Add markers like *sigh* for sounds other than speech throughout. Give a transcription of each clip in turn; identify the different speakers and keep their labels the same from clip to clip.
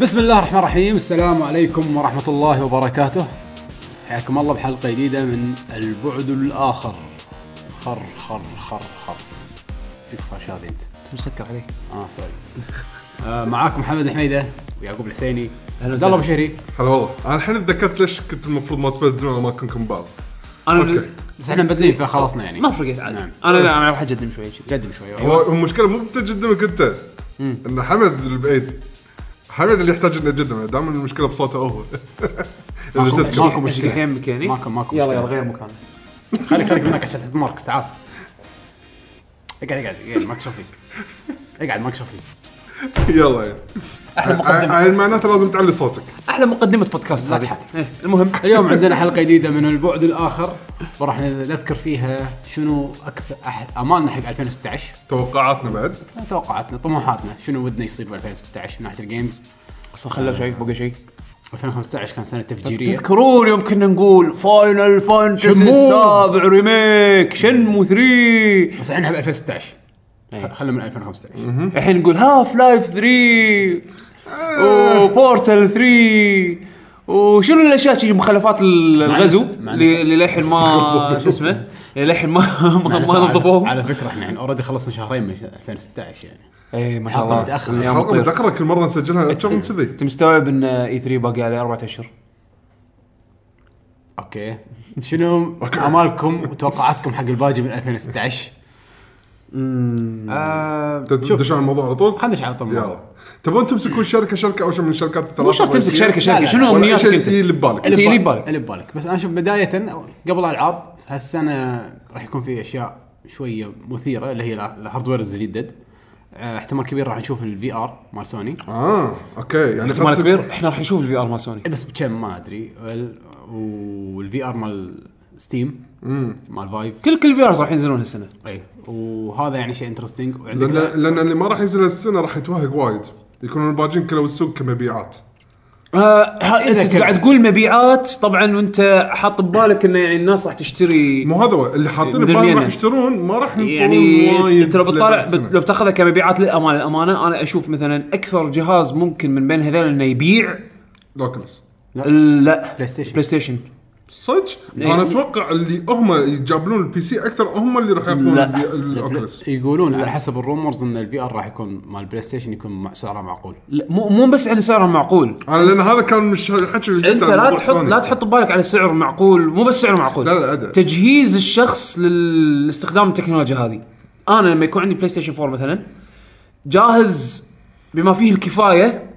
Speaker 1: بسم الله الرحمن الرحيم السلام عليكم ورحمة الله وبركاته حياكم الله بحلقة جديدة من البعد الآخر خر خر خر خر فيك صار شاذي أنت
Speaker 2: مسكر عليك
Speaker 1: اه سوري آه معاكم محمد الحميدة ويعقوب الحسيني عبد الله بشيري
Speaker 3: هلا والله انا الحين تذكرت ليش كنت المفروض ما تبدلون اماكنكم بعض
Speaker 2: انا
Speaker 3: اوكي
Speaker 1: بس احنا مبدلين فخلصنا يعني
Speaker 2: ما فرقت عاد
Speaker 1: نعم.
Speaker 2: انا لا انا راح اقدم شوي كذي
Speaker 1: قدم شوي
Speaker 3: هو
Speaker 2: أيوة.
Speaker 3: هو المشكله مو بتجدمك انت ان حمد البعيد حمد اللي يحتاج انه يجدم دائما المشكله بصوته هو *laughs* اذا
Speaker 1: ماكو-
Speaker 3: جدكم
Speaker 1: ماكو مشكلة.
Speaker 2: الحين مكاني
Speaker 1: ماكو ماكو
Speaker 4: يلا
Speaker 1: مشكلة.
Speaker 4: يلا غير مكانه
Speaker 1: خليك خليك هناك عشان تحط ماركس تعال اقعد اقعد اقعد ما اكشف فيك اقعد ما اكشف فيك
Speaker 3: يلا يعني. يلا
Speaker 1: احلى مقدمة
Speaker 3: ع- ع- معناته لازم تعلي صوتك
Speaker 2: احلى مقدمه بودكاست
Speaker 1: لا
Speaker 2: هذه
Speaker 1: تحت.
Speaker 2: إيه، المهم
Speaker 1: اليوم عندنا حلقه جديده من البعد الاخر وراح نذكر فيها شنو اكثر أح- امالنا حق 2016
Speaker 3: توقعاتنا بعد
Speaker 1: توقعاتنا طموحاتنا شنو ودنا يصير ب 2016 من ناحيه الجيمز
Speaker 2: اصلا خلى شيء بقى شيء
Speaker 1: 2015 كان سنه تفجيريه
Speaker 2: تذكرون يوم كنا نقول فاينل فانتسي
Speaker 1: شنمو.
Speaker 2: السابع ريميك شنمو 3
Speaker 1: بس احنا ب 2016 خ- خلنا من 2015
Speaker 2: الحين نقول هاف لايف 3 وبورتال 3 وشنو الاشياء شي مخلفات ال- الغزو
Speaker 1: معناته-
Speaker 2: اللي اللي للحين ما شو اسمه اللي للحين ما ما ما
Speaker 1: على-
Speaker 2: نظفوهم
Speaker 1: على فكره احنا يعني اوريدي خلصنا شهرين من 2016 يعني
Speaker 2: اي إيه، ما شاء
Speaker 1: حلقه
Speaker 2: الله
Speaker 1: متاخره
Speaker 3: حلقه متذكره كل مره
Speaker 2: إيه.
Speaker 3: نسجلها كم كذي
Speaker 2: انت مستوعب ان اي 3 باقي عليه اربع اشهر
Speaker 1: اوكي شنو امالكم وتوقعاتكم حق الباجي من 2016 امم
Speaker 3: تدش على الموضوع على طول
Speaker 1: خلنا ندش على طول الموضوع.
Speaker 3: يلا تبون تمسكون شركه شركه او شيء من الشركات الثلاثه
Speaker 2: مو شرط تمسك
Speaker 3: الرئيسية؟
Speaker 2: شركه
Speaker 1: لا،
Speaker 2: شركه
Speaker 1: لا،
Speaker 2: شنو
Speaker 3: ولا أي
Speaker 2: امنياتك
Speaker 3: شيء
Speaker 2: انت؟
Speaker 3: اللي ببالك
Speaker 2: انت يلي
Speaker 1: ببالك-
Speaker 2: ببالك.
Speaker 1: اللي ببالك بس انا شوف بدايه أو- قبل العاب هالسنه راح يكون في اشياء شويه مثيره اللي هي ال- الهاردويرز الجدد آه، احتمال كبير راح نشوف الفي ار مال سوني
Speaker 3: اه اوكي يعني
Speaker 2: احتمال
Speaker 3: خلاص-
Speaker 2: كبير احنا راح نشوف الفي ار مال سوني
Speaker 1: بس بكم ما ادري وال- والفي ار مال ستيم مال فايف
Speaker 2: كل كل في ار راح ينزلون هالسنه
Speaker 1: اي وهذا يعني شيء انترستنج وعندك
Speaker 3: لان لان اللي ما راح ينزل السنه راح يتوهق وايد يكونون الباجين كلوا السوق كمبيعات
Speaker 2: آه ها
Speaker 1: إذا
Speaker 2: انت
Speaker 1: كان-
Speaker 2: قاعد تقول مبيعات طبعا وانت حاط ببالك انه يعني الناس راح تشتري
Speaker 3: مو هذا هو، اللي حاطين
Speaker 2: مثل
Speaker 3: ببالهم راح
Speaker 2: اليمن.
Speaker 3: يشترون ما راح ينطرون
Speaker 2: يعني
Speaker 3: وايد
Speaker 2: انت لو بتطالع
Speaker 3: للسنة.
Speaker 2: بت- لو بتاخذها كمبيعات للامانه الامانه انا اشوف مثلا اكثر جهاز ممكن من بين هذول انه يبيع
Speaker 3: لوكلز
Speaker 1: لا.
Speaker 2: ال- لا
Speaker 1: بلاي ستيشن.
Speaker 2: بلاي ستيشن
Speaker 3: صدق
Speaker 2: إيه.
Speaker 3: انا اتوقع اللي هم يجابلون البي سي اكثر هم اللي راح ياخذون
Speaker 2: لا.
Speaker 3: البي-
Speaker 1: البلا-
Speaker 3: الاوكلز
Speaker 1: يقولون على حسب الرومرز ان الفي ار راح يكون مال بلاي ستيشن يكون مع- سعره معقول
Speaker 2: لا، مو مو بس على سعره معقول
Speaker 3: انا لان هذا كان مش الحكي اللي
Speaker 2: انت
Speaker 3: قلته عن
Speaker 2: لا
Speaker 3: موضوع
Speaker 2: تحط
Speaker 3: سوني.
Speaker 2: لا تحط ببالك على سعر معقول مو بس سعر معقول
Speaker 3: لا لا أدري.
Speaker 2: تجهيز الشخص للاستخدام التكنولوجيا هذه انا لما يكون عندي بلاي ستيشن 4 مثلا جاهز بما فيه الكفايه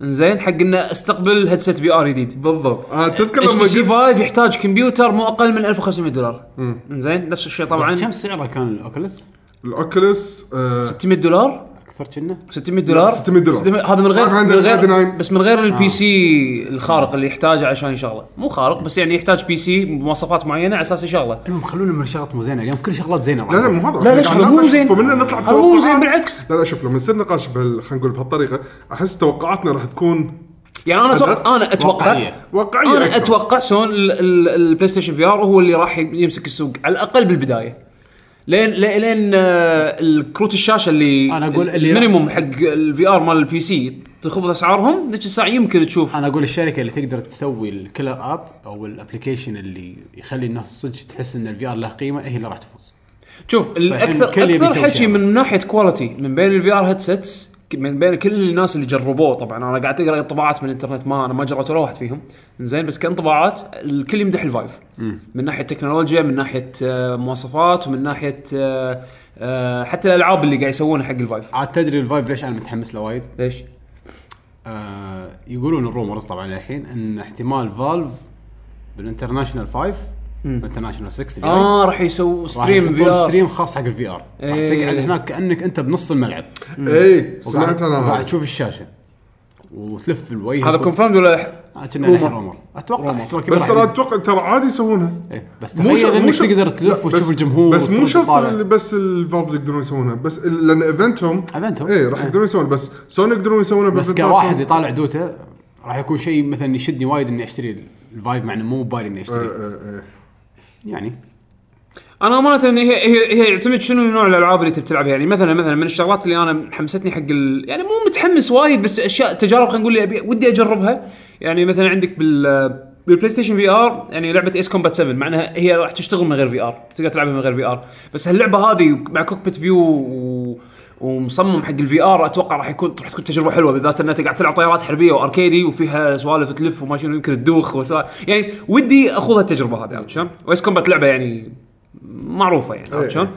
Speaker 2: زين حق انه استقبل هيدسيت في ار جديد
Speaker 3: بالضبط انا اتذكر لما
Speaker 2: اتش سي
Speaker 3: قلت
Speaker 2: 5 يحتاج كمبيوتر مو اقل من 1500 دولار زين نفس الشيء
Speaker 1: طبعا
Speaker 2: طبعا
Speaker 1: كم سعره كان الاوكلس
Speaker 3: الاوكلس آه،
Speaker 2: 600 دولار
Speaker 1: اكثر كنا
Speaker 2: 600 دولار
Speaker 3: 600 دولار.
Speaker 2: هذا من غير
Speaker 3: واحد
Speaker 2: من
Speaker 3: عنده
Speaker 2: غير
Speaker 3: 99.
Speaker 2: بس من
Speaker 3: آه.
Speaker 2: غير البي سي الخارق اللي يحتاجه عشان يشغله مو خارق بس يعني يحتاج بي سي بمواصفات معينه على اساس يشغله
Speaker 1: المهم خلونا من الشغلات مو زينه اليوم كل شغلات زينه
Speaker 3: لا لا مو هذا
Speaker 2: لا لا
Speaker 3: إحنا
Speaker 2: شوف
Speaker 3: قاعدين
Speaker 2: مو
Speaker 3: نناقش،
Speaker 2: زين
Speaker 3: فمنا نطلع
Speaker 2: هذا مو زين
Speaker 3: بتوقعات.
Speaker 2: بالعكس
Speaker 3: لا لا شوف لما يصير نقاش بال خلينا نقول بهالطريقه احس توقعاتنا راح تكون
Speaker 2: يعني انا اتوقع انا اتوقع
Speaker 1: واقعية.
Speaker 3: واقعيه
Speaker 2: انا
Speaker 3: أكثر.
Speaker 2: اتوقع سون ال- ال- البلاي ستيشن في ار هو اللي راح يمسك السوق على الاقل بالبدايه لين لين- لين آه، الكروت الشاشه اللي
Speaker 1: أنا أقول اللي-
Speaker 2: المينيموم حق الفي ار مال البي سي تخفض اسعارهم ذيك الساعه يمكن تشوف
Speaker 1: انا اقول الشركه اللي تقدر تسوي الكلر اب او الابلكيشن اللي يخلي الناس صدق تحس ان الفي ار له قيمه هي اللي راح تفوز
Speaker 2: شوف
Speaker 1: فإن
Speaker 2: الاكثر
Speaker 1: كل يبي
Speaker 2: اكثر
Speaker 1: يسوي
Speaker 2: حكي
Speaker 1: شيء.
Speaker 2: من ناحيه كواليتي من بين الفي ار هيدسيتس من بين كل الناس اللي جربوه طبعا انا قاعد اقرا انطباعات من الانترنت ما انا ما جربت ولا واحد فيهم زين بس كانطباعات الكل يمدح الفايف من ناحيه تكنولوجيا من ناحيه آه، مواصفات ومن ناحيه آه، آه، حتى الالعاب اللي قاعد يسوونها حق الفايف
Speaker 1: عاد تدري الفايب ليش انا متحمس له وايد
Speaker 2: ليش؟
Speaker 1: آه يقولون الرومرز طبعا الحين ان احتمال فالف بالانترناشونال 5 انترناشونال 6 الجاي،
Speaker 3: آه،
Speaker 2: اه راح يسووا
Speaker 1: راح
Speaker 2: ستريم في
Speaker 1: يحطون
Speaker 2: ار
Speaker 1: ستريم خاص حق الفي ار راح
Speaker 2: إيه.
Speaker 1: تقعد هناك كانك انت بنص الملعب
Speaker 3: اي
Speaker 1: وقاعد
Speaker 3: إيه، سمعت انا
Speaker 1: قاعد
Speaker 3: هذا.
Speaker 1: تشوف الشاشه وتلف الوجه
Speaker 2: هذا كونفيرمد ولا
Speaker 1: آه، كنا الحين
Speaker 2: رومر.
Speaker 1: رومر اتوقع احتمال كبير
Speaker 3: بس
Speaker 1: راح
Speaker 3: ترى
Speaker 1: يجي.
Speaker 3: اتوقع ترى عادي يسوونها
Speaker 1: إيه، بس
Speaker 3: مو
Speaker 1: تخيل
Speaker 3: شرط- مو
Speaker 1: انك
Speaker 3: شرط-
Speaker 1: تقدر تلف
Speaker 3: لا،
Speaker 1: وتشوف
Speaker 3: بس-
Speaker 1: الجمهور
Speaker 3: بس مو
Speaker 1: وترد
Speaker 3: شرط
Speaker 1: تطالع.
Speaker 3: اللي بس الفالف يقدرون يسوونها بس ال- لان ايفنتهم
Speaker 1: إيفنتهم. إيه.
Speaker 3: اي راح يقدرون يسوون بس سوني يقدرون يسوونها
Speaker 1: بس
Speaker 3: بإيفنتاتهم.
Speaker 1: كواحد يطالع دوتا راح يكون شيء مثلا يشدني
Speaker 3: آه.
Speaker 1: وايد اني اشتري الفايب مع انه مو ببالي اني اشتري
Speaker 3: إيه، إيه، إيه.
Speaker 1: يعني
Speaker 2: انا امانه ان هي هي هي يعتمد شنو نوع الالعاب اللي تبي تلعبها يعني مثلا مثلا من الشغلات اللي انا حمستني حق ال... يعني مو متحمس وايد بس اشياء تجارب خلينا نقول لي أبي... ودي اجربها يعني مثلا عندك بال بالبلاي ستيشن في ار يعني لعبه ايس كومبات 7 مع انها هي راح تشتغل من غير في ار تقدر تلعبها من غير في ار بس هاللعبه هذه مع كوكبيت فيو و... ومصمم حق الفي ار اتوقع راح يكون راح تكون تجربه حلوه بالذات انها قاعد تلعب طيارات حربيه واركيدي وفيها سوالف تلف وما شنو يمكن تدوخ وسوالف يعني ودي اخوض هالتجربه هذه عرفت شلون؟ وايس كومبات لعبه يعني معروفه يعني عرفت شلون؟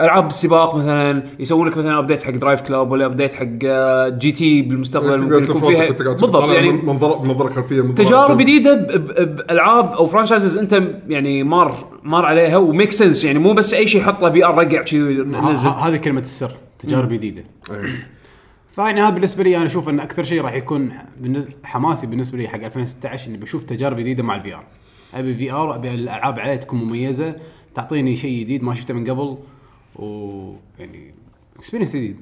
Speaker 2: العاب السباق مثلا يسوون لك مثلا ابديت حق درايف كلاب ولا ابديت حق آه، جي تي بالمستقبل ممكن يكون فيها بالضبط يعني
Speaker 3: منظر منظر خلفيه منظر
Speaker 2: تجارب
Speaker 3: عام.
Speaker 2: جديده ب- ب- بالعاب او فرانشايزز انت يعني مار مار عليها وميك سنس يعني مو بس اي شيء حط له في ار رقع شي
Speaker 1: ه-
Speaker 2: نزل
Speaker 1: ه- هذه كلمه السر تجارب جديده
Speaker 3: إيه.
Speaker 1: فيعني هذا بالنسبه لي انا اشوف ان اكثر شيء راح يكون بالنس- حماسي بالنسبه لي حق 2016 اني بشوف تجارب جديده مع الفي ار ابي في ار ابي الالعاب عليه تكون مميزه تعطيني شيء جديد ما شفته من قبل و يعني اكسبيرينس جديد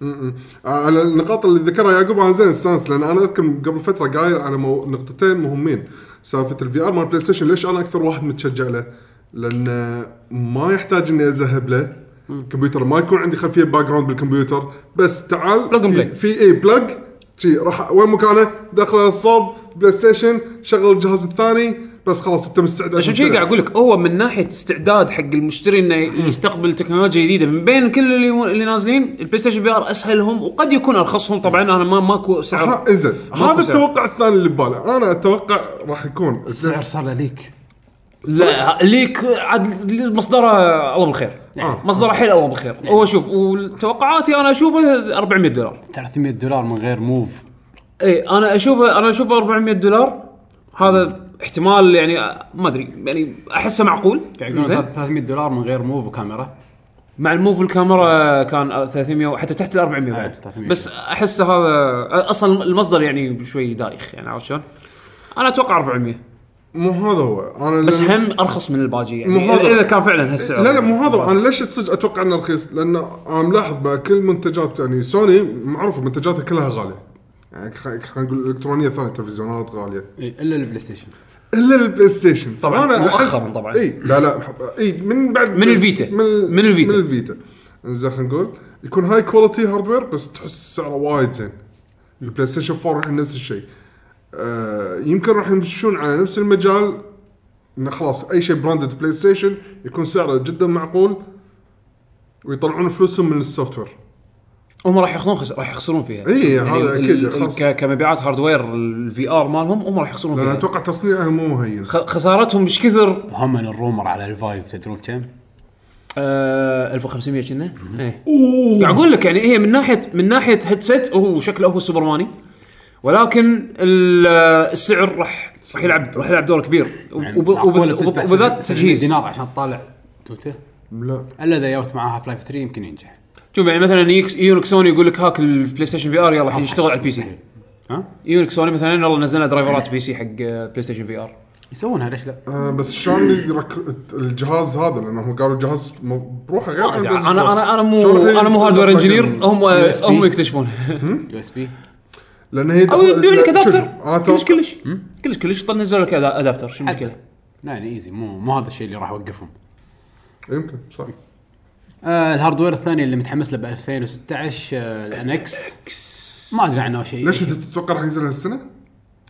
Speaker 3: م- م. آه، على النقاط اللي ذكرها يعقوب انا زين استانس لان انا اذكر قبل فتره قايل على مو... نقطتين مهمين سالفه الفي ار مال بلاي ستيشن ليش انا اكثر واحد متشجع له؟ لان ما يحتاج اني اذهب له كمبيوتر ما يكون عندي خلفيه باك جراوند بالكمبيوتر بس تعال
Speaker 2: Plug and
Speaker 3: في,
Speaker 2: play.
Speaker 3: في اي بلاج شي راح وين مكانه دخله الصوب بلاي ستيشن شغل الجهاز الثاني بس خلاص انت مستعد
Speaker 2: عشان كذي قاعد اقول لك هو من ناحيه استعداد حق المشتري انه يستقبل تكنولوجيا جديده من بين كل اللي اللي نازلين البلاي ستيشن في ار اسهلهم وقد يكون ارخصهم طبعا انا ما ماكو سعر
Speaker 3: ها انزين هذا
Speaker 2: ماكو سعر.
Speaker 3: التوقع الثاني اللي ببالي انا اتوقع راح يكون
Speaker 1: السعر صار له ليك
Speaker 2: لا ليك عاد مصدره الله بالخير
Speaker 3: آه.
Speaker 2: مصدره حيل الله بالخير
Speaker 3: نعم.
Speaker 2: هو شوف وتوقعاتي انا اشوفه 400 دولار إيه،
Speaker 1: 300 دولار من غير موف
Speaker 2: اي انا اشوفه انا اشوفه 400 دولار هذا احتمال يعني آه، ما ادري يعني احسه معقول
Speaker 1: قاعد يقولون
Speaker 2: زين
Speaker 1: 300 دولار من غير موف وكاميرا
Speaker 2: مع الموف الكاميرا كان 300 وحتى تحت ال 400
Speaker 3: آه،
Speaker 2: بعد
Speaker 1: 300.
Speaker 2: بس احسه هذا اصلا المصدر يعني شوي دايخ يعني عرفت شلون؟ انا اتوقع 400
Speaker 3: مو هذا هو انا
Speaker 2: بس
Speaker 3: لأن-
Speaker 2: هم ارخص من الباجي يعني
Speaker 3: مو هذا.
Speaker 2: اذا كان فعلا هالسعر
Speaker 3: لا لا مو هذا انا ليش صدق اتوقع انه رخيص؟ لان انا ملاحظ بقى كل منتجات يعني سوني معروفه منتجاتها كلها غاليه. يعني خ- خلينا نقول الالكترونيه ثانيه تلفزيونات غاليه
Speaker 1: الا البلاي ستيشن
Speaker 3: الا البلاي ستيشن طبعا
Speaker 2: مؤخراً طبعاً.
Speaker 3: اي لا لا أح- اي من بعد
Speaker 2: من الفيتا.
Speaker 3: من, ال-
Speaker 2: من الفيتا.
Speaker 3: من الفيتا زين خلينا نقول يكون هاي كواليتي هاردوير بس تحس سعره وايد زين البلاي ستيشن 4 الحين نفس الشيء آه يمكن راح يمشون على نفس المجال انه خلاص اي شيء براندد بلاي ستيشن يكون سعره جدا معقول ويطلعون فلوسهم من السوفت وير
Speaker 2: هم راح ياخذون خس... راح يخسرون فيها يعني
Speaker 3: إي، إيه، هذا
Speaker 2: ال-
Speaker 3: أكيد،
Speaker 2: ال-
Speaker 3: خلاص.
Speaker 2: ك... كمبيعات هاردوير الفي ار مالهم هم راح يخسرون
Speaker 3: لان
Speaker 2: فيها
Speaker 3: اتوقع تصنيعها مو هين
Speaker 2: خ... خسارتهم مش كثر
Speaker 1: وهم إن الرومر على الفايف تدرون كم؟
Speaker 2: آه 1500 كنا إيه. قاعد اقول لك يعني هي من ناحيه من ناحيه هيدسيت هو شكله هو سوبرماني ولكن ال- السعر راح راح يلعب راح يلعب دور كبير
Speaker 1: يعني
Speaker 2: وب- وب-
Speaker 1: معقولة
Speaker 2: وب-
Speaker 1: تدفع
Speaker 2: وبالذات
Speaker 1: 70
Speaker 2: تجهيز
Speaker 1: دينار عشان تطالع توته
Speaker 3: لا
Speaker 1: الا اذا جاوبت معاها فلايف 3 يمكن ينجح
Speaker 2: شوف يعني مثلا يكس- يونك سوني يقول لك هاك البلاي ستيشن في ار يلا الحين يشتغل على البي سي
Speaker 1: ها؟
Speaker 2: يونك سوني مثلا يلا نزلنا درايفرات بي سي حق آه، بلاي ستيشن في ار
Speaker 1: يسوونها ليش لا؟
Speaker 3: آه بس شلون يرك... الجهاز هذا لانهم قالوا الجهاز م- بروحه غير عن الجهاز
Speaker 2: انا انا انا مو
Speaker 3: شلون راح
Speaker 2: انا مو
Speaker 3: يصير
Speaker 2: هاردوير
Speaker 3: باك
Speaker 2: انجينير
Speaker 3: إند؟
Speaker 2: هم
Speaker 1: USB.
Speaker 2: هم
Speaker 3: إيه. *laughs*
Speaker 2: يكتشفون
Speaker 1: يو اس بي
Speaker 3: لان هي
Speaker 2: او يبيعون لك ادابتر كلش
Speaker 3: كلش كلش
Speaker 2: كلش كلش كلش طن نزلوا لك أدا- ادابتر شو المشكله؟
Speaker 1: يعني ايزي مو مو هذا الشيء اللي راح يوقفهم
Speaker 3: يمكن صح
Speaker 1: آه الهاردوير الثاني اللي متحمس له ب 2016 آه الانكس ما ادري عنه شيء
Speaker 3: ليش انت تتوقع راح ينزل هالسنه؟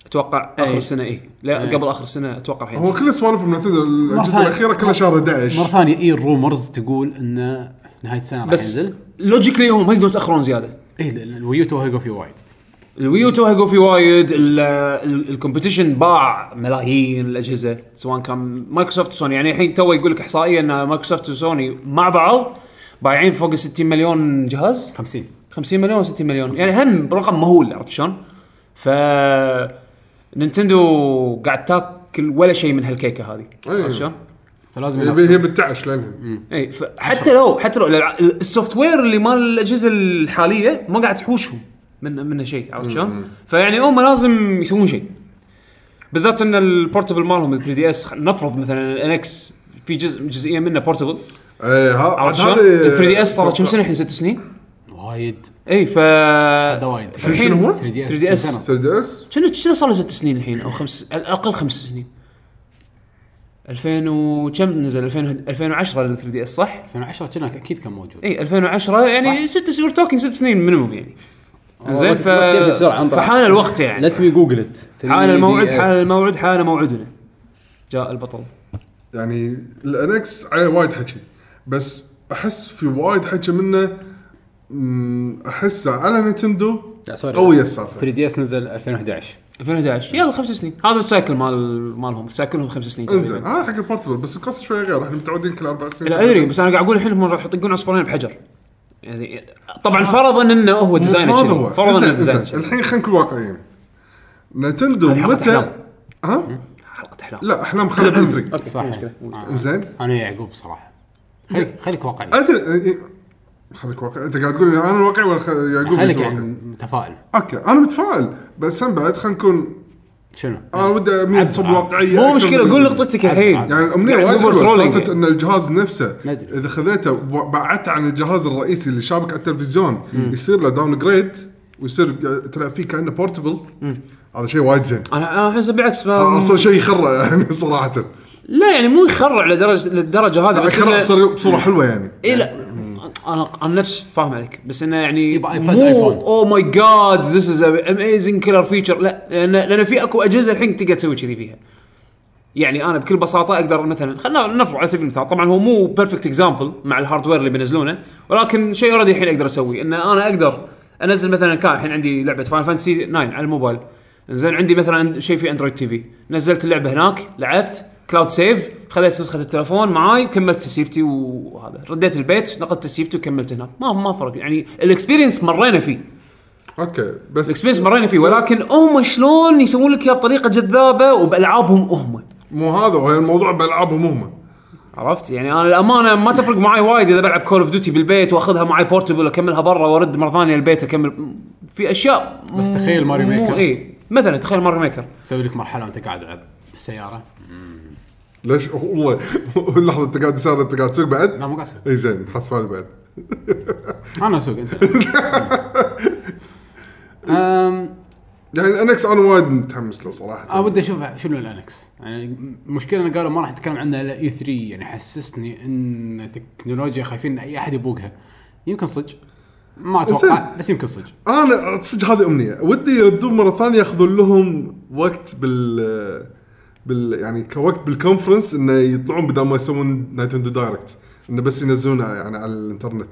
Speaker 2: اتوقع اخر
Speaker 1: أي.
Speaker 2: السنه اي إيه. لا
Speaker 1: أي.
Speaker 2: قبل اخر السنه اتوقع الحين
Speaker 3: هو كل سوالف معتدل الاجهزه
Speaker 1: ثانية.
Speaker 3: الاخيره كلها شهر
Speaker 1: مره
Speaker 3: 11
Speaker 1: ثانيه اي الرومرز تقول انه نهايه السنه راح
Speaker 2: بس
Speaker 1: ينزل
Speaker 2: لوجيكلي هم ما يقدرون يتاخرون زياده
Speaker 1: اي ال- ال- الويو توه يقف فيه وايد
Speaker 2: الويو توهقوا في وايد ال- ال- الكومبetition باع ملايين الاجهزه سواء كان مايكروسوفت وسوني يعني الحين تو يقول لك احصائيه ان مايكروسوفت وسوني مع بعض بايعين فوق ال 60 مليون جهاز
Speaker 1: 50
Speaker 2: 50 مليون 60 مليون يعني هم رقم مهول عرفت شلون؟ ف نينتندو قاعد تاكل ولا شيء من هالكيكه هذه
Speaker 3: أيوة.
Speaker 2: عرفت شلون؟
Speaker 1: فلازم
Speaker 3: يبي- هي
Speaker 1: ينافسون.
Speaker 3: بتعش لانها
Speaker 2: اي حتى لو حتى لو الألع- السوفت وير اللي مال الاجهزه الحاليه ما قاعد تحوشهم من منه شيء عرفت شلون؟ فيعني هم لازم يسوون شيء بالذات ان البورتبل مالهم ال 3 دي اس نفرض مثلا الانكس في جزء جزئيه منه بورتبل
Speaker 3: ايه ها
Speaker 2: عرفت
Speaker 3: عاد
Speaker 2: شلون؟
Speaker 3: هذه-
Speaker 2: ال 3 دي اس صار لها كم سنه الحين ست سنين؟
Speaker 1: وايد
Speaker 2: اي ف
Speaker 1: هذا وايد
Speaker 3: شنو- شنو هو؟
Speaker 1: 3 دي اس
Speaker 2: 3 دي اس.
Speaker 1: سنة.
Speaker 3: 3 دي اس
Speaker 2: شنو شنو صار له ست سنين الحين او خمس على الاقل خمس سنين 2000 وكم نزل 2000 2010 ال 3 دي اس صح؟
Speaker 1: 2010 كان اكيد كان موجود
Speaker 2: اي 2010 يعني ست سنين توكينج ست سنين مينيموم يعني
Speaker 1: آه،
Speaker 2: زين ف
Speaker 1: والله تكتب بسرعة، انطر.
Speaker 2: فحان الوقت يعني
Speaker 4: ليت مي جوجل ات
Speaker 2: حان الموعد حان الموعد حان موعدنا جاء البطل
Speaker 3: يعني الانكس عليه وايد حكي بس احس في وايد حكي منه مم، احسه على نتندو قويه السالفه
Speaker 1: 3 دي اس نزل 2011
Speaker 2: 2011 يلا خمس سنين هذا السايكل مال مالهم سايكلهم خمس سنين
Speaker 3: انزين
Speaker 2: تقريبا
Speaker 3: هذا حق البورتبل بس القصه شويه غير احنا متعودين كل اربع سنين
Speaker 2: لا ادري بس انا قاعد اقول الحين هم راح يطقون عصفورين بحجر يعني طبعا فرضا انه هو ديزاين
Speaker 3: هذا هو
Speaker 2: فرضا انه
Speaker 3: إنزين،
Speaker 2: ديزاين
Speaker 3: إنزين. الحين خلينا نكون واقعيين نتندو
Speaker 2: هذه حلقة
Speaker 3: متى
Speaker 2: أحلام.
Speaker 3: ها
Speaker 2: حلقه احلام
Speaker 3: لا احلام خلد 3
Speaker 2: اوكي
Speaker 1: صح
Speaker 2: مو مشكله مو مشكلة.
Speaker 1: آه.
Speaker 3: انزين
Speaker 1: انا يا يعقوب صراحه خليك خليك واقعي
Speaker 3: ادري خليك واقع انت قاعد تقول انا واقعي ولا خ- يعقوب
Speaker 1: خليك
Speaker 3: يصير
Speaker 1: يعني
Speaker 3: واقعي؟
Speaker 1: متفائل
Speaker 3: اوكي انا متفائل بس هم بعد خلينا نكون
Speaker 1: شنو؟
Speaker 2: آه.
Speaker 3: انا ودي اميل
Speaker 1: عبد
Speaker 3: صوب
Speaker 1: عبد.
Speaker 3: واقعيه
Speaker 2: يعني مو
Speaker 3: أكثر
Speaker 2: مشكله
Speaker 3: من-
Speaker 2: قول نقطتك الحين
Speaker 1: عاد.
Speaker 3: يعني الامنيه
Speaker 2: يعني
Speaker 3: وايد
Speaker 2: Google
Speaker 3: حلوه
Speaker 2: trolling.
Speaker 3: سالفه ان الجهاز نفسه
Speaker 1: ندري.
Speaker 3: اذا خذيته وبعدته عن الجهاز الرئيسي اللي شابك على التلفزيون يصير له داون جريد ويصير تلعب فيه كانه بورتبل هذا شيء وايد زين
Speaker 2: انا انا احس بالعكس ما-
Speaker 1: آه،
Speaker 3: اصلا شيء يخرع يعني *laughs* صراحه
Speaker 2: لا يعني مو يخرع لدرجه للدرجه هذه بس
Speaker 3: يخرع
Speaker 2: إنه-
Speaker 3: بصورة- بصوره حلوه يعني
Speaker 2: اي لا انا انا نفس فاهم عليك بس انه يعني
Speaker 1: يبقى iPad،
Speaker 2: مو
Speaker 1: iPhone.
Speaker 2: او ماي جاد ذيس از اميزنج كيلر فيتشر لا لان لان في اكو اجهزه الحين تقدر تسوي كذي فيها يعني انا بكل بساطه اقدر مثلا خلينا نرفع على سبيل المثال طبعا هو مو بيرفكت اكزامبل مع الهاردوير اللي بينزلونه ولكن شيء اوريدي الحين اقدر اسويه ان انا اقدر انزل مثلا كان الحين عندي لعبه فاين فانسي 9 على الموبايل زين عندي مثلا شيء في اندرويد تي في نزلت اللعبه هناك لعبت كلاود سيف خليت نسخه التليفون معاي كملت تسيفتي وهذا رديت البيت نقلت تسيفتي وكملت هناك ما ما فرق يعني الاكسبيرينس مرينا فيه
Speaker 3: اوكي بس
Speaker 2: الاكسبيرينس مرينا فيه ولكن هم شلون يسوون لك اياه بطريقه جذابه وبالعابهم هم
Speaker 3: مو هذا وهي الموضوع بالعابهم هم
Speaker 2: عرفت يعني انا الامانه ما تفرق معي وايد اذا بلعب كول اوف ديوتي بالبيت واخذها معي بورتبل اكملها برا وارد مره ثانيه البيت اكمل في اشياء
Speaker 1: بس تخيل ماريو
Speaker 2: مو
Speaker 1: ميكر
Speaker 2: اي مثلا تخيل ماريو ميكر
Speaker 1: تسوي لك مرحله وانت قاعد العب بالسياره
Speaker 3: ليش والله *laughs* لحظه انت قاعد بسياره انت قاعد تسوق بعد
Speaker 1: لا مو قاعد اسوق
Speaker 3: اي زين حاسب علي بعد
Speaker 1: انا اسوق
Speaker 2: *laughs*
Speaker 1: انت أم،
Speaker 3: يعني الانكس انا وايد متحمس له صراحه
Speaker 1: انا ودي اشوف شنو الانكس يعني المشكله ان قالوا ما راح نتكلم عنها الا اي 3 يعني حسسني ان تكنولوجيا خايفين ان اي احد يبوقها يمكن صدق ما اتوقع
Speaker 3: إنزين.
Speaker 1: بس يمكن صدق
Speaker 3: انا صدق هذه امنيه ودي يردون مره ثانيه ياخذون لهم وقت بال بال يعني كوقت بالكونفرنس انه يطلعون بدل ما يسوون نايتندو دايركت انه بس ينزلونها يعني على الانترنت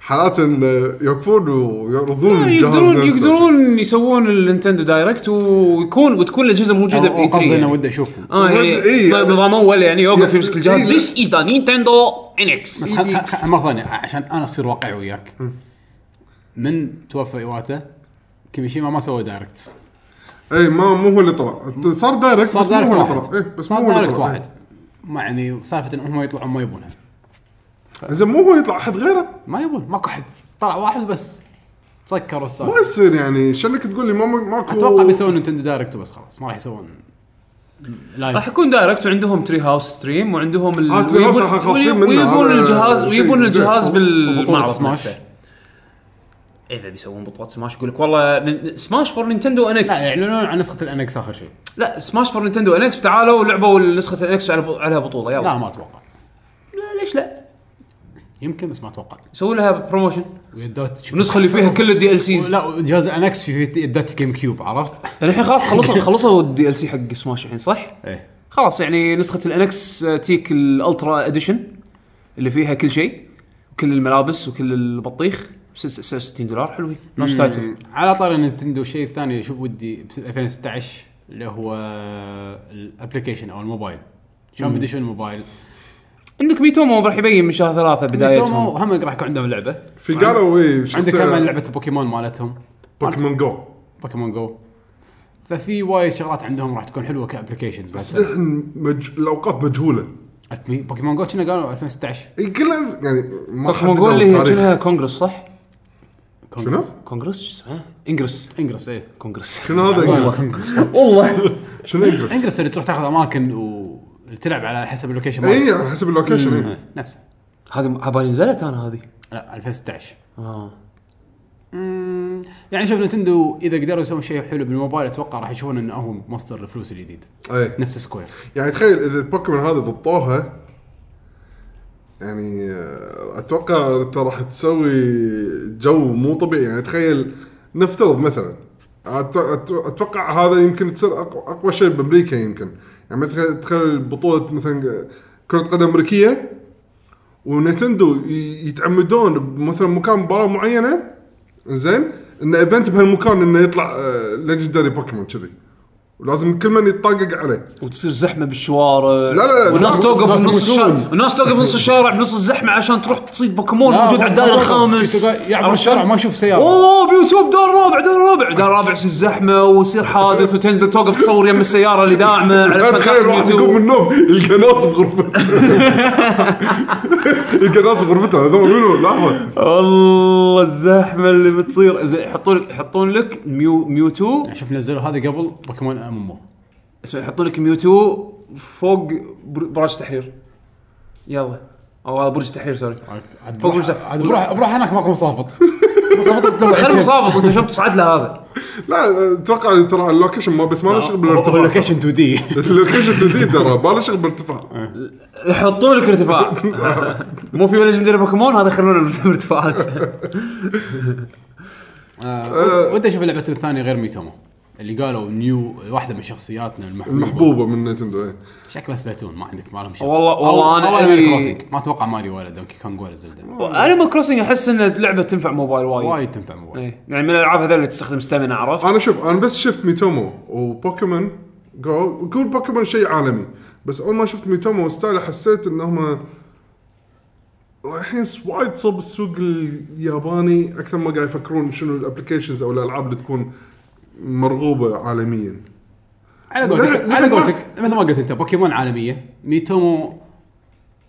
Speaker 3: حالات انه يوقفون ويعرضون
Speaker 2: لا،
Speaker 3: الجهاز
Speaker 2: يقدرون
Speaker 3: نفسه.
Speaker 2: يقدرون يسوون النينتندو دايركت ويكون وتكون الاجهزه موجوده
Speaker 1: أو- أو
Speaker 2: باي 3
Speaker 1: قصدي انه
Speaker 2: يعني.
Speaker 1: ودي اشوفهم
Speaker 2: اه يعني
Speaker 3: ود- إيه.
Speaker 2: طيب نظام اول يعني يوقف
Speaker 3: يعني-
Speaker 2: يمسك الجهاز
Speaker 3: إيه.
Speaker 2: ذيس از ذا نينتندو انكس
Speaker 1: بس خل خل- خل- مره ثانيه عشان انا اصير واقعي وياك من توفى ايواتا كيميشيما ما سوى دايركت
Speaker 3: اي ما مو هو اللي طلع صار دايركت
Speaker 1: صار
Speaker 3: بس مو هو
Speaker 1: دايركت
Speaker 3: اللي
Speaker 1: واحد
Speaker 3: طلع اي بس
Speaker 1: صار
Speaker 3: مو هو اللي
Speaker 1: دايركت
Speaker 3: طلع.
Speaker 1: واحد ما يعني سالفه انهم يطلعون ما يبونها
Speaker 3: زين مو هو يطلع احد غيره
Speaker 1: ما يبون ماكو احد طلع واحد بس سكروا
Speaker 3: ما
Speaker 1: السالفه
Speaker 3: يصير يعني شنك تقول لي ما ماكو
Speaker 1: اتوقع بيسوون نتندو دايركت وبس خلاص ما راح يسوون
Speaker 2: راح
Speaker 1: لايف
Speaker 2: يكون دايركت وعندهم تري هاوس ستريم وعندهم ال...
Speaker 3: آه، Treehouse
Speaker 2: ويبون-
Speaker 3: راح خاصين منه،
Speaker 2: ويبون
Speaker 3: هذا
Speaker 2: الجهاز
Speaker 3: شيء
Speaker 2: ويبون
Speaker 3: زين.
Speaker 2: الجهاز
Speaker 1: بطولة
Speaker 2: بالمعرض
Speaker 1: سماش
Speaker 2: نفسه. اذا إيه، بيسوون بطولات سماش يقول لك والله نن- سماش فور نينتندو ان
Speaker 1: لا يعني
Speaker 2: اكس
Speaker 1: يعلنون عن نسخه الانكس اخر شيء
Speaker 2: لا سماش فور نينتندو ان اكس تعالوا لعبوا نسخه ان اكس عليها بطوله يلا
Speaker 1: لا
Speaker 2: لا.
Speaker 1: ما اتوقع
Speaker 2: ليش لا؟
Speaker 1: يمكن بس ما اتوقع
Speaker 2: سووا لها بروموشن
Speaker 1: ويدات تشوف-
Speaker 2: النسخه اللي فيها كل الدي ال سيز
Speaker 1: لا جهاز الانكس في في يدات جيم كيوب عرفت؟
Speaker 2: يعني الحين خلاص خلصوا خلصوا الدي ال سي حق سماش الحين صح؟
Speaker 1: ايه
Speaker 2: خلاص يعني نسخه الانكس تيك الالترا اديشن اللي فيها كل شيء كل الملابس وكل البطيخ بس- بس- 60 دولار حلوين ناش تايتل
Speaker 1: إيه. على طار نينتندو الشيء الثاني شوف ودي ب 2016 اللي هو الابلكيشن او الموبايل شلون بديشون الموبايل
Speaker 2: عندك ميتومو راح يبين من شهر ثلاثه بدايتهم
Speaker 1: نينتندو
Speaker 2: آه،
Speaker 1: هم راح يكون عندهم لعبه
Speaker 3: في قالوا اي
Speaker 1: عندك كمان لعبه بوكيمون مالتهم
Speaker 3: بوكيمون جو
Speaker 1: بوكيمون جو ففي وايد شغلات عندهم راح تكون حلوه كابلكيشنز بس
Speaker 3: بس الحين إيه، مج... الاوقات مجهوله
Speaker 1: بوكيمون جو كنا قالوا 2016
Speaker 3: اي كلها يعني ما
Speaker 2: بوكيمون جو
Speaker 3: حددوا
Speaker 2: اللي هي
Speaker 3: التاريخ.
Speaker 2: كلها كونغرس صح؟
Speaker 1: كونغرس.
Speaker 3: شنو؟
Speaker 2: كونغرس شو اسمها؟ انجرس
Speaker 1: انجرس ايه
Speaker 2: كونغرس
Speaker 3: شنو هذا انجلس؟
Speaker 2: والله
Speaker 3: شنو انجلس؟
Speaker 1: انجرس اللي تروح تاخذ اماكن وتلعب على حسب اللوكيشن
Speaker 3: اي
Speaker 1: مالك
Speaker 3: إيه، على حسب اللوكيشن إي.
Speaker 1: نفسه
Speaker 2: هذه عبالي نزلت انا هذه
Speaker 1: لا 2016
Speaker 2: اه
Speaker 1: مم، يعني شوف نتندو اذا قدروا يسوون شيء حلو بالموبايل اتوقع راح يشوفون انه هو مصدر الفلوس الجديد
Speaker 3: اي
Speaker 1: نفس سكوير
Speaker 3: يعني تخيل اذا البوكيمون هذه ضبطوها يعني آه، اتوقع انت راح تسوي جو مو طبيعي يعني تخيل نفترض مثلا أت- أت- اتوقع هذا يمكن تصير اقوى, أقوى شيء بامريكا يمكن يعني مثلا تخيل بطوله مثلا كره قدم امريكيه ونتندو ي- يتعمدون بمثلا مكان مباراه معينه زين ان ايفنت بهالمكان انه يطلع ليجندري بوكيمون كذي ولازم كل من يتطاقق عليه
Speaker 2: وتصير زحمه بالشوارع
Speaker 3: لا، لا،
Speaker 2: والناس
Speaker 3: ناس-
Speaker 2: توقف
Speaker 1: ناس
Speaker 2: بنص
Speaker 1: يموتون.
Speaker 2: الشارع الناس توقف بنص الشارع بنص الزحمه عشان تروح تصيد بوكيمون
Speaker 1: لا،
Speaker 2: موجود
Speaker 1: ما-
Speaker 2: على الدائري
Speaker 1: ما-
Speaker 2: الخامس
Speaker 1: يعبر الشارع ما يشوف سيارة.
Speaker 2: اوه بيوتيوب دار رابع دار رابع دار رابع يصير زحمه ويصير حادث وتنزل توقف تصور يم السياره اللي داعمه على
Speaker 3: لا
Speaker 2: أساس
Speaker 3: تخيل واحد
Speaker 2: اليوتيوب.
Speaker 3: يقوم من النوم يلقى ناس بغرفته *laughs* يلقى ناس بغرفته هذول منو لحظه
Speaker 2: الله الزحمه اللي بتصير زين، يحطون لك يحطون لك ميو ميوتو
Speaker 1: يعني شوف نزلوا هذا قبل بوكيمون ام ام
Speaker 2: اسمع يحطون لك ميوتو فوق بر- برج تحرير يلا او هذا برج تحرير سوري
Speaker 1: عاد
Speaker 2: فوق
Speaker 1: بروح-
Speaker 2: وش-
Speaker 1: عاد بروح بروح هناك ماكو مصافط مصافط بتطلع
Speaker 2: خلي
Speaker 1: شيء.
Speaker 2: مصابط انت شلون تصعد له هذا
Speaker 3: لا اتوقع ترى اللوكيشن ما بس ما له شغل
Speaker 1: هو
Speaker 3: بالارتفاع
Speaker 1: اللوكيشن 2 دي
Speaker 3: اللوكيشن تزيد ترى ما له شغل بالارتفاع
Speaker 2: يحطون لك ارتفاع مو في ولا ليجندري بوكيمون هذا يخلونه ارتفاعات
Speaker 1: آه، وانت شوف اللعبه الثانيه غير ميتومو اللي قالوا نيو واحده من شخصياتنا المحبوبه
Speaker 3: المحبوبه من نتندو إيه.
Speaker 1: شكلها سبلاتون ما عندك ما لهم شغل
Speaker 2: والله- والله أنا
Speaker 1: انا
Speaker 2: أبي-
Speaker 1: ما اتوقع ماريو ولا دونكي كونج ولا زلدا
Speaker 2: انيمال كروسنج احس ان لعبه تنفع موبايل وايد
Speaker 1: وايد تنفع موبايل
Speaker 2: إيه. يعني من الالعاب هذول اللي تستخدم ستامنا عرفت
Speaker 3: انا شوف انا بس شفت ميتومو وبوكيمون جو كل بوكيمون شيء عالمي بس اول ما شفت ميتومو ستايل حسيت انهم رايحين س- وايد صوب السوق الياباني اكثر ما قاعد يفكرون شنو الابلكيشنز او الالعاب اللي تكون مرغوبه عالميا
Speaker 1: على قولتك
Speaker 3: مثل-
Speaker 1: على
Speaker 3: مثل ما-
Speaker 1: قولتك مثل ما قلت انت بوكيمون عالميه ميتومو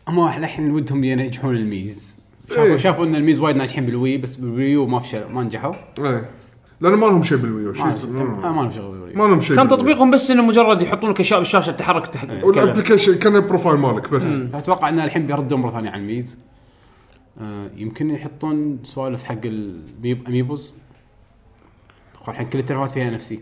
Speaker 1: هم الحين ودهم ينجحون الميز شافوا
Speaker 3: إيه.
Speaker 1: شافوا ان الميز وايد ناجحين بالوي بس بالويو ما فشل ما نجحوا
Speaker 3: ايه لان ما لهم شيء بالويو شيء
Speaker 1: ما
Speaker 3: اسمه-
Speaker 1: آه، ما لهم شغل بالويو
Speaker 3: ما لهم شيء
Speaker 2: كان
Speaker 3: بالويو.
Speaker 2: تطبيقهم بس انه مجرد يحطون لك اشياء بالشاشه تحرك تحت تتكلم.
Speaker 3: والابلكيشن كان البروفايل مالك بس
Speaker 1: اتوقع ان الحين بيردون مره ثانيه على الميز آه، يمكن يحطون سوالف حق الاميبوز الحين كل التلفونات فيها ان اف سي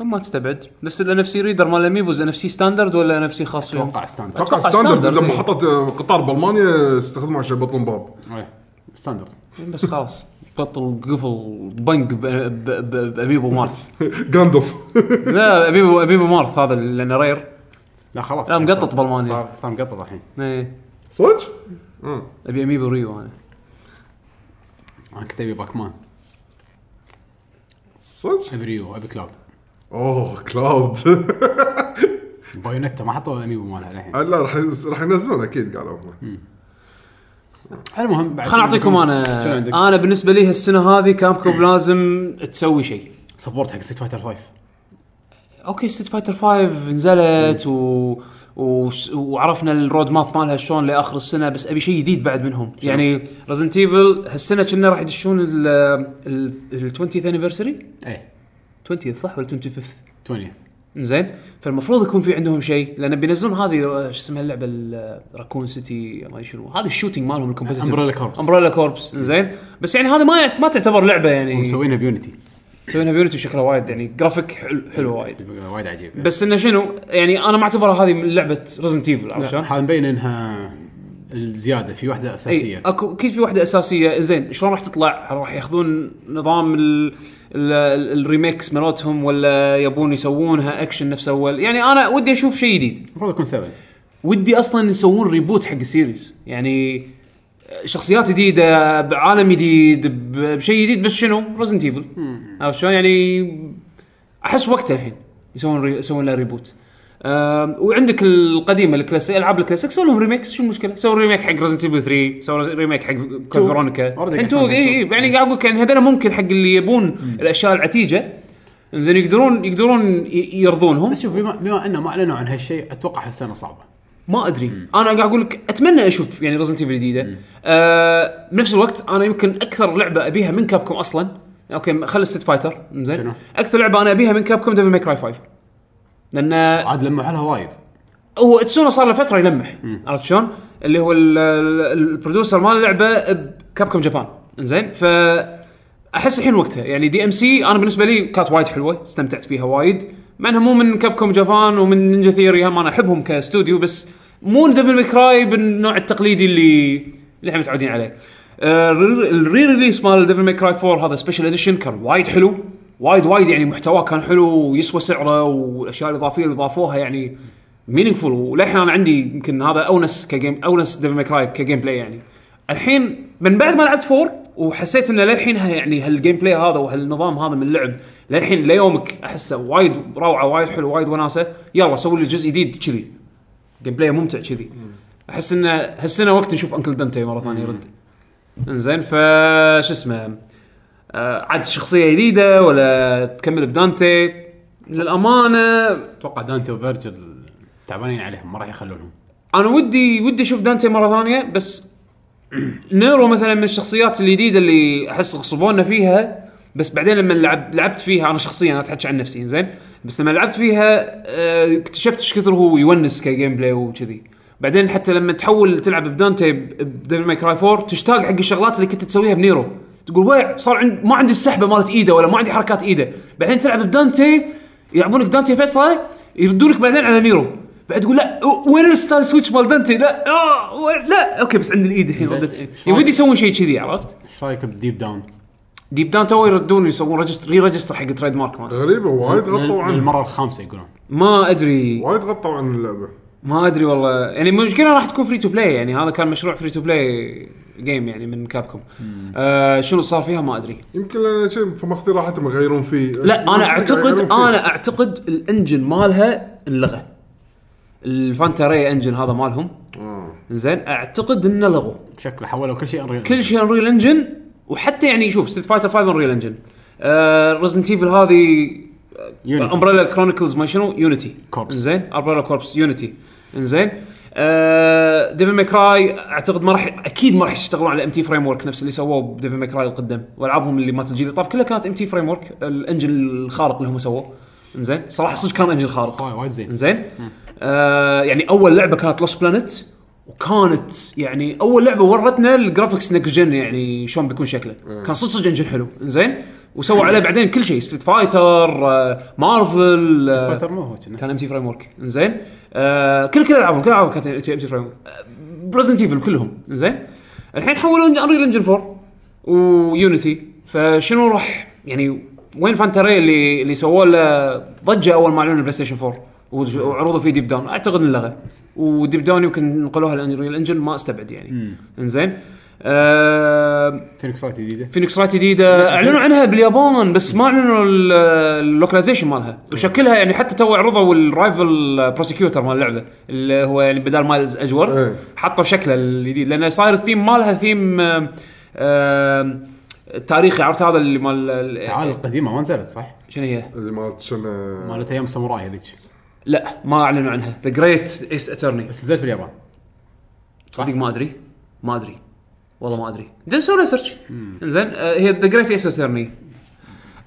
Speaker 2: ما تستبعد بس الان اف سي ريدر مال الاميبوز ان اف سي ستاندرد ولا ان اف سي خاص فيهم؟
Speaker 1: اتوقع ستاندرد
Speaker 3: اتوقع
Speaker 2: أتوقع
Speaker 3: ستاندرد
Speaker 2: ستاندرد،
Speaker 3: لما
Speaker 2: إيه.
Speaker 3: حطت آه، قطار بالمانيا استخدموا عشان يبطلون باب *laughs*
Speaker 2: طيب.
Speaker 1: إيه، ستاندرد
Speaker 2: بس خلاص بطل قفل بنك ب- ب- ب- باميبو مارث
Speaker 3: جاندوف *laughs*
Speaker 2: لا اميبو اميبو مارث هذا لانه رير
Speaker 1: لا خلاص
Speaker 2: لا، مقطط بالمانيا.
Speaker 1: صار صار مقطط الحين
Speaker 2: ايه
Speaker 3: صدق؟ آه.
Speaker 2: ابي اميبو ريو انا
Speaker 1: انا كنت ابي باكمان
Speaker 3: صدق؟
Speaker 1: ابي ريو ابي كلاود
Speaker 3: اوه كلاود *laughs*
Speaker 1: بايونيتا ما حطوا الاميبو مالها للحين
Speaker 3: لا راح راح ينزلون اكيد قالوا هم
Speaker 1: المهم بعد
Speaker 2: خليني اعطيكم
Speaker 1: شنو عندك؟
Speaker 2: انا انا بالنسبه لي هالسنه هذه كابكوم لازم تسوي شيء
Speaker 1: سبورت حق ستيت فايتر 5
Speaker 2: اوكي ستيت فايتر 5 نزلت و... و... وعرفنا الرود ماب مالها شلون لاخر السنه بس ابي شيء جديد بعد منهم يعني ريزنت ايفل هالسنه كنا راح يدشون ال ال ال 20th anniversary
Speaker 1: ايه
Speaker 2: 20th صح ولا 25th
Speaker 1: 20
Speaker 2: زين فالمفروض يكون في عندهم شيء لان بينزلون هذه آه، شو اسمها اللعبه ال- راكون سيتي ما أدري شنو هذا الشوتنج مالهم الكومبتيتيف
Speaker 1: Umbrella Corps.
Speaker 2: امبريلا كوربس زين بس يعني هذا ما يعت- ما تعتبر لعبه يعني
Speaker 1: مسوينها بيونتي
Speaker 2: مسوينها بيونتي شكلها وايد يعني جرافيك حلو, حلو وايد
Speaker 1: وايد عجيب
Speaker 2: بس انه شنو يعني انا ما اعتبرها هذه من لعبه ريزنت ايفل عرفت شلون؟
Speaker 1: هذا مبين انها الزياده في واحده
Speaker 2: اي
Speaker 1: اساسيه
Speaker 2: اكو اكيد في واحده اساسيه زين شلون راح تطلع؟ راح ياخذون نظام ال ال ال- الريميكس مالتهم ولا يبون يسوونها اكشن نفس اول؟ يعني انا ودي اشوف شيء جديد.
Speaker 1: المفروض يكون 7
Speaker 2: ودي اصلا يسوون ريبوت حق السيريز يعني شخصيات جديده بعالم جديد ب- بشيء جديد بس شنو رزنت ايفل عرفت شلون يعني احس وقته الحين يسوون ري... يسوون له ريبوت أم، وعندك القديمه الكلاسيك العاب الكلاسيك سووا لهم ريميكس شو المشكله؟ سووا ريميك حق ريزنت ايفل 3 سووا ريميك حق كود فيرونيكا
Speaker 1: Already
Speaker 2: الحين
Speaker 1: قاعد
Speaker 2: تو
Speaker 1: يسوون
Speaker 2: اي إي، يعني قاعد اقول لك يعني هذول ممكن حق اللي يبون الاشياء العتيجه زين يقدرون يقدرون ي- يرضونهم
Speaker 1: بس شوف بما, بما انه ما اعلنوا عن هالشيء اتوقع هالسنه صعبه
Speaker 2: ما ادري انا قاعد اقول لك اتمنى اشوف يعني ريزنت ايفل جديده آه بنفس الوقت انا يمكن اكثر لعبه ابيها من كابكم اصلا اوكي خلي ستيت فايتر زين
Speaker 1: شنو؟
Speaker 2: اكثر لعبه انا ابيها من كابكم ديفل ماي كراي 5 لان
Speaker 1: عاد لمحوا لها وايد
Speaker 2: هو اتسونا صار له فتره يلمح عرفت شلون؟ اللي هو ال- ال- البرودوسر مال اللعبه بكابكم جابان زين ف احس الحين وقتها يعني دي ام سي انا بالنسبه لي كانت وايد حلوه استمتعت فيها وايد مع انها مو من كابكوم جابان ومن نينجا ثيوري هم انا احبهم كاستوديو بس مو دبل ميكراي بالنوع التقليدي اللي اللي احنا متعودين عليه آه، الري- الري ريليس مال ديفل ماي كراي 4 هذا سبيشل اديشن كان وايد حلو وايد وايد يعني محتواه كان حلو ويسوى سعره والاشياء الاضافيه اللي ضافوها يعني مينينغفول وللحين انا عندي يمكن هذا اونس كجيم اونس ديفل ماي كراي كجيم بلاي يعني الحين من بعد ما لعبت 4 وحسيت انه للحين ها- يعني هالجيم بلاي هذا وهالنظام هذا من اللعب للحين ليومك احسه وايد روعه وايد حلو وايد وناسه يلا سوي لي جزء جديد كذي جيم بلاي ممتع كذي احس انه هالسنه وقت نشوف انكل دنتي مره ثانيه يرد انزين ف شو اسمه آه، عاد شخصيه جديده ولا تكمل بدانتي للامانه
Speaker 1: اتوقع دانتي وفيرجل تعبانين عليهم ما راح يخلونهم
Speaker 2: انا ودي ودي اشوف دانتي مره ثانيه بس نيرو مثلا من الشخصيات الجديده اللي احس غصبونا فيها بس بعدين لما لعب لعبت فيها انا شخصيا انا اتحكي عن نفسي زين بس لما لعبت فيها آه، اكتشفت ايش كثر هو يونس كجيم بلاي وكذي بعدين حتى لما تحول تلعب بدانتي بديفل ماي كراي 4 تشتاق حق الشغلات اللي كنت تسويها بنيرو تقول ويع صار عند ما عندي السحبه مالت ايده ولا ما عندي حركات ايده بعدين تلعب بدانتي يلعبونك دانتي فتره يردونك بعدين على نيرو بعد تقول لا و- وين الستايل سويتش مال دانتي لا آه وين- لا اوكي بس عند الايد الحين
Speaker 1: زين،
Speaker 2: ردت
Speaker 1: شلون؟
Speaker 2: ودي يسوون شيء كذي عرفت
Speaker 1: ايش رايك بديب داون؟
Speaker 2: ديب داون تو يردون يسوون ريجستر ري ريجستر حق التريد مارك ماله
Speaker 3: غريبه وايد غطوا عنه
Speaker 1: للمره الخامسه يقولون
Speaker 2: ما ادري
Speaker 3: وايد غطوا عن اللعبه
Speaker 2: ما ادري والله يعني المشكله راح تكون فري تو بلاي يعني هذا كان مشروع فري تو بلاي جيم يعني من كابكوم آه شنو صار فيها ما ادري
Speaker 3: يمكن لان شيء فماخذين راحتهم يغيرون فيه
Speaker 2: لا انا اعتقد
Speaker 3: يغيرون فيه.
Speaker 2: انا اعتقد الانجن مالها انلغى الفانتا ري انجن هذا مالهم
Speaker 3: آه.
Speaker 2: زين اعتقد انه لغوا
Speaker 1: شكله حولوا كل شيء انريل
Speaker 2: كل شيء انريل انجن وحتى يعني شوف ستيت فايتر 5 انريل انجن ريزنت ايفل آه، هذه امبريلا كرونيكلز ما شنو يونيتي
Speaker 1: Corps.
Speaker 2: زين امبريلا كوربس يونيتي انزين آه ديفل ماكراي اعتقد ما راح اكيد ما راح يشتغلون على ام تي فريم ورك نفس اللي سووه بديفل ماكراي القدم والعابهم اللي مالت الجيل اللي طاف كلها كانت ام تي فريم ورك الانجن الخارق اللي هم سووه انزين صراحه صدق كان انجن خارق
Speaker 1: وايد زين
Speaker 2: زين آه يعني اول لعبه كانت لوست بلانت وكانت يعني اول لعبه ورتنا الجرافكس نكست جن يعني شلون بيكون شكله كان صدق صدق انجن حلو زين وسووا عليه بعدين كل شيء ستريت فايتر آه مارفل آه،
Speaker 1: فايتر مو هو كنا
Speaker 2: كان ام تي فريم ورك زين آه كل كل العابهم كل العابهم كانت ام تي فريم ورك بريزنت ايفل آه، كلهم زين الحين حولوا انريل انجن 4 ويونيتي فشنو راح يعني وين فانتاري اللي اللي سووا له ضجه اول ما اعلنوا البلاي ستيشن 4 وج- وعرضوا فيه ديب داون اعتقد انلغى وديب داون يمكن نقلوها لانريل انجن ما استبعد يعني انزين آه
Speaker 1: فينيكس رايت جديده
Speaker 2: فينيكس رايت جديده اعلنوا عنها باليابان بس ما اعلنوا ال- اللوكلايزيشن مالها وشكلها يعني حتى تو عرضوا الرايفل بروسيكيوتر مال اللعبه اللي هو يعني بدال مايلز اجورث
Speaker 3: إيه.
Speaker 2: حطوا شكله الجديد لان صاير الثيم مالها ثيم آم، آم، تاريخي عرفت هذا اللي مال ال-
Speaker 1: تعال القديمه ما نزلت صح؟
Speaker 2: شنو هي؟
Speaker 3: اللي مالت شنو
Speaker 1: مالت ايام ساموراي هذيك
Speaker 2: لا ما اعلنوا عنها ذا جريت ايس اترني
Speaker 1: بس نزلت باليابان
Speaker 2: صدق ما ادري ما ادري والله ما ادري زين سوي سيرش زين هي ذا جريت ايس اترني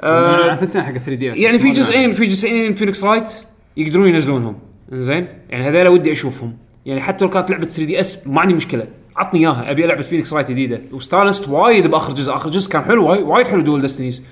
Speaker 1: عن ثنتين حق 3 دي اس
Speaker 2: آه. يعني في جزئين في جزئين فينيكس رايت يقدرون ينزلونهم زين يعني هذول ودي اشوفهم يعني حتى لو كانت لعبه 3 دي اس ما عندي مشكله عطني اياها ابي العب فينيكس رايت جديده واستانست وايد باخر جزء اخر جزء كان حلو وايد- وايد حلو دول ديستنيز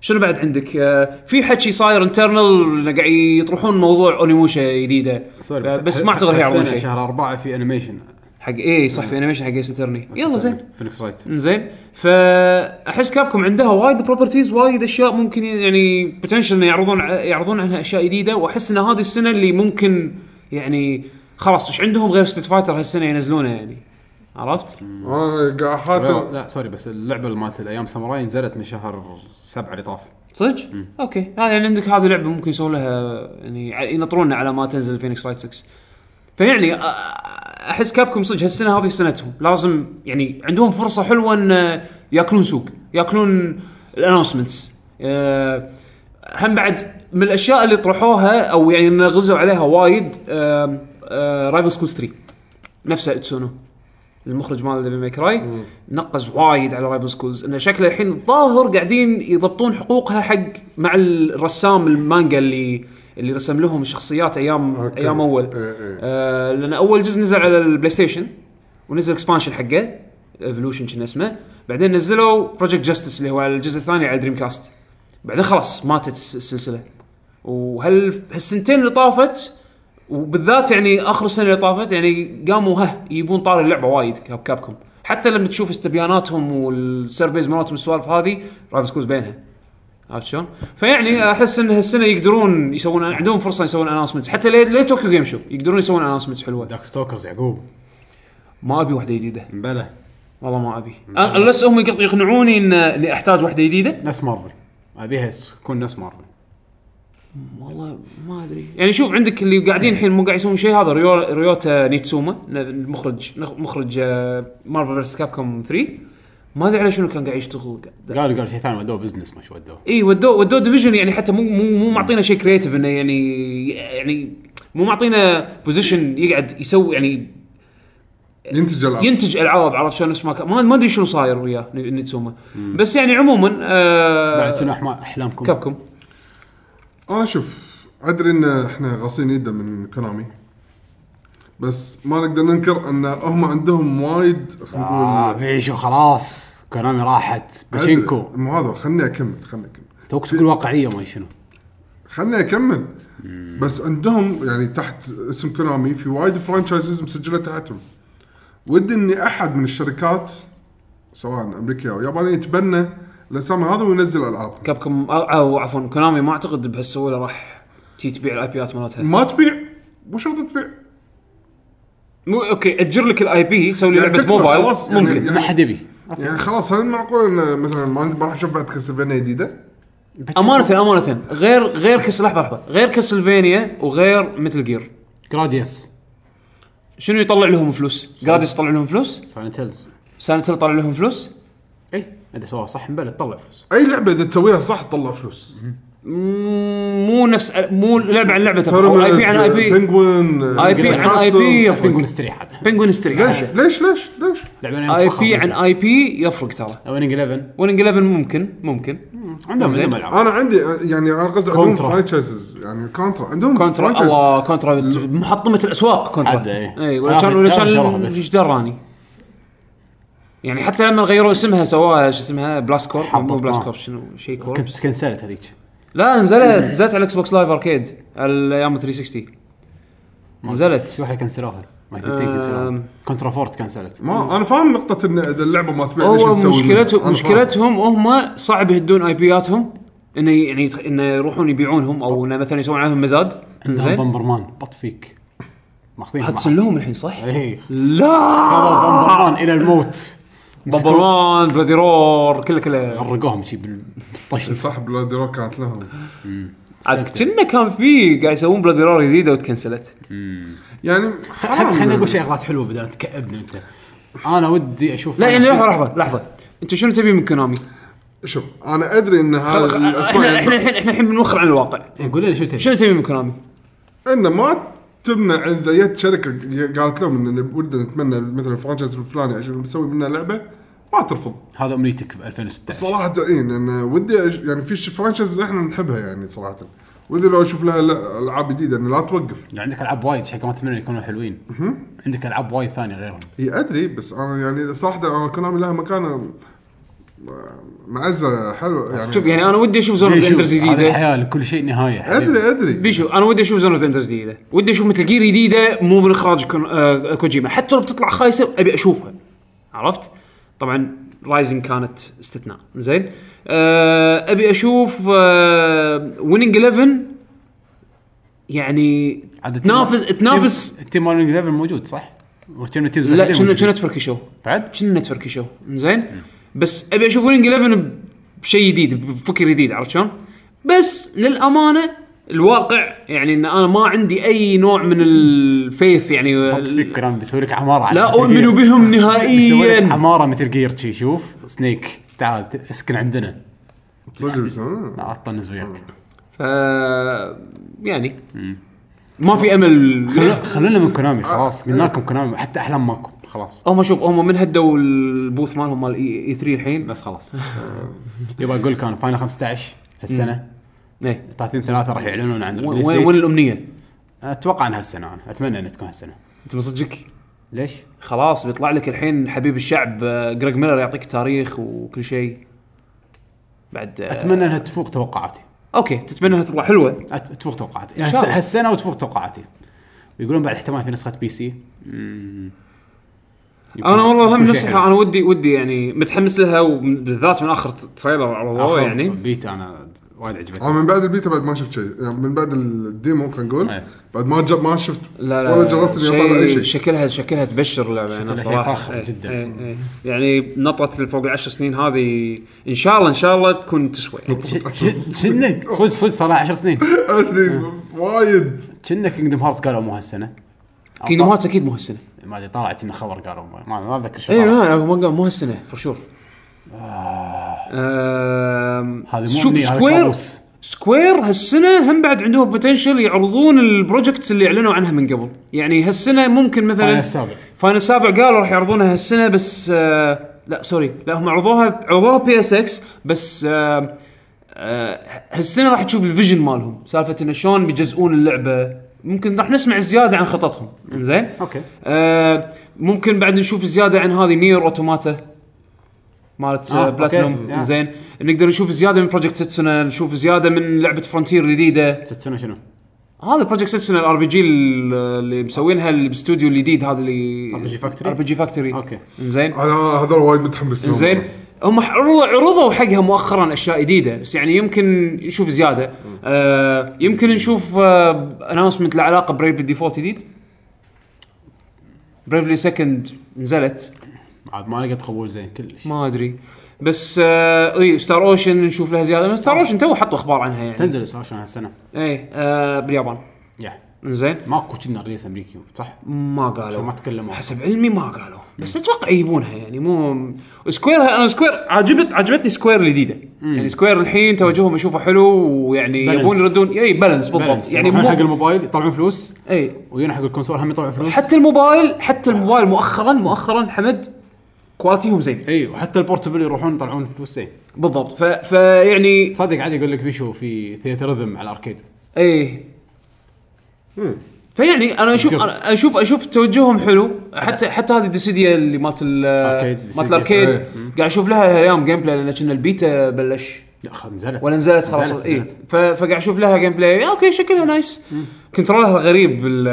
Speaker 2: شنو بعد عندك آه، في حكي صاير انترنال قاعد يطرحون موضوع اونيموشا جديده
Speaker 1: سوري
Speaker 2: آه، بس ما اعتقد راح يعرضون
Speaker 1: هالسنة
Speaker 2: شيء
Speaker 1: شهر اربعه في انيميشن
Speaker 2: حق اي صح في انيميشن حق ايس اترني يلا زين
Speaker 1: فينيكس رايت
Speaker 2: زين فاحس كابكم عندها وايد بروبرتيز وايد اشياء ممكن يعني بوتنشل يعرضون يعرضون عنها اشياء جديده واحس ان هذه السنه اللي ممكن يعني خلاص ايش عندهم غير ستيت فايتر هالسنه ينزلونه يعني عرفت؟
Speaker 3: انا قاعد
Speaker 1: لا,
Speaker 3: حاتم
Speaker 1: لا سوري بس اللعبه اللي مالت الايام ساموراي نزلت من شهر سبعه اللي طاف
Speaker 2: صدق؟ اوكي هذا يعني عندك هذه لعبه ممكن يسوون لها يعني ع- ينطرونا على ما تنزل فينيكس رايت 6 فيعني أ- احس كابكم صدق هالسنه هذه سنتهم لازم يعني عندهم فرصه حلوه ان ياكلون سوق ياكلون الانونسمنتس هم بعد من الاشياء اللي طرحوها او يعني إن غزوا عليها وايد رايفل سكول 3 نفسها اتسونو المخرج مال ديفل ماي كراي نقز وايد على رايفل سكولز انه شكله الحين الظاهر قاعدين يضبطون حقوقها حق مع الرسام المانجا اللي اللي رسم لهم الشخصيات ايام
Speaker 3: أوكي.
Speaker 2: ايام اول
Speaker 3: إيه إيه.
Speaker 2: آه لان اول جزء نزل على البلاي ستيشن ونزل اكسبانشن حقه ايفولوشن كان اسمه بعدين نزلوا بروجكت جاستس اللي هو الجزء الثاني على دريم كاست بعدين خلاص ماتت الس- السلسله وهال هالسنتين اللي طافت وبالذات يعني اخر السنه اللي طافت يعني قاموا ها يبون طار اللعبه وايد كاب كابكم حتى لما تشوف استبياناتهم والسيرفيز مالتهم السوالف هذه رايفز كوز بينها عرفت شلون؟ فيعني احس ان هالسنه يقدرون يسوون عندهم فرصه يسوون اناونسمنت حتى ليه ليه طوكيو جيم شو يقدرون يسوون اناونسمنت حلوه
Speaker 1: دارك ستوكرز يعقوب
Speaker 2: ما ابي واحده جديده
Speaker 1: بلى
Speaker 2: والله ما ابي لس هم يقط- يقنعوني ان اني احتاج واحده جديده
Speaker 1: نفس مارفل ابيها تكون نفس مارفل
Speaker 2: والله ما ادري يعني شوف عندك اللي قاعدين الحين مو قاعد يسوون شيء هذا ريو ريوتا نيتسوما ن- المخرج نخ- مخرج آه، مارفل فيرس كابكوم 3 ما ادري على شنو كان قاعد يشتغل
Speaker 1: قال قال شيء ثاني ودوه بزنس ما شو ودوه
Speaker 2: اي ودوه ودوه ديفيجن يعني حتى مو مو مو معطينا شيء كريتيف انه يعني يعني مو معطينا بوزيشن يقعد يسوي يعني
Speaker 3: ينتج العاب
Speaker 2: ينتج العاب عرفت شلون نفس ما كان ما- ما ادري شنو صاير وياه ني- نيتسوما بس يعني عموما
Speaker 1: بعد
Speaker 2: آه
Speaker 1: شنو أحما- احلامكم
Speaker 2: كابكم
Speaker 3: انا آه، شوف ادري ان احنا غاصين يده من كونامي بس ما نقدر ننكر ان هم عندهم وايد خلينا
Speaker 1: اه
Speaker 3: نقول
Speaker 1: بيشو خلاص كونامي راحت باتشينكو
Speaker 3: عدل. مو هذا خلني اكمل خلني اكمل
Speaker 1: توك تقول واقعيه ما شنو
Speaker 3: خلني اكمل بس عندهم يعني تحت اسم كونامي في وايد فرانشايزز مسجله تحتهم ودي اني احد من الشركات سواء امريكيه او يابانيه يتبنى الاسامي هذا وينزل العاب
Speaker 2: كابكم او, آه، أو عفوا كونامي ما اعتقد بهالسهوله راح تي تبيع الاي بيات مالتها
Speaker 3: ما تبيع مو شرط تبيع
Speaker 2: مو اوكي اجر لك الاي بي سوي لي
Speaker 3: يعني
Speaker 2: لعبه
Speaker 3: تكبر
Speaker 2: موبايل
Speaker 3: خلاص، يعني-
Speaker 2: ممكن
Speaker 1: ما حد يبي
Speaker 3: يعني خلاص هل معقول ان مثلا ما ما راح نشوف بعد كاسلفينيا جديده؟
Speaker 2: امانه امانه غير غير كس لحظه لحظه غير كاسلفينيا وغير مثل جير
Speaker 1: جراديوس
Speaker 2: شنو يطلع لهم فلوس؟ جراديس يطلع لهم فلوس؟
Speaker 1: سايلنت هيلز
Speaker 2: سانتل يطلع لهم فلوس؟
Speaker 1: اي اذا سواها صح مبلى تطلع فلوس
Speaker 3: اي لعبه اذا تسويها صح تطلع فلوس
Speaker 2: مم، مو نفس مو لعبه عن لعبه اي بي عن اي بي
Speaker 3: بنجوين
Speaker 2: اي بي عن اي بي
Speaker 1: نقول
Speaker 2: يفرق
Speaker 1: نستريح هذا
Speaker 2: بنجوين ستريك
Speaker 3: ليش ليش ليش ليش؟ يعني
Speaker 1: لعبنا
Speaker 2: اي بي عن اي بي يفرق ترى
Speaker 1: ويننج 11
Speaker 2: وينج 11 ممكن ممكن
Speaker 1: عندهم
Speaker 2: زين.
Speaker 1: عندهم العاب
Speaker 3: انا عندي يعني انا قصدي عندهم
Speaker 1: كونترا.
Speaker 3: فرايتشايزز يعني كونترا عندهم
Speaker 2: كونترا
Speaker 3: franchises.
Speaker 2: الله كونترا بت- محطمه الاسواق
Speaker 1: عدى،
Speaker 2: كونترا
Speaker 1: إيه.
Speaker 2: اي ولا
Speaker 1: ثلاثة
Speaker 2: كان ولا
Speaker 1: شراها
Speaker 2: كان
Speaker 1: بس.
Speaker 2: ايش دراني يعني حتى لما غيروا اسمها سواها شو اسمها بلاس كورب مو
Speaker 1: حبط،
Speaker 2: بلاس
Speaker 1: آه.
Speaker 2: كورب شنو شيء كورب
Speaker 1: كنت إيه. كنسلت هذيك
Speaker 2: لا نزلت نزلت على الاكس بوكس لايف اركيد على ايام 360 نزلت
Speaker 1: في واحده كنسلوها ما كنتين كنسلوها
Speaker 2: أم.
Speaker 1: كونترا فورت كنسلت
Speaker 3: ما انا فاهم نقطه ان اذا اللعبه ما تبيع ليش
Speaker 2: هو
Speaker 3: نسوي منها؟
Speaker 2: مشكلتهم
Speaker 3: أنا
Speaker 2: مشكلتهم هم صعب يهدون اي بياتهم انه يعني يتخ- انه يروحون يبيعونهم او انه مثلا يسوون عليهم مزاد
Speaker 1: عندهم
Speaker 2: زين
Speaker 1: بامبر مان بط فيك ماخذين
Speaker 2: هتسن لهم الحين صح؟
Speaker 1: اي
Speaker 2: لا
Speaker 1: إيه. بامبر مان الى الموت
Speaker 2: بابلون بلادي رور كله كله
Speaker 1: غرقوهم شي
Speaker 3: فاهم.
Speaker 1: بالطشت
Speaker 3: صح بلادي روك كانت لهم
Speaker 2: عاد كنا كان في قاعد يسوون بلادي رور جديده وتكنسلت
Speaker 3: يعني
Speaker 1: خل-
Speaker 3: حرام
Speaker 1: خليني اقول
Speaker 3: يعني.
Speaker 1: شغلات حلوه بدل ما تكئبني انت انا ودي اشوف
Speaker 2: لا يعني لحظه لحظه لحظه انت شنو تبي من كونامي؟
Speaker 3: شوف انا ادري ان هذا الاسبوع
Speaker 2: احنا احنا
Speaker 3: يعني
Speaker 2: الحين احنا الحين بنوخر عن الواقع
Speaker 1: إيه، قول لي شو تبي
Speaker 2: شنو تبي من كونامي؟
Speaker 3: انه ما تمنع عن اذا جت شركه قالت لهم ان ودنا نتمنى مثلا الفرانشايز الفلاني عشان نسوي منها لعبه ما ترفض
Speaker 1: هذا امنيتك ب 2016
Speaker 3: صراحة اي لان ودي أش- يعني في فرانشايز احنا نحبها يعني صراحة ودي لو اشوف لها لا- العاب جديدة انه لا توقف
Speaker 1: يعني عندك العاب وايد شكل ما تتمنى يكونوا حلوين عندك العاب وايد ثانيه غيرهم
Speaker 3: هي ادري بس انا يعني صراحة انا كونامي لها مكانة آه، معزة حلو يعني
Speaker 2: شوف يعني انا ودي اشوف زون اوف
Speaker 1: بيشو،
Speaker 2: اندرز
Speaker 1: هذه
Speaker 2: جديده
Speaker 1: الحياه لكل شيء نهايه حبيبي.
Speaker 3: ادري ادري
Speaker 2: يعني بيشو انا ودي اشوف زون اوف اندرز جديده ودي اشوف مثل جير جديده مو من اخراج كون... آه... كوجيما حتى لو بتطلع خايسه ابي اشوفها عرفت طبعا رايزنج كانت استثناء زين آه... ابي اشوف آه... ويننج 11 يعني
Speaker 1: عاد التيم-
Speaker 2: تنافس تنافس
Speaker 1: التيم- التيم مال ليفل موجود صح؟ وكنا تيمز
Speaker 2: لا
Speaker 1: واحدين
Speaker 2: كنا
Speaker 1: موجودين.
Speaker 2: كنا تفركشوا
Speaker 1: بعد
Speaker 2: كنا تفركشوا زين بس ابي اشوف ويننج 11 بشيء جديد بفكر جديد عرفت شلون؟ بس للامانه الواقع يعني ان انا ما عندي اي نوع من الفيث يعني
Speaker 1: حط فيك كلام بيسوي لك عماره على
Speaker 2: لا
Speaker 1: مثل
Speaker 2: أؤمن
Speaker 1: جير.
Speaker 2: بهم
Speaker 1: بيسوي لك
Speaker 2: نهائياً.
Speaker 1: عماره مثل جير شي شوف سنيك تعال ت- اسكن عندنا
Speaker 3: صدق بس، آه.
Speaker 1: لا اطنز وياك
Speaker 2: ف يعني ما في امل
Speaker 1: خلو- خلونا من كونامي خلاص قلنا لكم كونامي حتى احلام ماكو خلاص
Speaker 2: هم شوف هم من هدوا البوث مالهم مال اي 3 الحين بس
Speaker 1: بس خلاص يبغى اقول لك انا فاينل 15 هالسنه
Speaker 2: ايه
Speaker 1: 30 3 راح يعلنون عن
Speaker 2: وين
Speaker 1: الريليز
Speaker 2: وين
Speaker 1: ديت.
Speaker 2: الامنيه؟
Speaker 1: اتوقع انها هالسنه انا اتمنى انها تكون هالسنه
Speaker 2: انت من صدقك
Speaker 1: ليش؟
Speaker 2: خلاص بيطلع لك الحين حبيب الشعب آه، جريج ميلر يعطيك تاريخ وكل شيء بعد آه،
Speaker 1: اتمنى انها تفوق توقعاتي
Speaker 2: اوكي تتمنى انها تطلع حلوه
Speaker 1: أت- تفوق توقعاتي يعني
Speaker 2: شاء
Speaker 1: هس-
Speaker 2: الله.
Speaker 1: هالسنه وتفوق توقعاتي يقولون بعد احتمال في نسخه بي سي
Speaker 2: انا والله هم نصيحه انا ودي ودي يعني متحمس لها وبالذات من اخر تريلر عرضوه
Speaker 1: يعني
Speaker 2: يعني
Speaker 1: بيت انا وايد عجبتني
Speaker 3: انا آه، من بعد البيتا بعد ما شفت شيء يعني من بعد الديمو خلينا نقول
Speaker 1: أي.
Speaker 3: بعد ما جب ما شفت
Speaker 2: لا لا
Speaker 3: ولا جربت اني اطالع اي *laughs* شيء
Speaker 2: شكلها شكلها تبشر اللعبه انا
Speaker 1: شكلها
Speaker 2: صراحه
Speaker 1: فاخر
Speaker 2: إيه،
Speaker 1: جداً.
Speaker 2: إيه، إيه. يعني نطت اللي فوق العشر سنين هذه ان شاء الله ان شاء الله تكون تسوى يعني.
Speaker 1: كنك صدق صدق صار لها 10 سنين
Speaker 3: ادري وايد
Speaker 1: كنا كينجدم هارتس قالوا مو هالسنه أو
Speaker 2: كينجدم
Speaker 1: طا-
Speaker 2: هارتس اكيد مو هالسنه
Speaker 1: ما ادري طلعت انه خبر قالوا مو- ما ما اتذكر شو
Speaker 2: اي
Speaker 1: طلع.
Speaker 2: لا مو مو هالسنه فور شور
Speaker 1: هذه
Speaker 2: هذا
Speaker 1: مو
Speaker 2: شوف
Speaker 1: أمنية، هذا
Speaker 2: سكوير
Speaker 1: كابوس.
Speaker 2: سكوير هالسنه هم بعد عندهم بوتنشل يعرضون البروجكتس اللي اعلنوا عنها من قبل يعني هالسنه ممكن مثلا
Speaker 1: فاينل السابع.
Speaker 2: فاينل السابع قالوا راح يعرضونها هالسنه بس آه لا سوري لا هم عرضوها عرضوها بي اس اكس بس آه آه هالسنه راح تشوف الفيجن مالهم سالفه انه شلون بيجزئون اللعبه ممكن راح نسمع زياده عن خططهم زين
Speaker 1: اوكي
Speaker 2: آه ممكن بعد نشوف زياده عن هذه نير اوتوماتا مالت
Speaker 1: آه،
Speaker 2: آه
Speaker 1: أوكي.
Speaker 2: بلاتينوم
Speaker 1: يا.
Speaker 2: زين نقدر نشوف زياده من بروجكت سيتسونا نشوف زياده من لعبه فرونتير الجديده
Speaker 1: ستسونا شنو؟
Speaker 2: هذا بروجكت سيتسونا الار بي جي اللي مسوينها الاستوديو الجديد هذا اللي
Speaker 1: RPG Factory؟
Speaker 2: ار بي جي فاكتوري
Speaker 1: أوكي.
Speaker 2: زين
Speaker 3: انا هذول وايد متحمس لهم
Speaker 2: زين هم عرضوا عرضوا حقها مؤخرا اشياء جديده بس يعني يمكن نشوف زياده آه يمكن نشوف آه اناونسمنت له علاقه بريفلي ديفولت جديد بريفلي سكند نزلت
Speaker 1: عاد ما لقيت قبول زين كلش
Speaker 2: ما ادري بس آه اي ستار اوشن نشوف لها زياده ستار اوشن تو حطوا اخبار عنها يعني
Speaker 1: تنزل ستار اوشن هالسنه
Speaker 2: اي آه باليابان
Speaker 1: يا
Speaker 2: زين
Speaker 1: ماكو كنا ريس امريكي صح؟
Speaker 2: ما قالوا
Speaker 1: ما تكلموا.
Speaker 2: حسب علمي ما قالوا بس اتوقع يجيبونها يعني مو سكوير انا سكوير عجبت عجبتني سكوير الجديده يعني سكوير الحين توجههم اشوفه حلو ويعني
Speaker 1: بالانس.
Speaker 2: يبون يردون اي بالانس بالضبط
Speaker 1: بالانس.
Speaker 2: يعني
Speaker 1: يروحون حق
Speaker 2: مو
Speaker 1: الموبايل يطلعون فلوس
Speaker 2: اي
Speaker 1: ويجون حق الكونسول هم يطلعون فلوس
Speaker 2: حتى الموبايل حتى الموبايل مؤخرا مؤخرا حمد كواليتيهم زين
Speaker 1: اي وحتى البورتبل يروحون يطلعون فلوس زين
Speaker 2: بالضبط ف... يعني، فيعني
Speaker 1: تصدق عادي يقول لك بيشو في ثياتر ريذم على الاركيد
Speaker 2: اي فيعني انا اشوف أنا اشوف اشوف توجههم حلو حتى حتى هذه الديسيديا اللي مالت ال-
Speaker 1: أركيد،
Speaker 2: مالت
Speaker 1: ديسيديا.
Speaker 2: الاركيد
Speaker 3: إيه.
Speaker 2: قاعد اشوف لها ايام جيم بلاي لان كنا البيتا بلش
Speaker 1: لا خ- نزلت
Speaker 2: ولا نزلت خلاص اي
Speaker 1: نزلت.
Speaker 2: فقاعد اشوف لها جيم بلاي اوكي شكلها نايس كنترولها غريب بال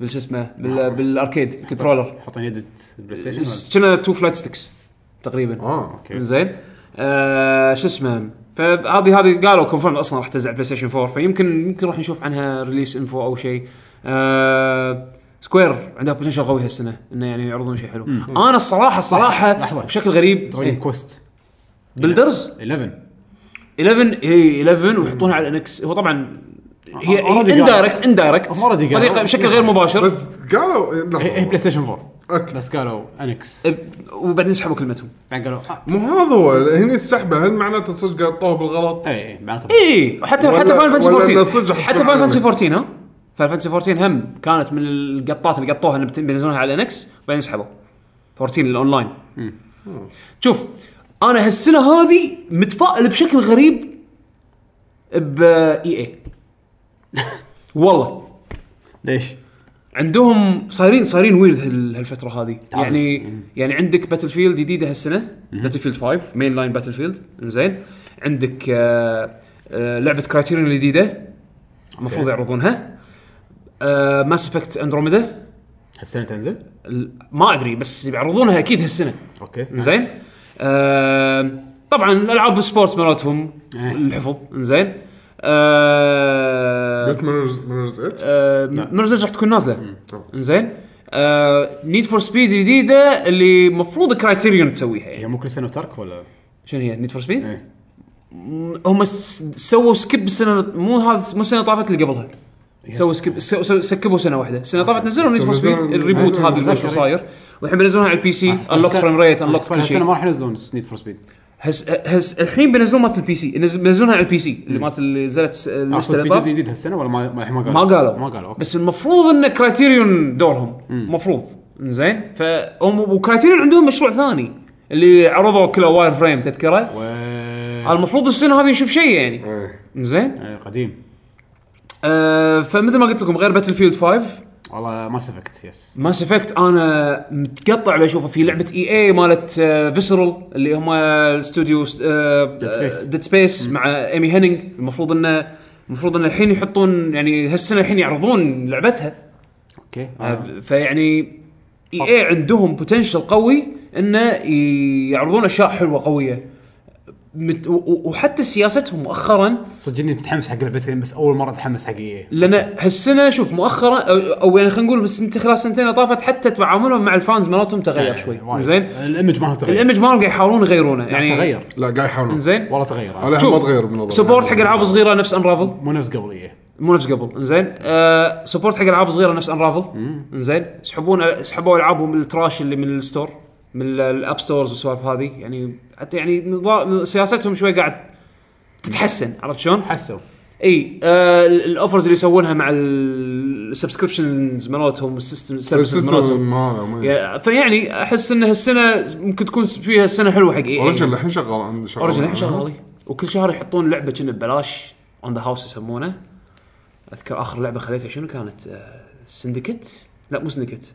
Speaker 2: بال شو اسمه
Speaker 1: آه.
Speaker 2: بال بالاركيد كنترولر
Speaker 1: حاطين يد البلاي ستيشن ولا؟
Speaker 2: كنا تو فلايت ستكس تقريبا
Speaker 1: آه،
Speaker 3: اه
Speaker 1: اوكي
Speaker 2: زين آه شو اسمه فهذه هذه قالوا كونفيرم اصلا راح تنزل على بلاي ستيشن 4 فيمكن يمكن راح نشوف عنها ريليس انفو او شيء آه سكوير عندها بوتنشل قوي هالسنه انه يعني يعرضون شيء حلو انا الصراحه الصراحه
Speaker 1: لحظة.
Speaker 2: بشكل غريب
Speaker 1: دراجون
Speaker 2: إيه،
Speaker 1: طيب، كوست
Speaker 2: بلدرز
Speaker 1: 11
Speaker 2: 11 اي 11 إيه، ويحطونها على انكس هو طبعا هي
Speaker 3: أه،
Speaker 1: آه، already
Speaker 2: اندايركت اندايركت
Speaker 1: هم already قالوا.
Speaker 2: طريقه بشكل غير مباشر
Speaker 3: بس قالوا إيه،
Speaker 2: إيه،
Speaker 1: هي هي بلاي
Speaker 3: لحظه
Speaker 1: ستيشن 4
Speaker 3: أوكي.
Speaker 1: بس قالوا انكس
Speaker 2: إب- أه، وبعدين سحبوا كلمتهم
Speaker 1: بعدين قالوا آه،
Speaker 3: مو هذا هو هني السحبه هل معناته صدق قطوه بالغلط؟
Speaker 1: اي اي معناته
Speaker 2: اي إيه، حتى
Speaker 3: إيه. ولا-
Speaker 2: حتى فاينل فانتسي
Speaker 3: ولا إنه
Speaker 2: 14
Speaker 3: صدق
Speaker 2: حتى
Speaker 3: حتكون
Speaker 2: فاينل
Speaker 3: على
Speaker 2: فانتسي
Speaker 3: Linux.
Speaker 2: 14 ها فاينل فانتسي 14 هم كانت من القطات اللي قطوها إن بت- بينزلونها على انكس وبعدين سحبوا 14 الاونلاين شوف انا هالسنه هذه متفائل بشكل غريب ب اي
Speaker 3: *laughs*
Speaker 2: اي والله
Speaker 1: ليش؟
Speaker 2: عندهم صايرين صايرين ويرد هال- هالفتره هذه يعني يعني عندك باتل فيلد جديده هالسنه باتل فيلد 5 مين لاين باتل فيلد زين عندك آه آه لعبه كرايتيريون الجديده المفروض يعرضونها آه ماس افكت اندروميدا
Speaker 1: هالسنه تنزل؟
Speaker 2: ما ادري بس بيعرضونها اكيد هالسنه
Speaker 1: اوكي
Speaker 2: زين آه طبعا العاب السبورتس مالتهم
Speaker 1: إيه.
Speaker 2: الحفظ زين آه
Speaker 3: قلت منرز منرز اتش؟
Speaker 1: نعم.
Speaker 2: مرزج آه، راح تكون آه، نازله زين نيد فور سبيد جديده اللي المفروض كرايتيريون تسويها يعني
Speaker 1: هي مو كل سنه وترك ولا؟
Speaker 2: شنو هي نيد فور سبيد؟
Speaker 1: ايه
Speaker 2: هم س- سووا سكيب السنه مو هذا مو السنه اللي طافت اللي قبلها سووا
Speaker 1: آه،
Speaker 2: سكيب سو- سو- سكبوا سنه واحده السنه اللي طافت نزلوا نيد فور سبيد
Speaker 3: نزلوا-
Speaker 2: الريبوت
Speaker 3: نزلوا-
Speaker 2: هذا اللي شو
Speaker 1: نزلوا. آه.
Speaker 2: صاير والحين بينزلونها على البي سي انلوك
Speaker 1: هالسنة-
Speaker 2: فريم ريت انلوك كل
Speaker 1: هالسنه ما
Speaker 2: شيء
Speaker 1: راح ينزلون نيد فور سبيد
Speaker 2: هس هس الحين بينزلون مالت البي سي نز- بينزلونها على البي سي اللي مالت اللي نزلت س-
Speaker 1: اصلا
Speaker 2: النسخة
Speaker 1: في
Speaker 2: اللي طافت.
Speaker 1: جزء جديد هالسنه ولا ما ما قالوا؟
Speaker 2: ما قالوا
Speaker 1: ما قالوا اوكي
Speaker 2: بس المفروض ان كرايتيريون دورهم المفروض زين فهم وكرايتيريون عندهم مشروع ثاني اللي عرضوا كله واير فريم تذكره
Speaker 1: و...
Speaker 2: المفروض السنه هذه نشوف شيء يعني
Speaker 3: إيه.
Speaker 2: زين
Speaker 1: إيه، قديم
Speaker 2: آه فمثل ما قلت لكم غير باتل فيلد 5
Speaker 1: والله ما سفكت يس
Speaker 2: ماس افكت انا متقطع بشوفه في لعبه اي اي مالت فيسرال اللي هم الاستوديو
Speaker 1: Space.
Speaker 2: ديد سبيس مع ايمي هينينج المفروض انه المفروض ان الحين يحطون يعني هالسنه الحين يعرضون لعبتها
Speaker 1: اوكي آه.
Speaker 2: آه، فيعني اي اي عندهم بوتنشل قوي انه ي- يعرضون اشياء حلوه قويه مت- و- و- وحتى سياستهم مؤخرا
Speaker 1: آه، صدق اني متحمس حق لعبتين بس اول مره اتحمس حق إيه؟ اي
Speaker 2: لان هالسنه شوف مؤخرا او, أو يعني خلينا نقول بس خلال سنتين اللي طافت حتى تعاملهم مع الفانز مالتهم تغير شوي زين
Speaker 1: الامج مالهم آه، تغير
Speaker 2: الايمج مالهم قاعد يحاولون يغيرونه
Speaker 1: يعني
Speaker 2: يعني
Speaker 1: تغير
Speaker 3: لا قاعد يحاولون
Speaker 2: زين
Speaker 1: والله تغير أنا.
Speaker 3: عليها
Speaker 2: شوف،
Speaker 3: ما تغير من الوضع.
Speaker 2: سبورت حق العاب صغيره نفس انرافل
Speaker 1: مو نفس قبل إيه. اي
Speaker 2: مو نفس قبل زين آه سبورت حق العاب صغيره نفس انرافل زين سحبون سحبوا العابهم التراش اللي من الستور من ال- الاب ستورز والسوالف هذه يعني حتى يعني نظا- سياستهم شوي قاعد تتحسن عرفت شلون؟
Speaker 1: حسوا
Speaker 2: اي آه ال- الاوفرز اللي يسوونها مع السبسكربشنز مالتهم والسيستم سيرفيسز مالتهم
Speaker 3: السيستم هذا ما-
Speaker 2: يا- فيعني احس ان هالسنه ممكن تكون فيها سنه حلوه حق اي
Speaker 3: اوريجن الحين شغال عند شغال
Speaker 2: اوريجن يعني- الحين شغالي وكل شهر يحطون لعبه كنا ببلاش اون ذا هاوس يسمونه اذكر اخر لعبه خذيتها شنو كانت؟ سندكت؟ لا مو سندكت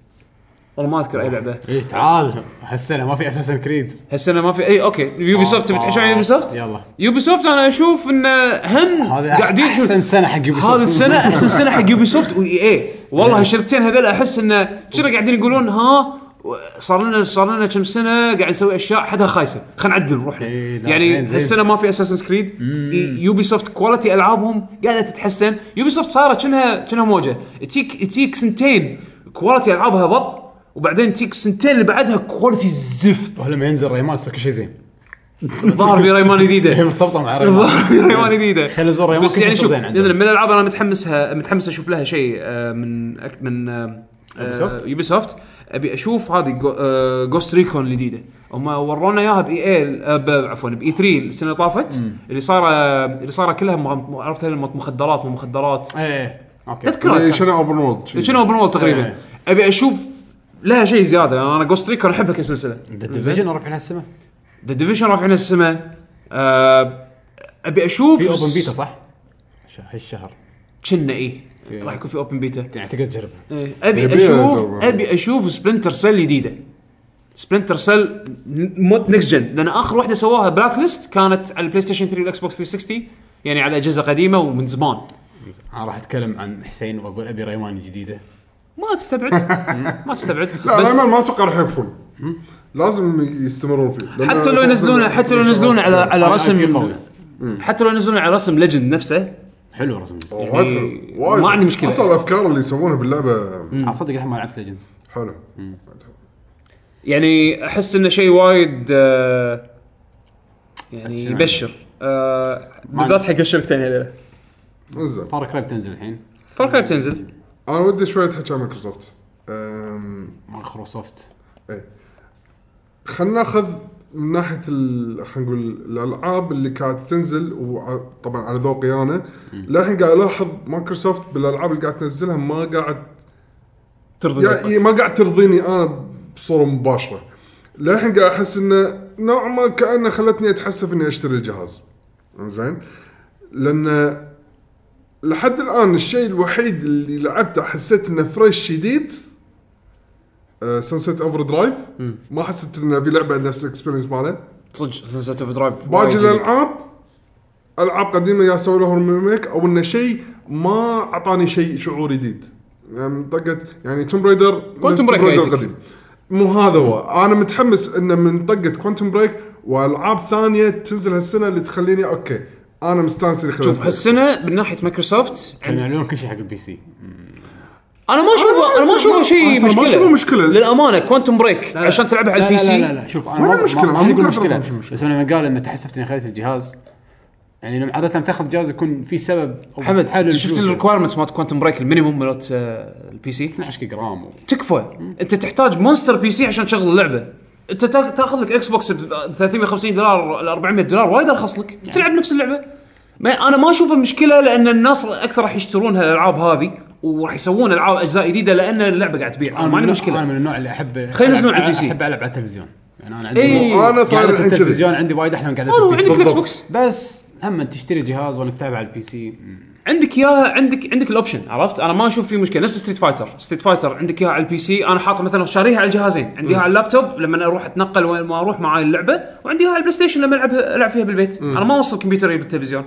Speaker 2: والله ما اذكر اي لعبه
Speaker 1: اي إيه، تعال هالسنه ما في اساسا كريد
Speaker 2: هالسنه ما في اي اوكي يوبي سوفت تبي تحكي عن يوبي سوفت؟
Speaker 1: يلا
Speaker 2: يوبي سوفت انا اشوف انه هم
Speaker 1: هذا
Speaker 2: قاعدين يشوف-
Speaker 1: احسن سنه حق يوبي
Speaker 2: هذا
Speaker 1: *laughs*
Speaker 2: السنه احسن سنه حق يوبي سوفت واي اي إيه.
Speaker 1: إيه.
Speaker 2: والله هالشركتين هذول احس انه كنا قاعدين يقولون ها صار لنا صار لنا كم سنه قاعد نسوي اشياء حدها خايسه خلينا نعدل نروح له.
Speaker 1: إيه، لا،
Speaker 2: يعني
Speaker 1: زين، زين.
Speaker 2: هالسنه ما في اساسن سكريد يوبي سوفت كواليتي العابهم قاعده تتحسن يوبي سوفت صارت كأنها كأنها موجه تجيك تجيك سنتين كواليتي العابها بط وبعدين تجيك سنتين اللي بعدها كواليتي زفت
Speaker 1: ولما ينزل ريمان يصير كل شيء زين *laughs*
Speaker 2: الظاهر في ريمان
Speaker 1: هي
Speaker 2: جديده
Speaker 1: مرتبطه مع
Speaker 2: الظاهر
Speaker 1: *laughs*
Speaker 2: في
Speaker 1: ريمان
Speaker 2: *laughs* ريمان جديده
Speaker 1: خلي زور ريمان
Speaker 2: بس
Speaker 1: كل
Speaker 2: يعني
Speaker 1: شيء
Speaker 2: شوف
Speaker 1: زين عندهم.
Speaker 2: يعني من الالعاب انا متحمسها متحمس اشوف لها شيء آه، من أك- من آه،
Speaker 1: Ubisoft؟
Speaker 2: يوبي سوفت ابي اشوف هذه آه، جوست ريكون الجديده هم ورونا E اياها باي اي عفوا باي 3 السنه E اللي طافت اللي صار آه، اللي صار كلها مغ- عرفت هاي مخدرات ومخدرات
Speaker 1: ايه اوكي
Speaker 2: تذكرها
Speaker 3: إيه، شنو اوبن وورد شي.
Speaker 2: شنو اوبن وورلد تقريبا
Speaker 1: إيه.
Speaker 2: ابي اشوف لها شيء يعني زياده لأن انا جوست ريكون احبها كسلسله
Speaker 1: ديفيجن رفعنا السماء
Speaker 2: ذا ديفيشن رافعين السماء آه، ابي اشوف
Speaker 1: في اوبن بيتا صح؟ ش- هالشهر
Speaker 2: كنا ايه
Speaker 1: في-
Speaker 2: راح يكون في اوبن بيتا
Speaker 1: يعني تقدر تجربها
Speaker 2: إيه، ابي
Speaker 3: يبيها
Speaker 2: اشوف
Speaker 3: يجربها.
Speaker 2: ابي اشوف سبلنتر سيل جديده سبلنتر سيل مود نكست جن لان اخر واحده سواها بلاك ليست كانت على البلاي ستيشن 3 والاكس بوكس 360 يعني على اجهزه قديمه ومن زمان
Speaker 1: انا راح اتكلم عن حسين واقول ابي ريمان جديده
Speaker 2: ما تستبعد ما تستبعد
Speaker 3: لا
Speaker 2: بس
Speaker 3: انا ما اتوقع راح يقفل لازم يستمرون فيه لأن-
Speaker 2: حتى لو ينزلونه حتى لو ينزلونه على على
Speaker 1: آه،
Speaker 2: رسم
Speaker 1: قوي.
Speaker 2: حتى لو ينزلونه على رسم ليجند نفسه
Speaker 1: حلو رسم
Speaker 3: وايد حلو.
Speaker 2: يعني
Speaker 3: وايد.
Speaker 2: ما عندي مشكلة.
Speaker 3: اصلا الافكار اللي يسوونها باللعبه
Speaker 1: اصدق الحين ما لعبت ليجندز
Speaker 3: حلو
Speaker 2: يعني احس انه شيء وايد آه، يعني
Speaker 1: أكشن
Speaker 2: يبشر آه،
Speaker 1: ما
Speaker 2: بالذات حق الشركتين هذول
Speaker 3: انزين
Speaker 1: فار كراي بتنزل الحين
Speaker 2: فار كراي بتنزل
Speaker 3: انا ودي شويه تحكي عن مايكروسوفت أم، إيه.
Speaker 1: مايكروسوفت
Speaker 3: خلنا ناخذ من ناحيه ال- خلينا نقول الالعاب اللي كانت تنزل وطبعا على ذوقي انا للحين قاعد الاحظ مايكروسوفت بالالعاب اللي قاعد تنزلها ما قاعد
Speaker 2: ترضى
Speaker 3: يعني ما قاعد ترضيني انا بصوره مباشره للحين قاعد احس انه نوعا ما كانه خلتني اتحسف اني اشتري الجهاز زين لان لحد الان الشيء الوحيد اللي لعبته حسيت انه فريش جديد سانسيت اوفر درايف آه، ما حسيت انه في لعبه نفس الاكسبيرينس ماله
Speaker 2: صدق سنسيت اوف درايف
Speaker 3: باقي الالعاب العاب قديمه يا سووا لهم ريميك او انه شيء ما اعطاني شيء شعور جديد يعني منطقه يعني توم برايدر
Speaker 2: Quantum Break عيتك.
Speaker 3: القديم مو هذا هو انا متحمس انه منطقه كوانتم بريك والعاب ثانيه تنزل هالسنه اللي تخليني اوكي انا مستانس اللي
Speaker 2: شوف
Speaker 3: خليتها.
Speaker 2: هالسنه من ناحيه مايكروسوفت
Speaker 1: كانوا يعلنون كل شيء حق البي سي
Speaker 2: انا ما اشوفه انا ما اشوفه شيء
Speaker 3: أنا ما
Speaker 2: مشكله
Speaker 3: أشوفه مشكلة.
Speaker 2: للامانه كوانتم بريك
Speaker 1: لا لا.
Speaker 2: عشان تلعبها على
Speaker 1: لا
Speaker 2: البي
Speaker 1: لا لا,
Speaker 2: سي
Speaker 1: لا شوف انا
Speaker 3: وين
Speaker 1: ما-
Speaker 3: المشكلة؟
Speaker 1: ما-
Speaker 3: أنا
Speaker 1: ما
Speaker 3: مو
Speaker 1: أقول
Speaker 3: قاعد
Speaker 1: مشكله
Speaker 3: أفهم شو المشكلة.
Speaker 1: بس أنا لما قال انه تحسفت اني خذيت الجهاز يعني لما عاده تاخذ جهاز يكون في سبب او
Speaker 2: حمد
Speaker 1: تحلل
Speaker 2: شفت
Speaker 1: الفلوس.
Speaker 2: الريكوايرمنتس مالت كوانتم بريك المينيموم مالت آه، البي سي
Speaker 1: 12 جرام و...
Speaker 2: تكفى انت تحتاج مونستر بي سي عشان تشغل اللعبه انت تا- تاخذ لك اكس بوكس ب 350 دولار ل 400 دولار وايد ارخص لك
Speaker 1: نعم.
Speaker 2: تلعب نفس اللعبه ما انا ما اشوف المشكله لان الناس اكثر راح يشترون هالالعاب هذه وراح يسوون العاب اجزاء جديده لان اللعبه قاعد تبيع انا ما عندي
Speaker 1: من-
Speaker 2: مشكله
Speaker 1: انا من النوع اللي احب
Speaker 2: خلينا نسمع
Speaker 1: ألعب-
Speaker 2: على البي سي.
Speaker 1: احب العب على التلفزيون يعني انا عندي
Speaker 2: إيه.
Speaker 3: أنا صاير
Speaker 1: قاعدة
Speaker 3: الحين كذي.
Speaker 1: التلفزيون عندي وايد احلى من قاعده
Speaker 2: هذا هو
Speaker 1: البي
Speaker 2: عندك
Speaker 1: سي
Speaker 2: الاكس بوكس يعني-
Speaker 1: بس هم تشتري جهاز وانك تلعب على البي سي مم.
Speaker 2: عندك اياها عندك عندك الاوبشن عرفت انا ما اشوف في مشكله نفس ستريت فايتر ستريت فايتر عندك اياها على البي سي انا حاطه مثلا شاريها على الجهازين عندي اياها على اللابتوب لما أنا اروح اتنقل وين ما اروح معاي اللعبه وعندي اياها على البلاي ستيشن لما العبها العب فيها بالبيت انا ما اوصل كمبيوتري بالتلفزيون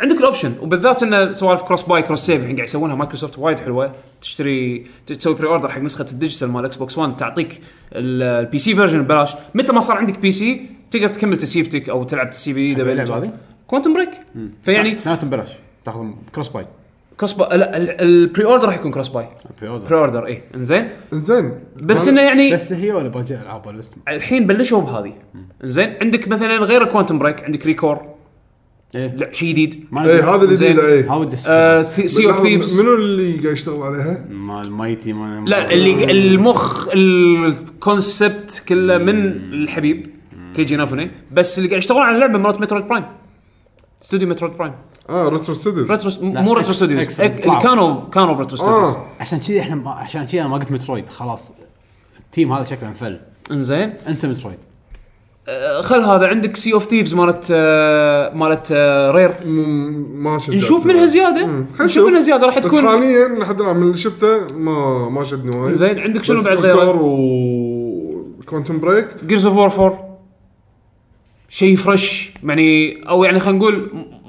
Speaker 2: عندك الاوبشن وبالذات ان سوالف كروس باي كروس سيف الحين قاعد يسوونها مايكروسوفت وايد حلوه تشتري تسوي بري اوردر حق نسخه الديجيتال مال اكس بوكس 1 تعطيك البي سي فيرجن ببلاش متى ما صار عندك بي سي تقدر تكمل تسيفتك او تلعب تسيب جديده
Speaker 1: اللعبة
Speaker 2: بالجهاز.
Speaker 1: هذه؟
Speaker 2: كوانتم بريك فيعني
Speaker 1: لا تنبلاش تاخذ كروس باي
Speaker 2: كروس با... لا ال- البري اوردر راح يكون كروس باي
Speaker 1: بري أوردر.
Speaker 2: بري اوردر اي انزين
Speaker 3: زين
Speaker 2: إيه. بس انه يعني
Speaker 1: بس هي ولا باقي العاب ولا بس
Speaker 2: الحين بلشوا بهذه انزين عندك مثلا غير كوانتم بريك عندك ريكور
Speaker 1: إيه.
Speaker 2: لا شيء جديد
Speaker 1: ما
Speaker 3: اي إيه، هذا اللي
Speaker 2: زين.
Speaker 3: جديد اي
Speaker 1: هاو ديس
Speaker 2: آه، في سي اوف ثيفز
Speaker 3: منو اللي قاعد يشتغل عليها؟
Speaker 1: مال مايتي مال
Speaker 2: لا اللي المخ الكونسبت كله من الحبيب كيجي نافوني بس اللي قاعد يشتغلون على اللعبه مرات مترويد برايم استوديو مترويد برايم
Speaker 3: اه ريترو ستوديوز
Speaker 2: ريترو مو
Speaker 1: إكس-
Speaker 2: ريترو
Speaker 1: إكس-
Speaker 2: ستوديوز إك-
Speaker 1: طلعوا.
Speaker 2: كانوا كانوا ريترو ستوديوز
Speaker 3: اه
Speaker 1: عشان كذي احنا ما- عشان كذي انا ما قلت مترويد خلاص التيم هذا شكله انفل
Speaker 2: انزين
Speaker 1: انسى مترويد
Speaker 2: آه، خل هذا عندك سي اوف ثيفز مالت آه، مالت آه، رير
Speaker 3: م- ما شدني
Speaker 2: نشوف منها زياده
Speaker 3: خلينا
Speaker 2: نشوف منها زياده راح
Speaker 3: بس
Speaker 2: تكون
Speaker 3: حاليا لحد الان من اللي شفته ما ما شدني وايد
Speaker 2: زين عندك شنو
Speaker 3: بس
Speaker 2: بعد غيره؟
Speaker 3: ريكور و كوانتم بريك
Speaker 2: جيرز اوف وور 4 شيء فريش يعني او يعني خلينا نقول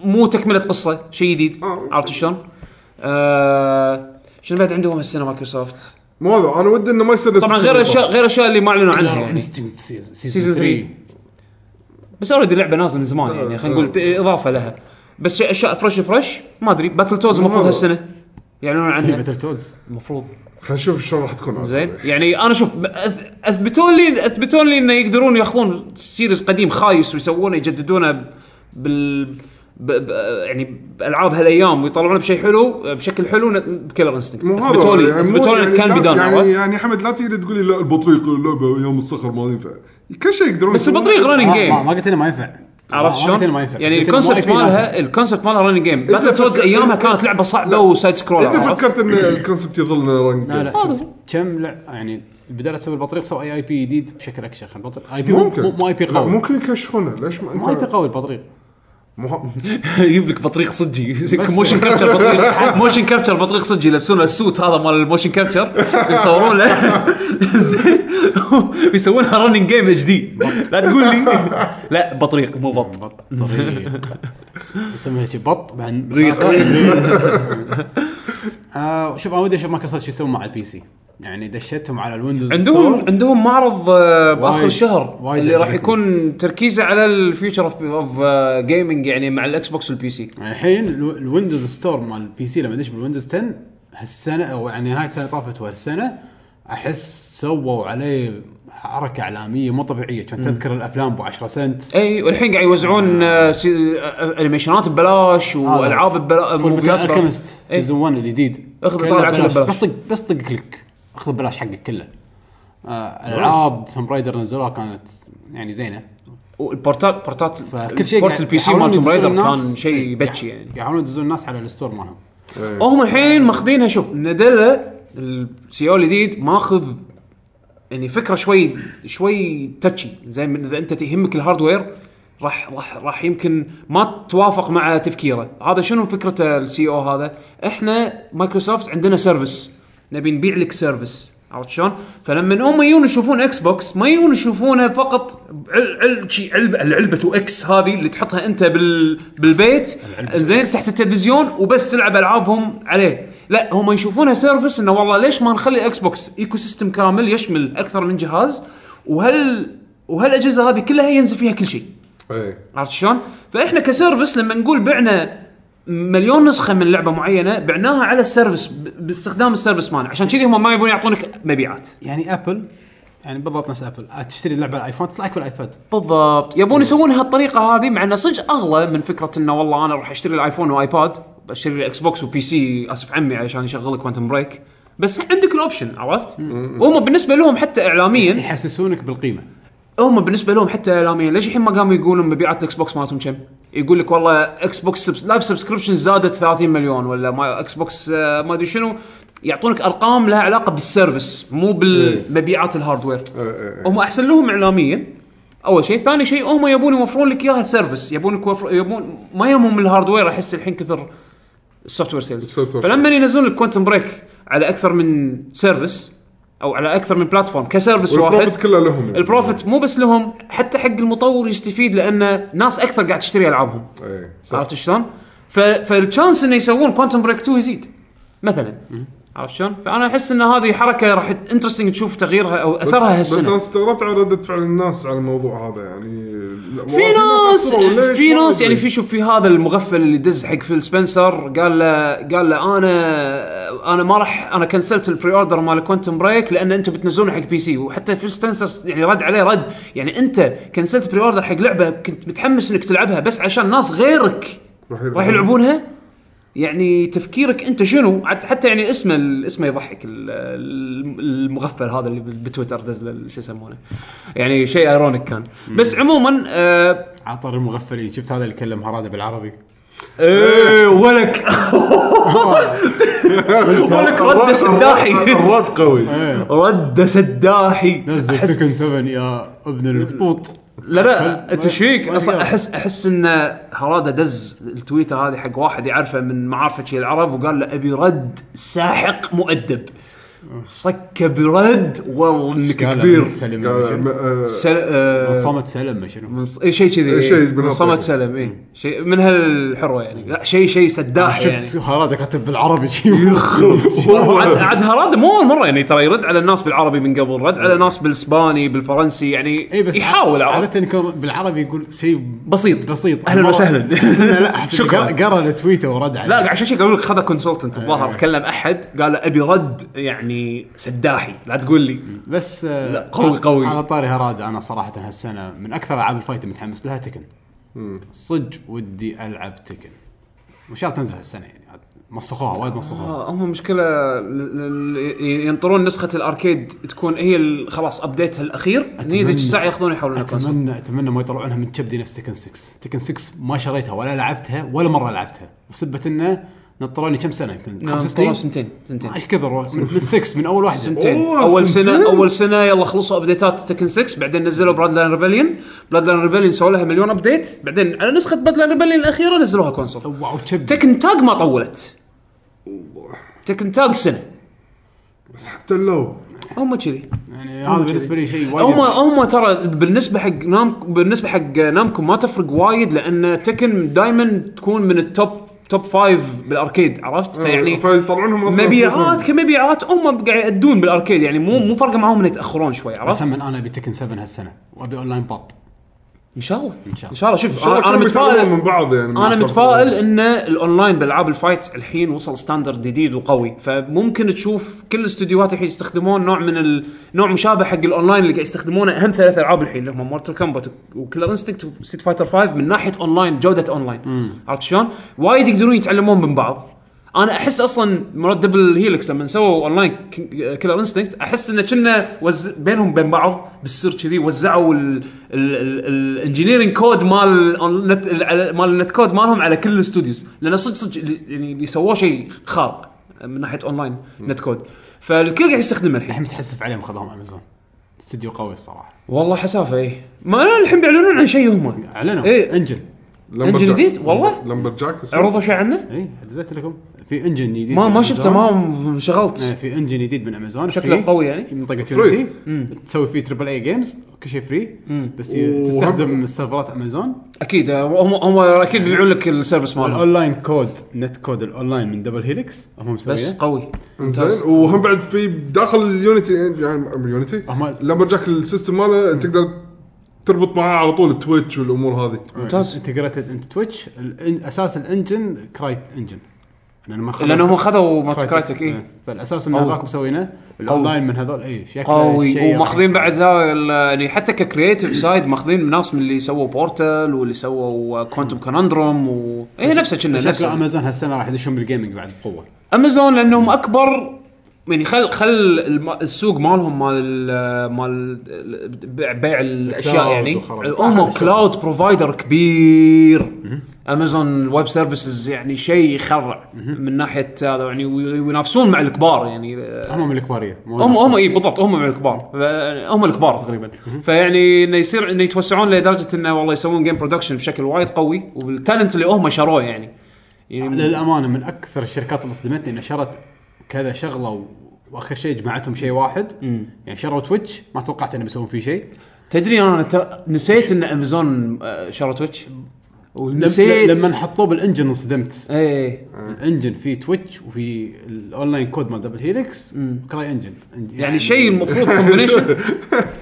Speaker 2: م- مو تكمله قصه شيء جديد
Speaker 3: آه.
Speaker 2: عرفت شلون؟ آه شنو بعد عندهم هالسنه مايكروسوفت؟
Speaker 3: مو هذا انا ودي انه ما يصير
Speaker 2: طبعا غير الاشياء غير الاشياء اللي ما اعلنوا عنها يعني سيزون 3 إيه.
Speaker 1: يعني
Speaker 2: بس اوريدي اللعبه نازله من زمان يعني خلينا نقول ت- اضافه لها بس شيء- اشياء فريش فريش ما ادري باتل توز المفروض
Speaker 3: آه.
Speaker 2: هالسنه
Speaker 1: *laughs*
Speaker 2: يعلنون عنها
Speaker 1: باتل تودز
Speaker 2: المفروض
Speaker 3: خلينا نشوف شلون راح تكون عاد.
Speaker 2: زين يعني انا شوف ب- أث- اثبتوا لي اثبتوا لي انه يقدرون ياخذون سيريز قديم خايس ويسوونه يجددونه ب- بال ب... ب... يعني بالعاب هالايام ويطلعونه بشيء حلو بشكل حلو ن- بكلر انستنكت
Speaker 3: مو هذا
Speaker 2: اثبتوا لي
Speaker 3: يعني مو-
Speaker 2: اثبتوا لي
Speaker 3: يعني
Speaker 2: كان
Speaker 3: لا-
Speaker 2: بدان
Speaker 3: يعني
Speaker 2: عرفت؟
Speaker 3: يعني حمد لا تقدر تقول لي لا البطريق اللعبه يوم الصخر ما ينفع كل شيء يقدرون
Speaker 2: بس
Speaker 3: يسوونه.
Speaker 2: البطريق رننج
Speaker 1: ما
Speaker 2: جيم
Speaker 1: ما قلت انه ما ينفع
Speaker 2: عرفت
Speaker 1: ما- ما قلت انه
Speaker 2: شلون؟
Speaker 1: آه، ما ينفع
Speaker 2: يعني
Speaker 1: بس قلت إنه مو
Speaker 2: الكونسبت
Speaker 1: IP ناجح.
Speaker 2: مالها الكونسبت مالها رننج جيم باتل تودز
Speaker 3: فكرت-
Speaker 2: ايامها كانت لعبه صعبه وسايد سكرول
Speaker 3: اذا
Speaker 2: عرفت؟
Speaker 3: فكرت ان الكونسبت يظل رنج
Speaker 1: لا لا
Speaker 3: جيم.
Speaker 1: شوف، كم لع- يعني بدل تسوي البطريق سوى اي اي بي جديد بشكل اكشخ البطريق اي بي مو
Speaker 3: ممكن
Speaker 1: مو اي بي
Speaker 3: لا،
Speaker 1: قوي
Speaker 3: ممكن يكشفونه ليش ما
Speaker 1: مو اي بي قوي البطريق
Speaker 3: مو- *laughs*
Speaker 2: *laughs* يجيب لك بطريق صجي موشن
Speaker 1: يعني.
Speaker 2: كابتشر
Speaker 1: *laughs*
Speaker 2: بطريق موشن كابتشر بطريق صجي يلبسونه السوت هذا مال الموشن كابتشر يصورون له *laughs* زين. ويسوونها رننج جيم اتش دي لا تقول لي لا بطريق مو بط
Speaker 1: بط *laughs* طريق يسميها شي بط بعدين *laughs*
Speaker 2: ريق.
Speaker 1: آه، شوف انا ودي اشوف مايكروسوفت شو يسوون مع البي سي يعني دشتهم على الويندوز
Speaker 2: عندهم
Speaker 1: ستور.
Speaker 2: عندهم معرض آه، باخر
Speaker 1: وايد-
Speaker 2: الشهر
Speaker 1: وايد
Speaker 2: اللي راح
Speaker 1: عجبتني.
Speaker 2: يكون تركيزه على الفيوتشر اوف اوف جيمنج يعني مع الاكس بوكس والبي سي
Speaker 1: يعني الحين الو- الويندوز ستور مال البي سي لما دش بالويندوز 10 هالسنه او يعني نهايه السنه طافت وهالسنه احس سووا عليه حركه اعلاميه مو طبيعيه كان تذكر الافلام ب 10 سنت
Speaker 2: اي والحين قاعد يوزعون آه، سي- آه، انيميشنات ببلاش والعاب ببلاش
Speaker 1: فول ميتال
Speaker 2: موفيات ببلاش.
Speaker 1: الكيمست
Speaker 2: إي.
Speaker 1: سيزون 1 الجديد
Speaker 2: اخذ
Speaker 1: كله
Speaker 2: طالع كله
Speaker 1: ببلاش.
Speaker 2: ببلاش.
Speaker 1: بس طق بس طق كليك اخذ ببلاش حقك كله آه، الالعاب توم رايدر نزلوها كانت يعني زينه
Speaker 2: والبورتات بورتات
Speaker 1: فكل شيء
Speaker 2: بورت
Speaker 1: قاعد
Speaker 2: البي سي
Speaker 1: يحاولون
Speaker 2: مال توم
Speaker 1: يدزون
Speaker 2: رايدر
Speaker 1: الناس-
Speaker 2: كان شيء بتشي
Speaker 1: يح-
Speaker 2: يعني
Speaker 1: يحاولون يدزون الناس على الستور مالهم
Speaker 2: هم الحين ماخذينها شوف ندلة السي او الجديد E ماخذ يعني فكره شوي شوي تاتشي زي من اذا انت يهمك الهاردوير راح راح راح يمكن ما توافق مع تفكيره هذا شنو فكرته السي او E هذا احنا مايكروسوفت عندنا سيرفيس نبي نبيع لك سيرفيس عرفت شلون؟ فلما هم يجون يشوفون اكس بوكس ما يجون يشوفونه فقط عل عل شي علبه العلبه اكس هذه اللي تحطها انت بال بالبيت زين تحت التلفزيون وبس تلعب العابهم عليه لا هم يشوفونها سيرفس انه والله ليش ما نخلي اكس بوكس ايكو سيستم كامل يشمل اكثر من جهاز وهل وهالاجهزه هذه كلها ينزل فيها كل شيء
Speaker 3: اي
Speaker 2: عرفت شلون؟ فاحنا كسيرفس لما نقول بعنا مليون نسخه من لعبه معينه بعناها على السيرفس ب- باستخدام السيرفس مالنا عشان كذي هم ما يبون يعطونك مبيعات
Speaker 1: يعني ابل يعني بالضبط نفس ابل آه، تشتري لعبه على الايفون تطلع لك بالايباد
Speaker 2: بالضبط يبون يسوونها الطريقه هذه مع انه صدق اغلى من فكره انه والله انا راح اشتري الايفون وايباد بشتري الاكس بوكس وبي سي اسف عمي علشان يشغل كوانتم بريك بس عندك الاوبشن عرفت؟ وهم بالنسبه لهم حتى اعلاميا
Speaker 1: يحسسونك بالقيمه
Speaker 2: هم بالنسبه لهم حتى اعلاميا ليش الحين ما قاموا يقولون مبيعات الاكس بوكس مالتهم كم؟ يقول لك والله اكس بوكس سبس... لايف سبسكربشن زادت 30 مليون ولا ما اكس بوكس آه، ما ادري شنو يعطونك ارقام لها علاقه بالسيرفس مو بالمبيعات الهاردوير
Speaker 3: إيه،
Speaker 2: هم احسن لهم اعلاميا اول شيء ثاني شيء هم يبون يوفرون لك اياها سيرفس يبون يوفر- يبون ما يهمهم الهاردوير احس الحين كثر السوفت وير سيلز
Speaker 3: السوفت وير
Speaker 2: فلما ينزلون الكوانتم بريك على اكثر من سيرفيس او على اكثر من بلاتفورم كسيرفيس واحد
Speaker 3: والبروفيت كله لهم يعني.
Speaker 2: البروفيت مو بس لهم حتى حق المطور يستفيد لان ناس اكثر قاعد تشتري العابهم
Speaker 3: ايه صح
Speaker 2: عرفت شلون؟ ف... فالشانس انه يسوون كوانتم بريك 2 يزيد مثلا عرفت شلون؟ فانا احس ان هذه حركه راح انترستنج تشوف تغييرها او
Speaker 3: بس-
Speaker 2: اثرها
Speaker 3: بس انا
Speaker 2: هالسنه
Speaker 3: استغربت على رده فعل الناس على الموضوع هذا يعني لا،
Speaker 2: في ناس
Speaker 3: عصروا، ليش
Speaker 2: في
Speaker 3: ما
Speaker 2: ناس يعني
Speaker 3: *laughs* أدري.
Speaker 2: في شوف في هذا المغفل اللي دز حق فيل سبنسر قال له قال له انا انا ما راح انا كنسلت البري اوردر مال كوانتم بريك لان انتم بتنزلونه حق بي سي وحتى فيل سبنسر يعني رد عليه رد يعني انت كنسلت بري اوردر حق لعبه كنت متحمس انك تلعبها بس عشان ناس غيرك راح يلعبونها يعني تفكيرك انت شنو حت- حتى يعني اسمه ال- اسمه يضحك ال- ال- المغفل هذا اللي بال- بتويتر دز له شو يسمونه يعني شيء ايرونيك كان بس عموما آه
Speaker 1: عطر المغفلين شفت هذا اللي كلم هراده بالعربي
Speaker 2: ايه ولك ولك رد إيه.
Speaker 3: الرد-
Speaker 2: سداحي
Speaker 3: الرد قوي
Speaker 2: رد سداحي
Speaker 1: نزل
Speaker 2: أحس-
Speaker 1: تكن 7 يا ابن البطوط
Speaker 2: لا لا انت
Speaker 1: ما-
Speaker 2: شيك
Speaker 1: ما
Speaker 2: اصلا
Speaker 1: يقدر.
Speaker 2: احس احس ان هراده دز التويته هذه حق واحد يعرفه من معارفه شي العرب وقال له ابي رد ساحق مؤدب صك برد والله انك
Speaker 1: قال
Speaker 2: كبير
Speaker 1: سلم
Speaker 3: قال-
Speaker 1: شنو؟
Speaker 3: ما- آه،
Speaker 2: سل... آه
Speaker 1: صمت سلم شنو
Speaker 2: من ص- اي شيء كذي
Speaker 3: إي شيء
Speaker 2: إي، من
Speaker 3: بالنطق.
Speaker 2: صمت سلم اي شيء من هالحروه يعني لا شيء شيء سداح يعني
Speaker 1: شفت هراده كاتب بالعربي شي
Speaker 2: عاد عاد هراد مو اول مره يعني ترى يرد على الناس بالعربي من قبل رد على الناس بالاسباني بالفرنسي يعني
Speaker 1: اي إيه، بس
Speaker 2: يحاول عرفت
Speaker 1: عاده يكون بالعربي يقول شيء
Speaker 2: بسيط
Speaker 1: بسيط
Speaker 2: اهلا
Speaker 1: مرة-
Speaker 2: *laughs* وسهلا
Speaker 1: بس إنه *laughs* لا أحس إنه
Speaker 2: شكراً.
Speaker 1: قرا قرا التويته ورد عليه
Speaker 2: لا عشان شي قالوا لك خذ كونسلتنت الظاهر
Speaker 1: إيه.
Speaker 2: كلم احد قال ابي رد يعني سداحي لا تقول لي
Speaker 1: بس آه،
Speaker 2: لا، قوي- قوي.
Speaker 1: على طاري هراده انا صراحه هالسنه من اكثر العاب الفايت متحمس لها تكن صدق ودي العب تكن وان شاء الله تنزل هالسنه يعني عاد مسخوها وايد مسخوها
Speaker 2: آه، هم مشكله ل- ل- ل- ينطرون نسخه الاركيد تكون هي ال- خلاص ابديتها الاخير ني ذيك الساعه ياخذون يحولون الكونسول
Speaker 1: اتمنى اتمنى ما يطلعونها من كبدي نفس تكن 6 تكن 6 ما شريتها ولا لعبتها ولا مره لعبتها وسبة انه نطروني كم سنه يمكن
Speaker 2: نعم،
Speaker 1: خمس
Speaker 2: طلعوا
Speaker 1: سنين
Speaker 2: سنتين سنتين
Speaker 1: ايش كثر من من 6 من اول واحد
Speaker 2: سنتين
Speaker 3: أوه،
Speaker 2: اول
Speaker 3: سنتين؟
Speaker 2: سنه اول سنه يلا خلصوا ابديتات تكن 6 بعدين نزلوا براد لاين ريبليون براد لاين ريبليون سووا لها مليون ابديت بعدين على نسخه براد لاين ريبليون الاخيره نزلوها كونسول
Speaker 1: واو كبدي
Speaker 2: تكن تاج ما طولت تكن تاج سنه
Speaker 3: بس حتى لو
Speaker 2: هم كذي
Speaker 1: يعني هذا بالنسبه لي شيء وايد
Speaker 2: هم هم ترى بالنسبه حق نامكو بالنسبه حق نامكو ما تفرق وايد لان تكن دائما تكون من التوب توب فايف بالاركيد عرفت؟
Speaker 3: آه،
Speaker 1: آه،
Speaker 2: فيعني
Speaker 3: فيطلعونهم اصلا
Speaker 2: يعني مبيعات
Speaker 3: فلوسهم.
Speaker 2: كمبيعات هم قاعد يأدون بالاركيد يعني مو مو فارقه معاهم ان يتاخرون شوي
Speaker 1: بس
Speaker 2: عرفت؟
Speaker 1: هم انا ابي تكن 7 هالسنه وابي اونلاين بط
Speaker 2: ان شاء الله
Speaker 1: إن شاء الله.
Speaker 2: ان شاء الله شوف
Speaker 3: إن شاء الله
Speaker 2: انا أنا
Speaker 3: كلهم يتعلمون
Speaker 2: متفائل
Speaker 3: من بعض يعني ما
Speaker 2: انا
Speaker 3: صار-
Speaker 2: متفائل ان الاونلاين بالعاب الفايت الحين وصل ستاندرد جديد وقوي فممكن تشوف كل الاستديوهات الحين يستخدمون نوع من ال... نوع مشابه حق الاونلاين اللي قاعد يستخدمونه اهم ثلاث العاب الحين اللي هم مورتال كومبات وكلر انستكت وستيت فايتر 5 من ناحيه اونلاين جوده اونلاين عرفت شلون؟ وايد يقدرون يتعلمون من بعض انا احس اصلا مرتب الهيلكس لما سووا اونلاين كيلر انستنكت احس انه كنا وز... بينهم بين بعض بالسر كذي وزعوا الانجينيرنج كود مال النت... ال- مال النت كود مالهم على كل الاستوديوز لان صدق صدق اللي- يعني اللي سووه شيء خارق من ناحيه اونلاين نت كود فالكل قاعد يستخدمه الحين
Speaker 1: الحين متحسف عليهم خذوهم امازون استديو قوي الصراحه
Speaker 2: والله حسافه اي ما لا الحين بيعلنون عن شيء هم
Speaker 1: اعلنوا
Speaker 2: إيه.
Speaker 1: انجن
Speaker 3: لمبرجاك.
Speaker 2: إنجن جديد؟ والله؟
Speaker 3: لمبرجاك اسمه؟
Speaker 2: عرضوا شيء عنه
Speaker 1: اي دزيت لكم في انجن جديد من
Speaker 2: ما ما
Speaker 1: أمازون.
Speaker 2: شفته ما انشغلت
Speaker 1: إيه، في انجن جديد من امازون
Speaker 2: شكله
Speaker 1: free.
Speaker 2: قوي يعني
Speaker 1: في منطقه
Speaker 3: Free.
Speaker 1: يونيتي تسوي فيه تربل اي جيمز كل شيء فري بس ي- تستخدم سيرفرات امازون
Speaker 2: اكيد هم هم اكيد بيبيعون لك السيرفس مالهم
Speaker 1: الاونلاين كود نت كود الاونلاين من دبل هيلكس هم
Speaker 2: بس
Speaker 1: مسوينه
Speaker 2: قوي ممتاز.
Speaker 3: انزين وهم بعد في داخل اليونيتي يعني يونيتي
Speaker 1: أهم-
Speaker 3: لمبرجاك السيستم ماله تقدر تربط معاه على طول التويتش والامور هذه
Speaker 2: ممتاز.
Speaker 1: انتجريتد انت تويتش اساس الانجن كرايت انجن لانه ما خذوا-
Speaker 2: لانه هم خذوا مالت
Speaker 1: Crytek.
Speaker 2: كرايتك اي
Speaker 1: إيه. فالاساس ان
Speaker 2: قوي.
Speaker 1: هذاك مسوينه الاونلاين من هذول اي شكله
Speaker 2: قوي
Speaker 1: شيء يعني.
Speaker 2: وماخذين بعد ذا ال- يعني حتى ككرييتيف سايد ماخذين ناس من اللي سووا بورتال واللي سووا كوانتم كونندروم و إيه، اي نفسه كنا
Speaker 1: شكله
Speaker 2: نفسه
Speaker 1: امازون هالسنه راح يدشون بالجيمنج بعد بقوه
Speaker 2: امازون لانهم اكبر يعني خل خل الم- السوق مالهم مال ال- مال ال- بيع بيع الاشياء
Speaker 1: الكلاود
Speaker 2: يعني
Speaker 1: وخرابيط.
Speaker 2: هم
Speaker 1: أحد الأشياء.
Speaker 2: كلاود بروفايدر كبير امازون ويب سيرفيسز يعني شيء يخرع من ناحيه هذا يعني وي- وينافسون مع الكبار يعني
Speaker 1: هم من الكباريه مو
Speaker 2: هم
Speaker 1: نفسهم.
Speaker 2: هم اي بالضبط هم من الكبار ف- هم الكبار تقريبا فيعني انه يصير انه يتوسعون لدرجه انه والله يسوون جيم برودكشن بشكل وايد قوي والتالنت اللي هم شروه يعني يعني
Speaker 1: للامانه من اكثر الشركات اللي صدمتني ان شرت كذا شغله و- واخر شيء جمعتهم شيء واحد يعني شروا تويتش ما توقعت انهم بيسوون فيه شيء
Speaker 2: تدري انا ت- نسيت ان امازون آه، شرت تويتش
Speaker 1: لم-
Speaker 2: ونسيت
Speaker 1: لما حطوه بالانجن انصدمت
Speaker 2: ايه
Speaker 1: الانجن فيه تويتش وفي الاونلاين كود مال دبل هيليكس وكراي انجن
Speaker 2: يعني
Speaker 1: *laughs*
Speaker 2: شيء المفروض كومبينيشن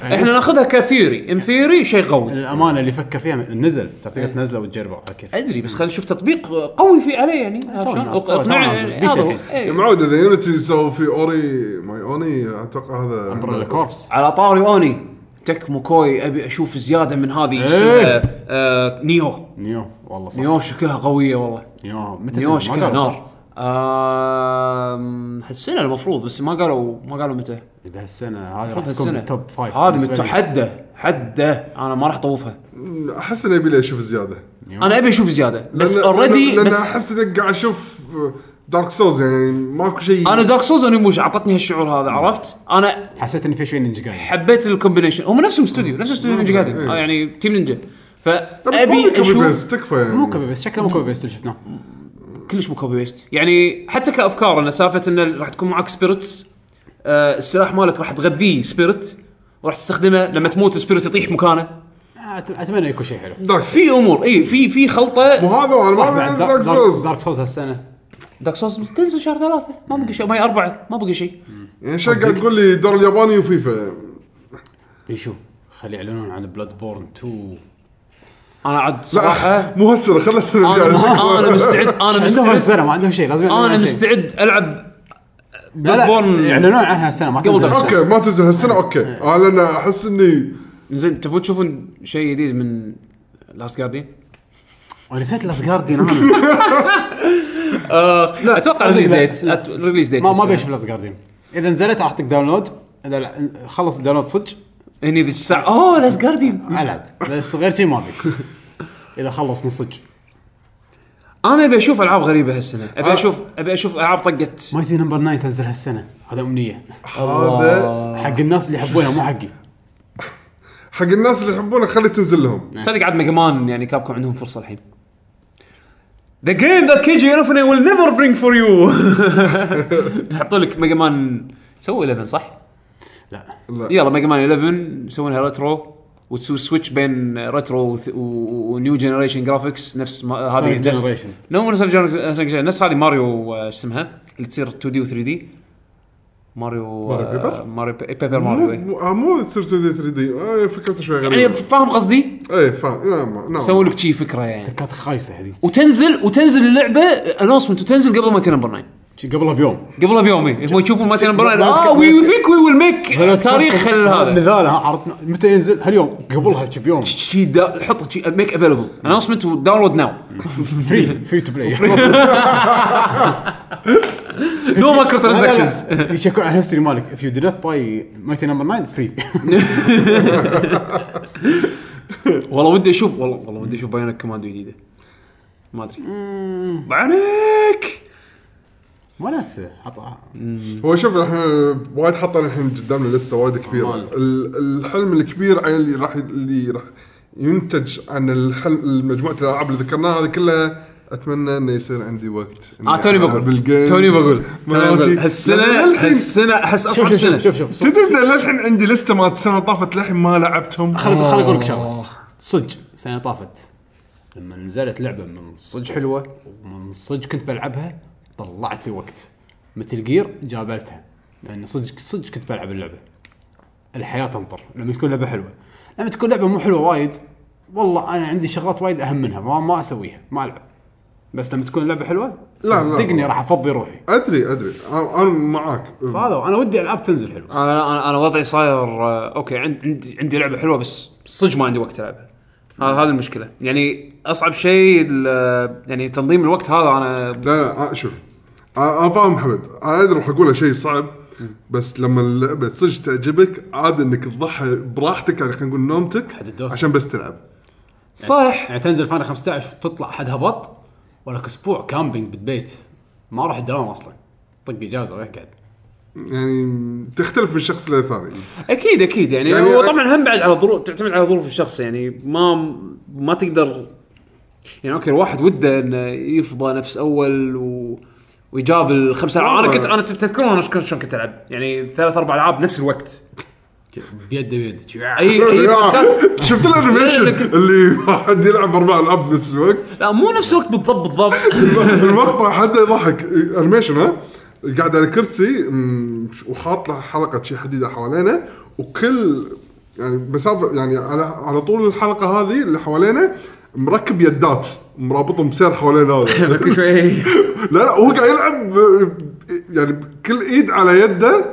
Speaker 1: يعني
Speaker 2: احنا ناخذها كثيوري ان ثيوري شيء قوي
Speaker 1: الامانه إيه. اللي فكر فيها نزل تعطيك
Speaker 2: إيه.
Speaker 1: تنزله وتجربه على كيف
Speaker 2: ادري بس خلينا نشوف تطبيق قوي في عليه يعني عرفت شلون؟
Speaker 1: نازل، تو
Speaker 2: اقنع
Speaker 1: نازل، بيتا
Speaker 2: هذا هو.
Speaker 1: الحين.
Speaker 2: إيه.
Speaker 3: يا معود اذا يونيتي سووا في اوري ماي اوني اتوقع هذا
Speaker 1: امبريلا كوربس
Speaker 2: على طاري اوني تكمو كوي ابي اشوف زياده من هذه
Speaker 1: إيه.
Speaker 2: آه، آه، نيو
Speaker 1: نيو والله صح
Speaker 2: نيو شكلها قويه والله
Speaker 1: نيو متى
Speaker 2: نيو
Speaker 1: تنزل؟ ما
Speaker 2: شكلها
Speaker 1: قالوا صح.
Speaker 2: نار آم، هالسنه المفروض بس ما قالوا ما قالوا متى
Speaker 1: اذا هالسنه هذه راح
Speaker 2: المفروض
Speaker 1: تكون
Speaker 2: هالسنه
Speaker 1: بالتوب فايف
Speaker 2: هذه
Speaker 1: بالنسبة
Speaker 2: مت-
Speaker 1: لي.
Speaker 2: حده حده انا ما راح اطوفها
Speaker 3: احس انه يبي لي اشوف زياده
Speaker 2: انا ابي اشوف زياده بس
Speaker 3: لأن- لأن-
Speaker 2: اوريدي
Speaker 3: لان
Speaker 2: بس
Speaker 3: احس انك قاعد اشوف دارك سوز يعني ماكو شيء
Speaker 2: انا دارك سوز مش اعطتني هالشعور هذا عرفت؟ انا
Speaker 1: حسيت ان في شيء نينجا جاي
Speaker 2: حبيت الكومبينيشن هم نفسهم استوديو نفس استوديو
Speaker 1: نعم.
Speaker 2: نينجا جايدن
Speaker 3: إيه.
Speaker 2: آه، يعني تيم نينجا
Speaker 3: لا، بس مو
Speaker 2: فابي
Speaker 3: كوبي
Speaker 2: اشوف
Speaker 3: بيست، تكفى يعني
Speaker 1: مو كوبي بيست شكله مو كوبي بيست اللي شفناه
Speaker 2: كلش مو كوبي بيست يعني حتى كافكار انا سالفه انه راح تكون معك سبيرتس آه السلاح مالك راح تغذيه سبيرت وراح تستخدمه لما تموت السبيرت يطيح مكانه
Speaker 1: أت- اتمنى يكون شيء حلو
Speaker 3: دارك سوز
Speaker 2: في امور اي في في
Speaker 3: مو
Speaker 2: خلطه
Speaker 3: هذا
Speaker 1: صح
Speaker 3: وانا ما
Speaker 1: بعد
Speaker 3: بلعب
Speaker 1: دارك
Speaker 3: دارك سوز
Speaker 1: دارك سوز هالسنه
Speaker 2: دارك سوز بس تنزل شهر ثلاثه ما بقى شيء ماي اربعه ما بقى شيء
Speaker 3: يعني شو قاعد تقول لي دور الياباني وفيفا
Speaker 1: بيشو خلي يعلنون عن بلاد بورن 2
Speaker 2: انا عاد
Speaker 1: آه،
Speaker 3: لا
Speaker 1: *laughs*
Speaker 2: صراحه
Speaker 3: مو هالسنه خلي السنه
Speaker 2: انا مست-
Speaker 3: الجايه
Speaker 2: انا مستعد انا
Speaker 1: عندهم
Speaker 2: مستعد
Speaker 1: هالسنه ما عندهم شيء لازم يعلنون
Speaker 2: انا
Speaker 1: عن شيء.
Speaker 2: مستعد العب
Speaker 1: لا يعني لا
Speaker 2: Bloodborne.
Speaker 1: يعلنون عنها هالسنه ما
Speaker 2: قبل
Speaker 1: تنزل
Speaker 2: Dark Souls.
Speaker 1: هالسنة.
Speaker 3: اوكي ما تنزل هالسنه اوكي انا لأن احس اني
Speaker 2: زين تبون تشوفون شيء جديد من لاست جاردين؟
Speaker 1: ونسيت لاست جارديان
Speaker 2: *laughs*
Speaker 1: انا
Speaker 2: اتوقع
Speaker 1: صدق
Speaker 2: ريليز
Speaker 1: لا.
Speaker 2: ديت أت- ريليز ديت
Speaker 1: ما ما
Speaker 2: السنة.
Speaker 1: بيشوف لاست جارديان اذا نزلت راح اعطيك داونلود اذا لا- خلص الداونلود صدق
Speaker 2: هني ذيك الساعه اوه لاست جاردين
Speaker 1: العب بس غير شيء ما ابي اذا خلص من صدق
Speaker 2: انا ابي اشوف العاب غريبه هالسنه ابي اشوف ابي اشوف العاب طقت
Speaker 1: مايتي نمبر 9 تنزل هالسنه هذا امنيه
Speaker 3: هذا
Speaker 1: حق الناس اللي يحبونها مو حقي
Speaker 3: حق الناس اللي يحبونه خلي تنزل لهم
Speaker 2: تصدق عاد ميجامان يعني كابكم عندهم فرصه الحين The game that Keiji Inafune will never bring for you *laughs* يحطوا لك ميجامان سووا 11 صح؟
Speaker 1: لا
Speaker 2: يلا ميجا مان 11 يسوونها ريترو وتسوي سويتش بين ريترو وث- و- و- ونيو جنريشن جرافيكس نفس ما هذه
Speaker 1: Sonic
Speaker 2: نفس-
Speaker 1: Generation.
Speaker 2: نو مو نفس Sonic Generation، نفس هذه ماريو آه، شو اسمها اللي تصير 2 دي و 3 دي ماريو
Speaker 3: ماريو
Speaker 2: آه،
Speaker 3: بيبر؟
Speaker 2: ماريو بي- بيبر
Speaker 3: مو
Speaker 2: ماريو إيه.
Speaker 3: مو- آه، مو تصير 2 دي 3 دي فكرته شوي
Speaker 2: يعني
Speaker 3: غريبه
Speaker 2: فاهم قصدي؟
Speaker 3: اي فاهم نعم نعم
Speaker 2: سووا لك شي فكره يعني
Speaker 1: كانت خايسه هذيك
Speaker 2: وتنزل وتنزل اللعبه انونسمنت وتنزل قبل ما تي نمبر 9
Speaker 1: شي قبلها بيوم
Speaker 2: قبلها بيوم إيه. هم يشوفوا ما تي نمبر
Speaker 1: *laughs*
Speaker 2: 9
Speaker 1: ما-
Speaker 2: اه
Speaker 1: ما-
Speaker 2: وي ثينك وي ويل ميك
Speaker 1: *laughs*
Speaker 2: تاريخ هذا
Speaker 1: مثال ها، عرفت متى ينزل هاليوم قبلها شي بيوم
Speaker 2: شي دا حط شي ميك افيلبل انونسمنت وداونلود
Speaker 1: *laughs*
Speaker 2: ناو
Speaker 1: فري فري تو بلاي
Speaker 2: *laughs* نو مايكرو ترانزاكشنز
Speaker 1: يشكون على الهيستوري مالك اف يو دي نوت باي مايتي نمبر 9 فري
Speaker 2: والله ودي اشوف والله والله ودي اشوف بايونيك كوماندو جديده ما ادري
Speaker 1: *laughs*
Speaker 2: بايونيك
Speaker 1: ما نفسه حط
Speaker 3: هو شوف احنا وايد حطينا الحين قدامنا لسته وايد كبيره
Speaker 1: أمال.
Speaker 3: ال- الحلم الكبير عن اللي راح اللي راح ينتج عن الحلم مجموعه الالعاب اللي ذكرناها هذه كلها اتمنى انه يصير عندي وقت إني
Speaker 2: اه توني
Speaker 3: ألعب
Speaker 2: بقول
Speaker 3: الجيمز
Speaker 2: توني بقول توني بقول
Speaker 3: مالتي. لأن
Speaker 2: هالسنه
Speaker 3: للحين-
Speaker 2: هالسنه احس
Speaker 1: شوف
Speaker 2: اصعب
Speaker 1: شوف شوف
Speaker 2: سنه
Speaker 1: شوف شوف
Speaker 3: تدري إن للحين عندي لسته مالت السنه طافت للحين ما لعبتهم
Speaker 1: خليني خليني اقول لك
Speaker 2: آه.
Speaker 1: شغله صدق السنه طافت لما نزلت لعبه من صدق حلوه ومن صدق كنت بلعبها طلعت لي وقت مثل جير جابلتها لان صدق صدق كنت بلعب اللعبه الحياه تنطر لما تكون لعبه حلوه لما تكون لعبه مو حلوه وايد والله انا عندي شغلات وايد اهم منها ما ما اسويها ما العب بس لما تكون لعبه حلوه
Speaker 3: لا، لا.
Speaker 1: صدقني راح افضي روحي
Speaker 3: ادري ادري آه، أنا- انا معاك
Speaker 1: فهذا هو. انا ودي العاب تنزل حلوه
Speaker 2: انا انا انا وضعي صاير آه، اوكي عند- عندي عندي لعبه حلوه بس صدق ما عندي وقت العبها هذا هذه المشكله يعني اصعب شيء ال- يعني تنظيم الوقت هذا انا
Speaker 3: لا لا آه، شوف آه، انا فاهم حمد انا ادري راح اقولها شيء صعب بس لما اللعبه صدق تعجبك عاد انك تضحي براحتك يعني خلينا نقول
Speaker 1: حد
Speaker 3: نومتك
Speaker 1: الدوسة.
Speaker 3: عشان بس تلعب
Speaker 2: صح
Speaker 1: يعني تنزل فانا 15 وتطلع حد هبط ولك اسبوع كامبينج بالبيت ما اروح الدوام اصلا طق اجازه واقعد
Speaker 3: يعني تختلف من شخص للثاني
Speaker 2: اكيد اكيد يعني,
Speaker 3: يعني
Speaker 2: هو
Speaker 3: أك-
Speaker 2: طبعا هم بعد على ظروف تعتمد على ظروف الشخص يعني ما ما تقدر يعني اوكي الواحد وده انه يفضى نفس اول و... ويجاب الخمسه العاب انا كنت انا تذكرون انا شلون شلون كنت العب يعني ثلاث اربع العاب نفس *laughs* الوقت
Speaker 1: بيد بيد
Speaker 2: اي
Speaker 3: *laughs*
Speaker 2: اي بودكاست
Speaker 3: شفت
Speaker 1: *laughs*
Speaker 3: الانيميشن اللي *laughs* واحد يلعب اربع العاب بنفس الوقت
Speaker 2: لا مو نفس الوقت بالضبط بالضبط
Speaker 3: *laughs* المقطع حد يضحك انيميشن ها قاعد على كرسي مم، وحاط له حلقه شي حديده حوالينا وكل يعني مسافه يعني على على طول الحلقه هذه اللي حوالينا مركب يدات مرابطهم بسير حوالين
Speaker 2: *laughs*
Speaker 3: هذا
Speaker 2: كل شوي *laughs*
Speaker 3: لا لا هو قاعد يلعب ب- يعني كل ايد على يده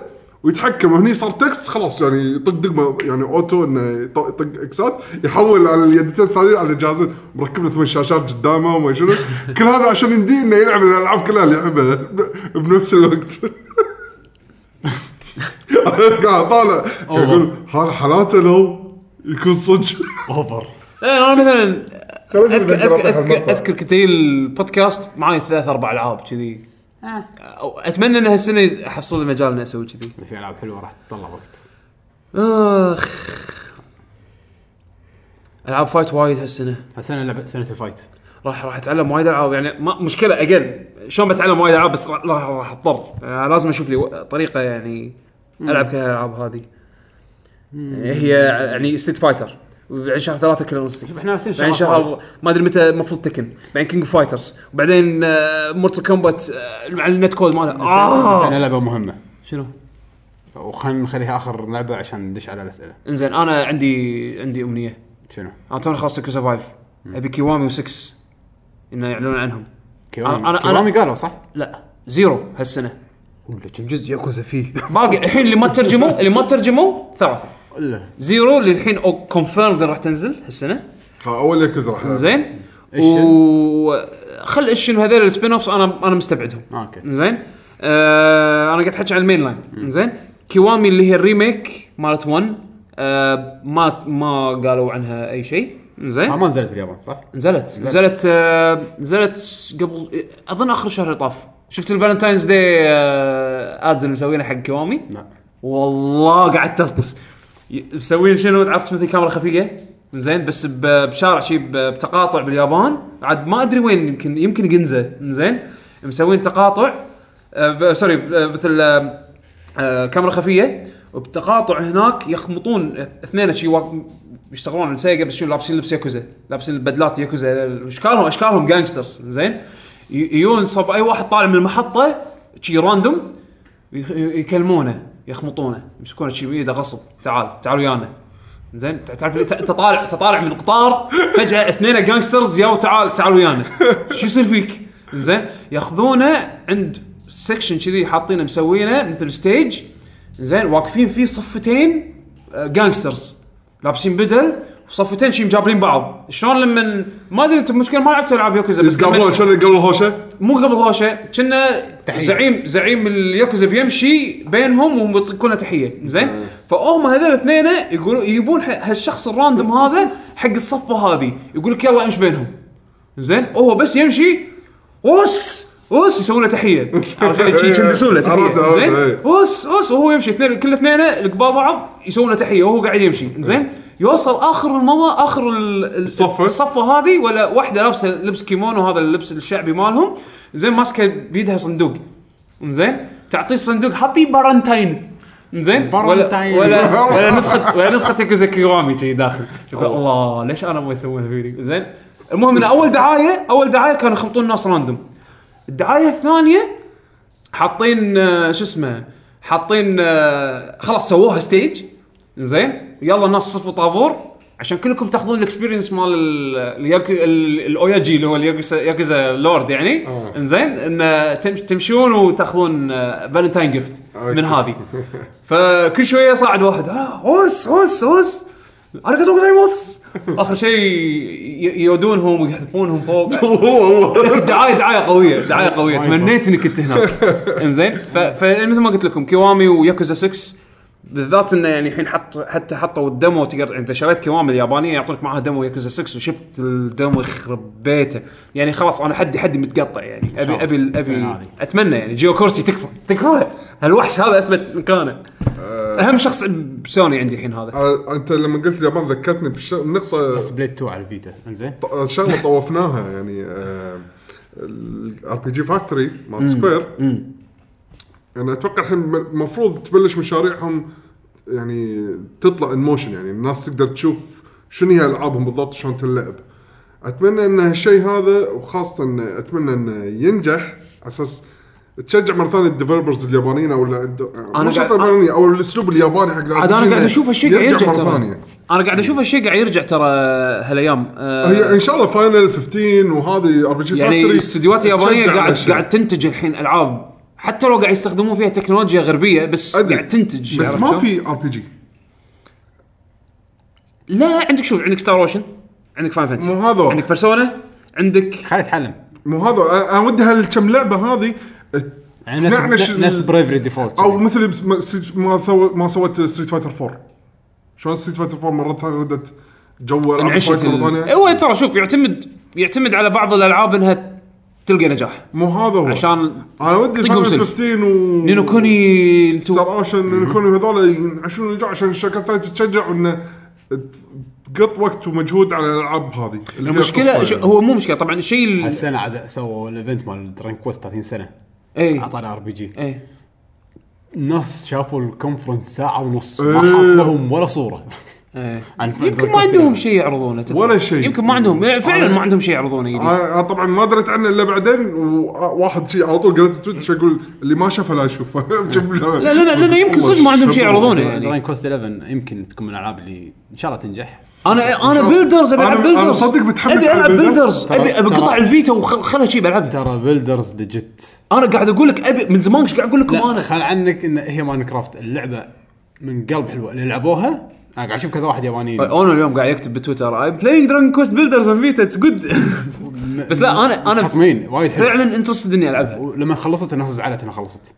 Speaker 3: ويتحكم هني صار تكست خلاص يعني يطق دقمه يعني اوتو انه يط- يطق اكسات يحول على اليدتين الثانيين على الجهازين مركب له ثمان شاشات قدامه وما شنو *laughs* كل هذا عشان يندي انه يلعب الالعاب كلها اللي يحبها ب- بنفس الوقت *laughs* قاعد طالع قاعد يقول هذا حالاته لو يكون صدق
Speaker 1: اوفر
Speaker 2: إيه، انا مثلا
Speaker 3: خلينا
Speaker 2: اذكر
Speaker 3: نرجع
Speaker 2: اذكر
Speaker 3: لواحد
Speaker 2: اذكر,
Speaker 3: المقطع.
Speaker 2: أذكر كنت جاي البودكاست معي ثلاث اربع العاب كذي أو اتمنى ان هالسنه احصل لي مجال اني اسوي كذي
Speaker 1: يعني في العاب حلوه راح تطلع وقت
Speaker 2: اخ العاب فايت وايد هالسنه
Speaker 1: هالسنه لعبة سنه الفايت
Speaker 2: راح راح اتعلم وايد العاب يعني ما مشكله اجين شلون بتعلم وايد العاب بس راح راح, راح اضطر يعني لازم اشوف لي و- طريقه يعني العب كل الالعاب هذه هي يعني ستيت فايتر بعدين شهر ثلاثة كلر انستنكت
Speaker 1: إحنا ناسين
Speaker 2: بعدين
Speaker 1: شغلات
Speaker 2: شهر ما ادري متى المفروض تكن بعدين كينج فايترز وبعدين مورتل كومبات مع النت كود ماله آه.
Speaker 1: انا لعبه مهمه
Speaker 2: شنو؟
Speaker 1: وخلينا نخليها اخر لعبه عشان ندش على الاسئله
Speaker 2: انزين انا عندي عندي امنيه
Speaker 1: شنو؟
Speaker 2: انا توني خلاص تكو سرفايف ابي كيوامي و6 انه يعلنون عنهم
Speaker 1: كيوامي
Speaker 2: أنا- أنا-
Speaker 1: كيوامي قالوا صح؟
Speaker 2: لا زيرو هالسنه
Speaker 1: ولا كم جزء ياكوزا فيه؟ *laughs*
Speaker 2: باقي الحين اللي ما ترجموا اللي ما ترجموا ثلاثه
Speaker 1: لا
Speaker 2: زيرو اللي الحين او كونفيرمد راح تنزل هالسنه
Speaker 3: ها اول ياكوزا راح ألعب.
Speaker 2: زين
Speaker 1: إيشن.
Speaker 2: وخل اشن هذول السبين اوفس انا انا مستبعدهم
Speaker 1: اوكي
Speaker 2: زين آه انا قاعد احكي عن المين لاين زين كيوامي اللي هي الريميك مالت 1 آه ما ما قالوا عنها اي شيء زين
Speaker 1: آه، ما نزلت باليابان صح؟
Speaker 2: نزلت نزلت آه، نزلت قبل اظن اخر شهر اللي طاف شفت الفالنتاينز داي آه، ادز اللي مسوينه حق كيوامي
Speaker 1: لا
Speaker 2: والله قعدت الطس ي- مسوين شنو عرفت مثل كاميرا خفيه زين بس ب- بشارع شي ب- بتقاطع باليابان عاد ما ادري وين يمكن يمكن جنزه زين مسوين تقاطع آه، ب- سوري ب- آه، مثل آه، آه، كاميرا خفيه وبتقاطع هناك يخمطون اثنين شي واق- يشتغلون على سيجا بس شو لابسين لبس ياكوزا لابسين البدلات ياكوزا اشكالهم اشكالهم جانجسترز زين ي- يجون صب اي واحد طالع من المحطه شي راندوم يخ- يكلمونه يخمطونه يمسكونه شي بايده غصب تعال تعال ويانا زين تع- تعرف اللي ت- انت طالع انت طالع من القطار فجاه اثنين جانجسترز ياو تعال تعال ويانا شو يصير فيك؟ زين ياخذونه عند سكشن كذي حاطينه مسوينه مثل ستيج زين واقفين فيه صفتين جانجسترز لابسين بدل وصفتين شي مجابلين بعض شلون لما ما ادري انت المشكله ما لعبت العاب يوكوزا بس لما-
Speaker 3: يتقابلون شلون يتقابلون هوشه
Speaker 2: مو قبل هوشه كنا
Speaker 1: تحية.
Speaker 2: زعيم زعيم الياكوزا بيمشي بينهم ويطلقون له تحيه زين
Speaker 3: آه.
Speaker 2: فهم هذول الاثنين يقولون يبون ه- هالشخص الراندوم هذا حق الصفه هذه يقول لك يلا امش بينهم زين هو بس يمشي اوس اوس يسوون له
Speaker 3: *laughs*
Speaker 2: تحيه عرفت شي- شي يدسون له
Speaker 3: عرفت-
Speaker 2: تحيه
Speaker 3: عرفت،
Speaker 2: زين
Speaker 3: إيه.
Speaker 2: اوس اوس وهو يمشي اثنين كل اثنين قبال بعض يسوون له تحيه وهو قاعد يمشي زين يوصل اخر المضى اخر ال- ال-
Speaker 3: الصفة.
Speaker 2: الصفه هذه ولا واحده لابسه لبس كيمونو هذا اللبس الشعبي مالهم زين ماسكه بيدها صندوق زين تعطيه صندوق هابي بارنتاين زين
Speaker 1: بارنتاين.
Speaker 2: ولا ولا, ولا نسخه ولا نسخه يكوزا كيوامي جي داخل يقول الله ليش انا ما يسوونها فيني زين المهم ان اول دعايه اول دعايه كانوا يخبطون ناس راندوم الدعايه الثانيه حاطين آه، شو اسمه حاطين آه، خلاص سووها ستيج زين يلا ناس صفوا طابور عشان كلكم تاخذون الاكسبيرينس مال ال- الياكو- ال- الاوياجي اللي هو الياكوزا ياكوزا لورد يعني
Speaker 3: آه.
Speaker 2: انزين ان آه، تم- تمشون وتاخذون آه، فالنتاين جفت من هذه فكل شويه صاعد واحد آه، اوس اوس اوس انا قاعد اوس اخر شيء ي- يودونهم ويحذفونهم فوق
Speaker 3: *laughs*
Speaker 2: *laughs*
Speaker 3: والله
Speaker 2: دعايه دعايه
Speaker 1: *laughs*
Speaker 2: قويه دعايه قويه تمنيت اني كنت هناك انزين ف- فمثل ما قلت لكم كيوامي وياكوزا 6 بالذات انه يعني الحين حط حتى حطوا الدمو تقدر اذا شريت كوامل اليابانيه يعطونك معاها دمو ياكوزا 6 وشفت الدمو يخرب بيته يعني خلاص انا حدي حدي متقطع يعني ابي
Speaker 1: خلاص،
Speaker 2: ابي
Speaker 1: زين
Speaker 2: ابي
Speaker 1: هذه.
Speaker 2: اتمنى يعني جيو كورسي تكفى تكفى هالوحش هذا اثبت مكانه اهم شخص بسوني عندي الحين هذا
Speaker 3: آه، انت لما قلت اليابان ذكرتني بنقطه
Speaker 1: بس بليد 2 على الفيتا انزين
Speaker 3: ط- شغله طوفناها يعني الار بي جي فاكتوري مال سكوير انا اتوقع الحين م- المفروض تبلش مشاريعهم يعني تطلع ان موشن يعني الناس تقدر تشوف شنو هي العابهم بالضبط شلون تنلعب اتمنى ان هالشيء هذا وخاصه إن اتمنى انه ينجح على اساس تشجع مره ثانيه الديفلوبرز اليابانيين او
Speaker 2: أنا
Speaker 3: انا
Speaker 2: قاعد-
Speaker 3: قاعد او الاسلوب الياباني حق
Speaker 2: عاد انا قاعد اشوف
Speaker 3: الشيء
Speaker 2: هالشيء قاعد يرجع
Speaker 3: مره
Speaker 2: ترى
Speaker 3: ثانيه
Speaker 2: انا قاعد اشوف هالشيء قاعد يرجع ترى هالايام آه،
Speaker 3: هي ان شاء الله فاينل 15 وهذه ار بي جي
Speaker 2: يعني الاستديوهات اليابانيه قاعد قاعد
Speaker 3: قاعد
Speaker 2: تنتج الحين العاب حتى لو قاعد يستخدمون فيها تكنولوجيا غربيه بس
Speaker 3: أدري.
Speaker 2: قاعد تنتج
Speaker 3: بس
Speaker 2: عرفت
Speaker 3: ما
Speaker 2: شلون؟
Speaker 3: في ار بي جي
Speaker 2: لا عندك شوف عندك ستار اوشن عندك فاين فانسي
Speaker 3: مو هذول.
Speaker 2: عندك بيرسونا عندك
Speaker 1: خلي اتحلم
Speaker 3: مو هذا أ- انا ودي هالكم لعبه هذه
Speaker 1: يعني نفس
Speaker 3: نعنش ال-
Speaker 1: نفس يعني بريفري ديفولت
Speaker 3: او مثل بس- ما- س- ما سو- ما سوت ستريت فايتر 4 شلون ستريت فايتر 4 مره ثانيه ردت جو ألعاب
Speaker 2: انعشت
Speaker 3: الفايت
Speaker 2: ال-
Speaker 3: مرة ثانية.
Speaker 2: هو إيه، ترى شوف يعتمد يعتمد على بعض الالعاب انها تلقى نجاح
Speaker 3: مو هذا هو
Speaker 2: عشان
Speaker 3: انا ودي
Speaker 2: تلقهم
Speaker 3: فاينل
Speaker 2: سيلف.
Speaker 3: 15 و
Speaker 2: نينو كوني انتو-
Speaker 3: ستار اوشن نينو كوني هذول ينعشون الجو عشان الشركات الثانيه تتشجع انه ت- تقط وقت ومجهود على الالعاب هذه اللي فيها
Speaker 2: المشكله
Speaker 3: قصة
Speaker 2: شو-
Speaker 3: يعني.
Speaker 2: هو مو مشكله طبعا الشيء ال-
Speaker 1: هالسنه عاد سووا الايفنت مال درانك كويست 30 سنه
Speaker 2: اي
Speaker 1: اعطانا ار بي جي
Speaker 2: اي
Speaker 1: الناس شافوا الكونفرنس ساعه ونص ما
Speaker 3: إيه.
Speaker 1: حاط لهم ولا صوره
Speaker 2: اي
Speaker 1: عن فاينل
Speaker 2: إيه. يمكن ما
Speaker 1: فانتسي.
Speaker 2: عندهم شيء يعرضونه تدري.
Speaker 3: ولا شيء.
Speaker 2: يمكن ما عندهم فعلا ما عندهم شيء يعرضونه جديد
Speaker 3: انا طبعا آه، ما دريت عنه الا بعدين وواحد شي على طول قريت التويت شو اقول اللي ما شافه لا يشوفه *laughs*
Speaker 2: لا لا لا يمكن صدق ما عندهم شيء يعرضونه يعني
Speaker 1: درانك كوست 11 يمكن تكون من الالعاب اللي ان شاء الله تنجح
Speaker 2: انا انا بيلدرز ابي العب
Speaker 3: أنا-
Speaker 2: بيلدرز
Speaker 3: أنا صدق متحمس
Speaker 2: ابي
Speaker 3: على
Speaker 2: العب
Speaker 3: بيلدرز.
Speaker 2: بيلدرز
Speaker 1: ترى-
Speaker 2: ابي ابي قطع
Speaker 1: ترى-
Speaker 2: الفيتا وخلها شي بلعبها
Speaker 1: ترى بيلدرز ديجيت
Speaker 2: انا قاعد اقول لك ابي من زمان ايش قاعد اقول لكم
Speaker 1: لا
Speaker 2: انا
Speaker 1: خل عنك ان هي ماينكرافت اللعبه من قلب حلوه اللي لعبوها انا قاعد اشوف كذا واحد ياباني
Speaker 2: انا اليوم قاعد يكتب بتويتر اي بلاينج دراجون كوست بيلدرز اون فيتا اتس *laughs* جود بس لا انا انا
Speaker 1: مين وايد حلو
Speaker 2: فعلا انترستد اني العبها
Speaker 1: ولما خلصت الناس زعلت انها خلصت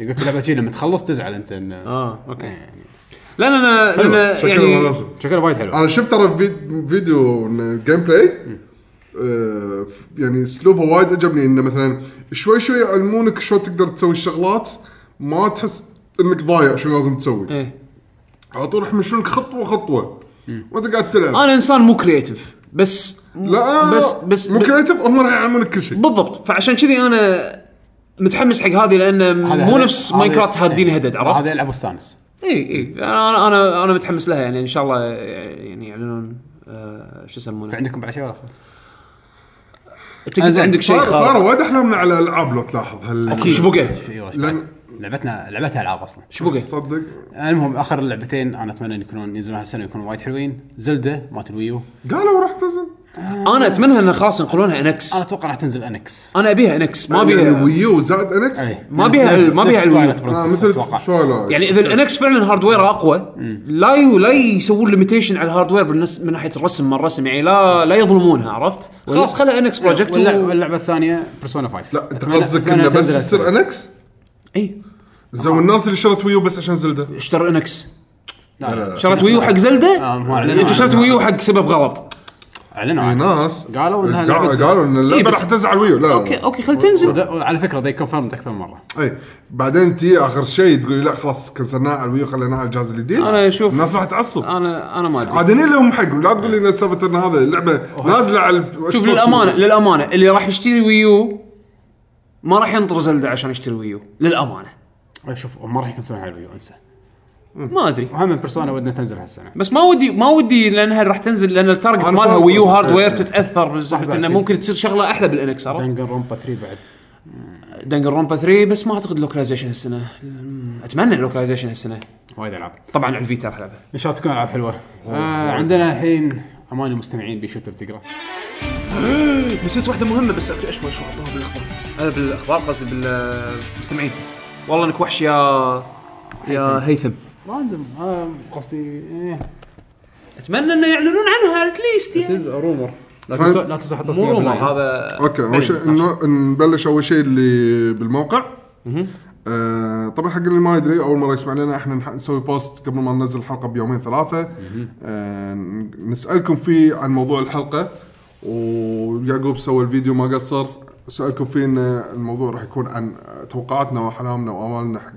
Speaker 1: يقول لك لعبه شي لما تخلص تزعل انت إن
Speaker 3: آه،
Speaker 2: اه اوكي لا لا لا
Speaker 1: حلوة.
Speaker 2: لأن
Speaker 3: شكله
Speaker 2: يعني
Speaker 3: مناسب.
Speaker 1: شكلها وايد حلو
Speaker 3: انا شفت ترى في- فيديو من جيم بلاي آه، يعني اسلوبها وايد عجبني انه مثلا شوي شوي يعلمونك شلون تقدر تسوي الشغلات ما تحس انك ضايع شو لازم تسوي
Speaker 2: إيه.
Speaker 3: على طول يحمشونك خطوه خطوه وانت قاعد تلعب
Speaker 2: انا انسان مو كرييتيف بس
Speaker 3: لا
Speaker 2: آه، بس بس
Speaker 3: مو كريتيف هم راح يعلمونك كل شيء
Speaker 2: بالضبط فعشان كذي انا متحمس حق هذه لان
Speaker 1: هذا-
Speaker 2: مو
Speaker 1: هذا-
Speaker 2: نفس
Speaker 1: هذا- إيه.
Speaker 2: ماينكرافت
Speaker 3: إيه.
Speaker 2: هادين هدد عرفت؟
Speaker 1: هذا يلعب مستانس
Speaker 2: اي اي انا انا انا متحمس لها يعني ان شاء الله يعني يعلنون آه، شو يسمونه
Speaker 1: عندكم بعد شيء ولا خلاص؟
Speaker 2: انت كنت
Speaker 1: أنزين.
Speaker 2: عندك شيء
Speaker 3: صار صار
Speaker 2: خارق
Speaker 3: وايد احلامنا على الالعاب لو تلاحظ هال
Speaker 2: اكيد شبوقه
Speaker 1: ايوه
Speaker 3: لأن-
Speaker 1: بعد؟ لعبتنا لعبتها العاب اصلا
Speaker 2: شبوقه
Speaker 3: تصدق
Speaker 1: المهم اخر لعبتين انا اتمنى ان يكونون ينزلون هالسنه يكونون وايد حلوين زلده مالت الويو
Speaker 3: قالوا راح تنزل
Speaker 2: انا اتمنى ان خلاص ينقلونها انكس
Speaker 1: انا اتوقع راح تنزل انكس
Speaker 2: انا ابيها انكس ما إيه.
Speaker 3: يعني
Speaker 2: ابيها
Speaker 3: ويو زائد انكس
Speaker 2: ما بيها- ما بيها الويو.
Speaker 3: آه،
Speaker 1: مثل اتوقع
Speaker 3: شو
Speaker 2: يعني اذا الانكس فعلا هاردوير اقوى لا ي- لا يسوون ليميتيشن على الهاردوير بالنس- من ناحيه الرسم ما الرسم يعني لا لا يظلمونها عرفت؟ خلاص خلها انكس بروجكت
Speaker 1: واللعبه,
Speaker 2: و...
Speaker 1: واللعبة الثانيه بيرسونا 5
Speaker 3: لا انت
Speaker 1: أتمنى-
Speaker 3: قصدك
Speaker 1: أتمنى
Speaker 3: انه بس
Speaker 1: تنزل
Speaker 3: يصير
Speaker 1: هالسنة.
Speaker 3: انكس
Speaker 2: اي
Speaker 3: زو الناس اللي شرت ويو بس عشان زلده
Speaker 2: اشترى انكس
Speaker 1: لا، لا، لا.
Speaker 2: شرت ويو حق زلده
Speaker 1: آه، ما أعلنوا
Speaker 2: انت شرت
Speaker 1: عنها.
Speaker 2: ويو حق سبب غلط
Speaker 1: اعلنوا
Speaker 2: آه.
Speaker 3: في
Speaker 1: عنها.
Speaker 3: ناس
Speaker 1: قالوا إنها
Speaker 3: قا-
Speaker 1: لعبة-
Speaker 3: قالوا ان
Speaker 2: إيه،
Speaker 3: اللعبه
Speaker 2: بس-
Speaker 3: راح تنزل على الويو لا
Speaker 2: اوكي
Speaker 3: اوكي
Speaker 2: اوكي خل تنزل
Speaker 1: وده- وعلى فكره ذي كونفيرمد اكثر من مره
Speaker 3: اي إيه. بعدين تي اخر شيء تقول لا خلاص كنسلناها على الويو خليناها على الجهاز الجديد
Speaker 2: أنا أشوف-
Speaker 3: الناس راح تعصب
Speaker 2: انا انا ما ادري
Speaker 3: عاد هني لهم حق لا تقول لي ان سالفه ان هذا اللعبه نازله على ال-
Speaker 2: شوف
Speaker 3: Xbox
Speaker 2: للامانه
Speaker 3: One.
Speaker 2: للامانه اللي راح يشتري ويو ما راح ينطر زلدة عشان يشتري ويو للامانه
Speaker 1: شوف ما راح يكون على الويو انسى
Speaker 2: ما ادري
Speaker 1: وهم بيرسونا ودنا تنزل هالسنه
Speaker 2: بس ما ودي ما ودي لانها راح تنزل لان التارجت
Speaker 3: أنا
Speaker 2: مالها
Speaker 3: فاهم.
Speaker 2: ويو
Speaker 3: إيه.
Speaker 2: هاردوير تتاثر بسالفه انه
Speaker 1: أكيد.
Speaker 2: ممكن تصير شغله احلى بالانكس عرفت؟
Speaker 1: دنجر رومبا 3 بعد
Speaker 2: دنجر رومبا 3 بس ما اعتقد لوكلايزيشن هالسنه أمم، اتمنى لوكلايزيشن هالسنه
Speaker 1: وايد العاب
Speaker 2: طبعا على الفيتا راح العبها
Speaker 1: ان شاء الله تكون العاب حلوه آه عندنا الحين امان المستمعين بيشوتوا بتقرا
Speaker 2: إيه، نسيت واحده مهمه بس أك- اشوي شوي احطوها بالاخبار آه، بالاخبار قصدي بالمستمعين والله انك وحش يا يا هيثم
Speaker 1: راندوم آه قصدي ايه
Speaker 2: اتمنى انه يعلنون عنها اتليست يعني
Speaker 1: تز رومر لا
Speaker 3: فاهم؟
Speaker 1: تنسى لا تنسى حط
Speaker 2: مو رومر هذا
Speaker 3: اوكي اول شيء
Speaker 2: بلي.
Speaker 3: إنه- نبلش اول شيء اللي بالموقع آه، طبعا حق اللي ما يدري اول مره يسمع لنا احنا نح- نسوي بوست قبل ما ننزل الحلقه بيومين ثلاثه آه، ن- نسالكم فيه عن موضوع الحلقه ويعقوب سوى الفيديو ما قصر سالكم فيه ان الموضوع راح يكون عن توقعاتنا واحلامنا وامالنا حق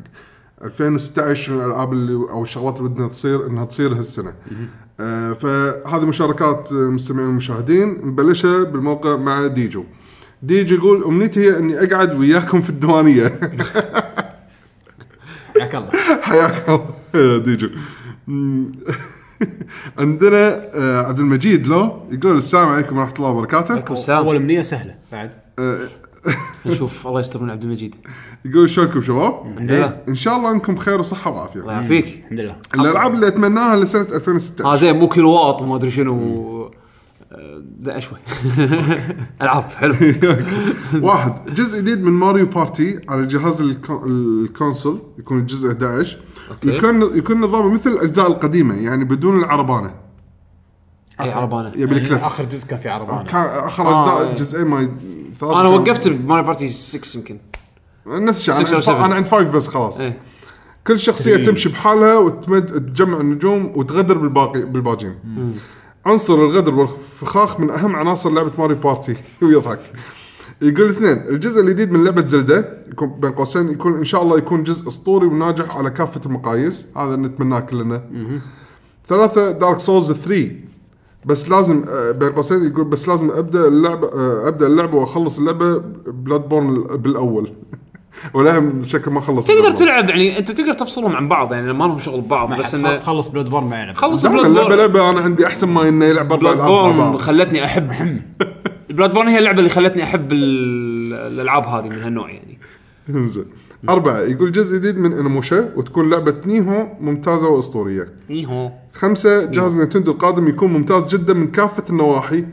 Speaker 3: 2016 شنو الالعاب اللي او الشغلات اللي بدنا تصير انها تصير هالسنه. آه، فهذه مشاركات المستمعين والمشاهدين نبلشها بالموقع مع ديجو. ديجو يقول امنيتي هي اني اقعد وياكم في *laughs* الديوانيه.
Speaker 1: حياك
Speaker 2: *laughs*
Speaker 1: الله
Speaker 3: حياك الله *laughs* يا ديجو مم. عندنا آه، عبد المجيد لو يقول السلام عليكم ورحمه الله وبركاته آه،
Speaker 2: عليكم السلام
Speaker 1: اول امنيه سهله بعد
Speaker 2: نشوف الله يستر من عبد المجيد
Speaker 3: *laughs* يقول شلونكم شباب؟
Speaker 2: الحمد لله
Speaker 3: ان شاء الله انكم بخير وصحه
Speaker 2: الله
Speaker 3: وعافيه
Speaker 2: يعافيك
Speaker 1: الحمد لله
Speaker 3: الالعاب اللي اتمناها لسنه
Speaker 2: اه *laughs*
Speaker 3: 2016
Speaker 2: زين مو كل واط وما ادري شنو آه، دقه شوي العاب حلو
Speaker 3: واحد جزء جديد من ماريو بارتي على جهاز الكو- الكونسول يكون الجزء 11
Speaker 2: أوكي.
Speaker 3: يكون يكون نظامه مثل الاجزاء القديمه يعني بدون العربانه
Speaker 2: اي عربانه
Speaker 3: يبي الكلاسيك
Speaker 1: اخر يعني جزء كان في عربانه
Speaker 3: كان اخر
Speaker 2: آه،
Speaker 3: اجزاء
Speaker 2: إيه.
Speaker 3: جزئين ما ثلاثة
Speaker 2: انا
Speaker 3: كانوا-
Speaker 2: وقفت بماري بارتي 6 يمكن
Speaker 3: نفس الشيء
Speaker 2: Six or
Speaker 3: أنا-
Speaker 2: seven.
Speaker 3: انا عند فايف بس خلاص
Speaker 2: ايه
Speaker 3: كل شخصيه تمشي بحالها وتمد تجمع النجوم وتغدر بالباقي بالباجين عنصر الغدر والفخاخ من اهم عناصر لعبه ماري بارتي *laughs* ويضحك يقول اثنين الجزء الجديد من لعبه زلدة يكون بين قوسين يكون ان شاء الله يكون جزء اسطوري وناجح على كافه المقاييس هذا نتمناه كلنا ثلاثة دارك سولز 3 بس لازم آه، بين قوسين يقول بس لازم ابدا اللعبه آه، ابدا اللعبه واخلص اللعبه بلاد بورن بالاول *laughs* ولا شكل ما خلص
Speaker 2: تقدر
Speaker 3: Bloodborne.
Speaker 2: تلعب يعني انت تقدر تفصلهم عن بعض يعني ما لهم شغل ببعض بس انه
Speaker 1: خلص بلود بورن مع يلعب
Speaker 2: خلص
Speaker 3: زحمة
Speaker 2: بلاد
Speaker 3: اللعبة
Speaker 2: بورن
Speaker 3: لعبة انا عندي احسن ما انه يلعب اربع
Speaker 2: بلاد
Speaker 3: العاب مع
Speaker 2: بورن
Speaker 3: بعض
Speaker 2: خلتني احب بلاد بورن هي اللعبه اللي خلتني احب ال- الالعاب هذه من هالنوع يعني
Speaker 3: انزين أربعة يقول جزء جديد من انموشا وتكون لعبة نيهو ممتازة واسطورية.
Speaker 2: نيهو
Speaker 3: خمسة جهاز نينتندو القادم يكون ممتاز جدا من كافة النواحي.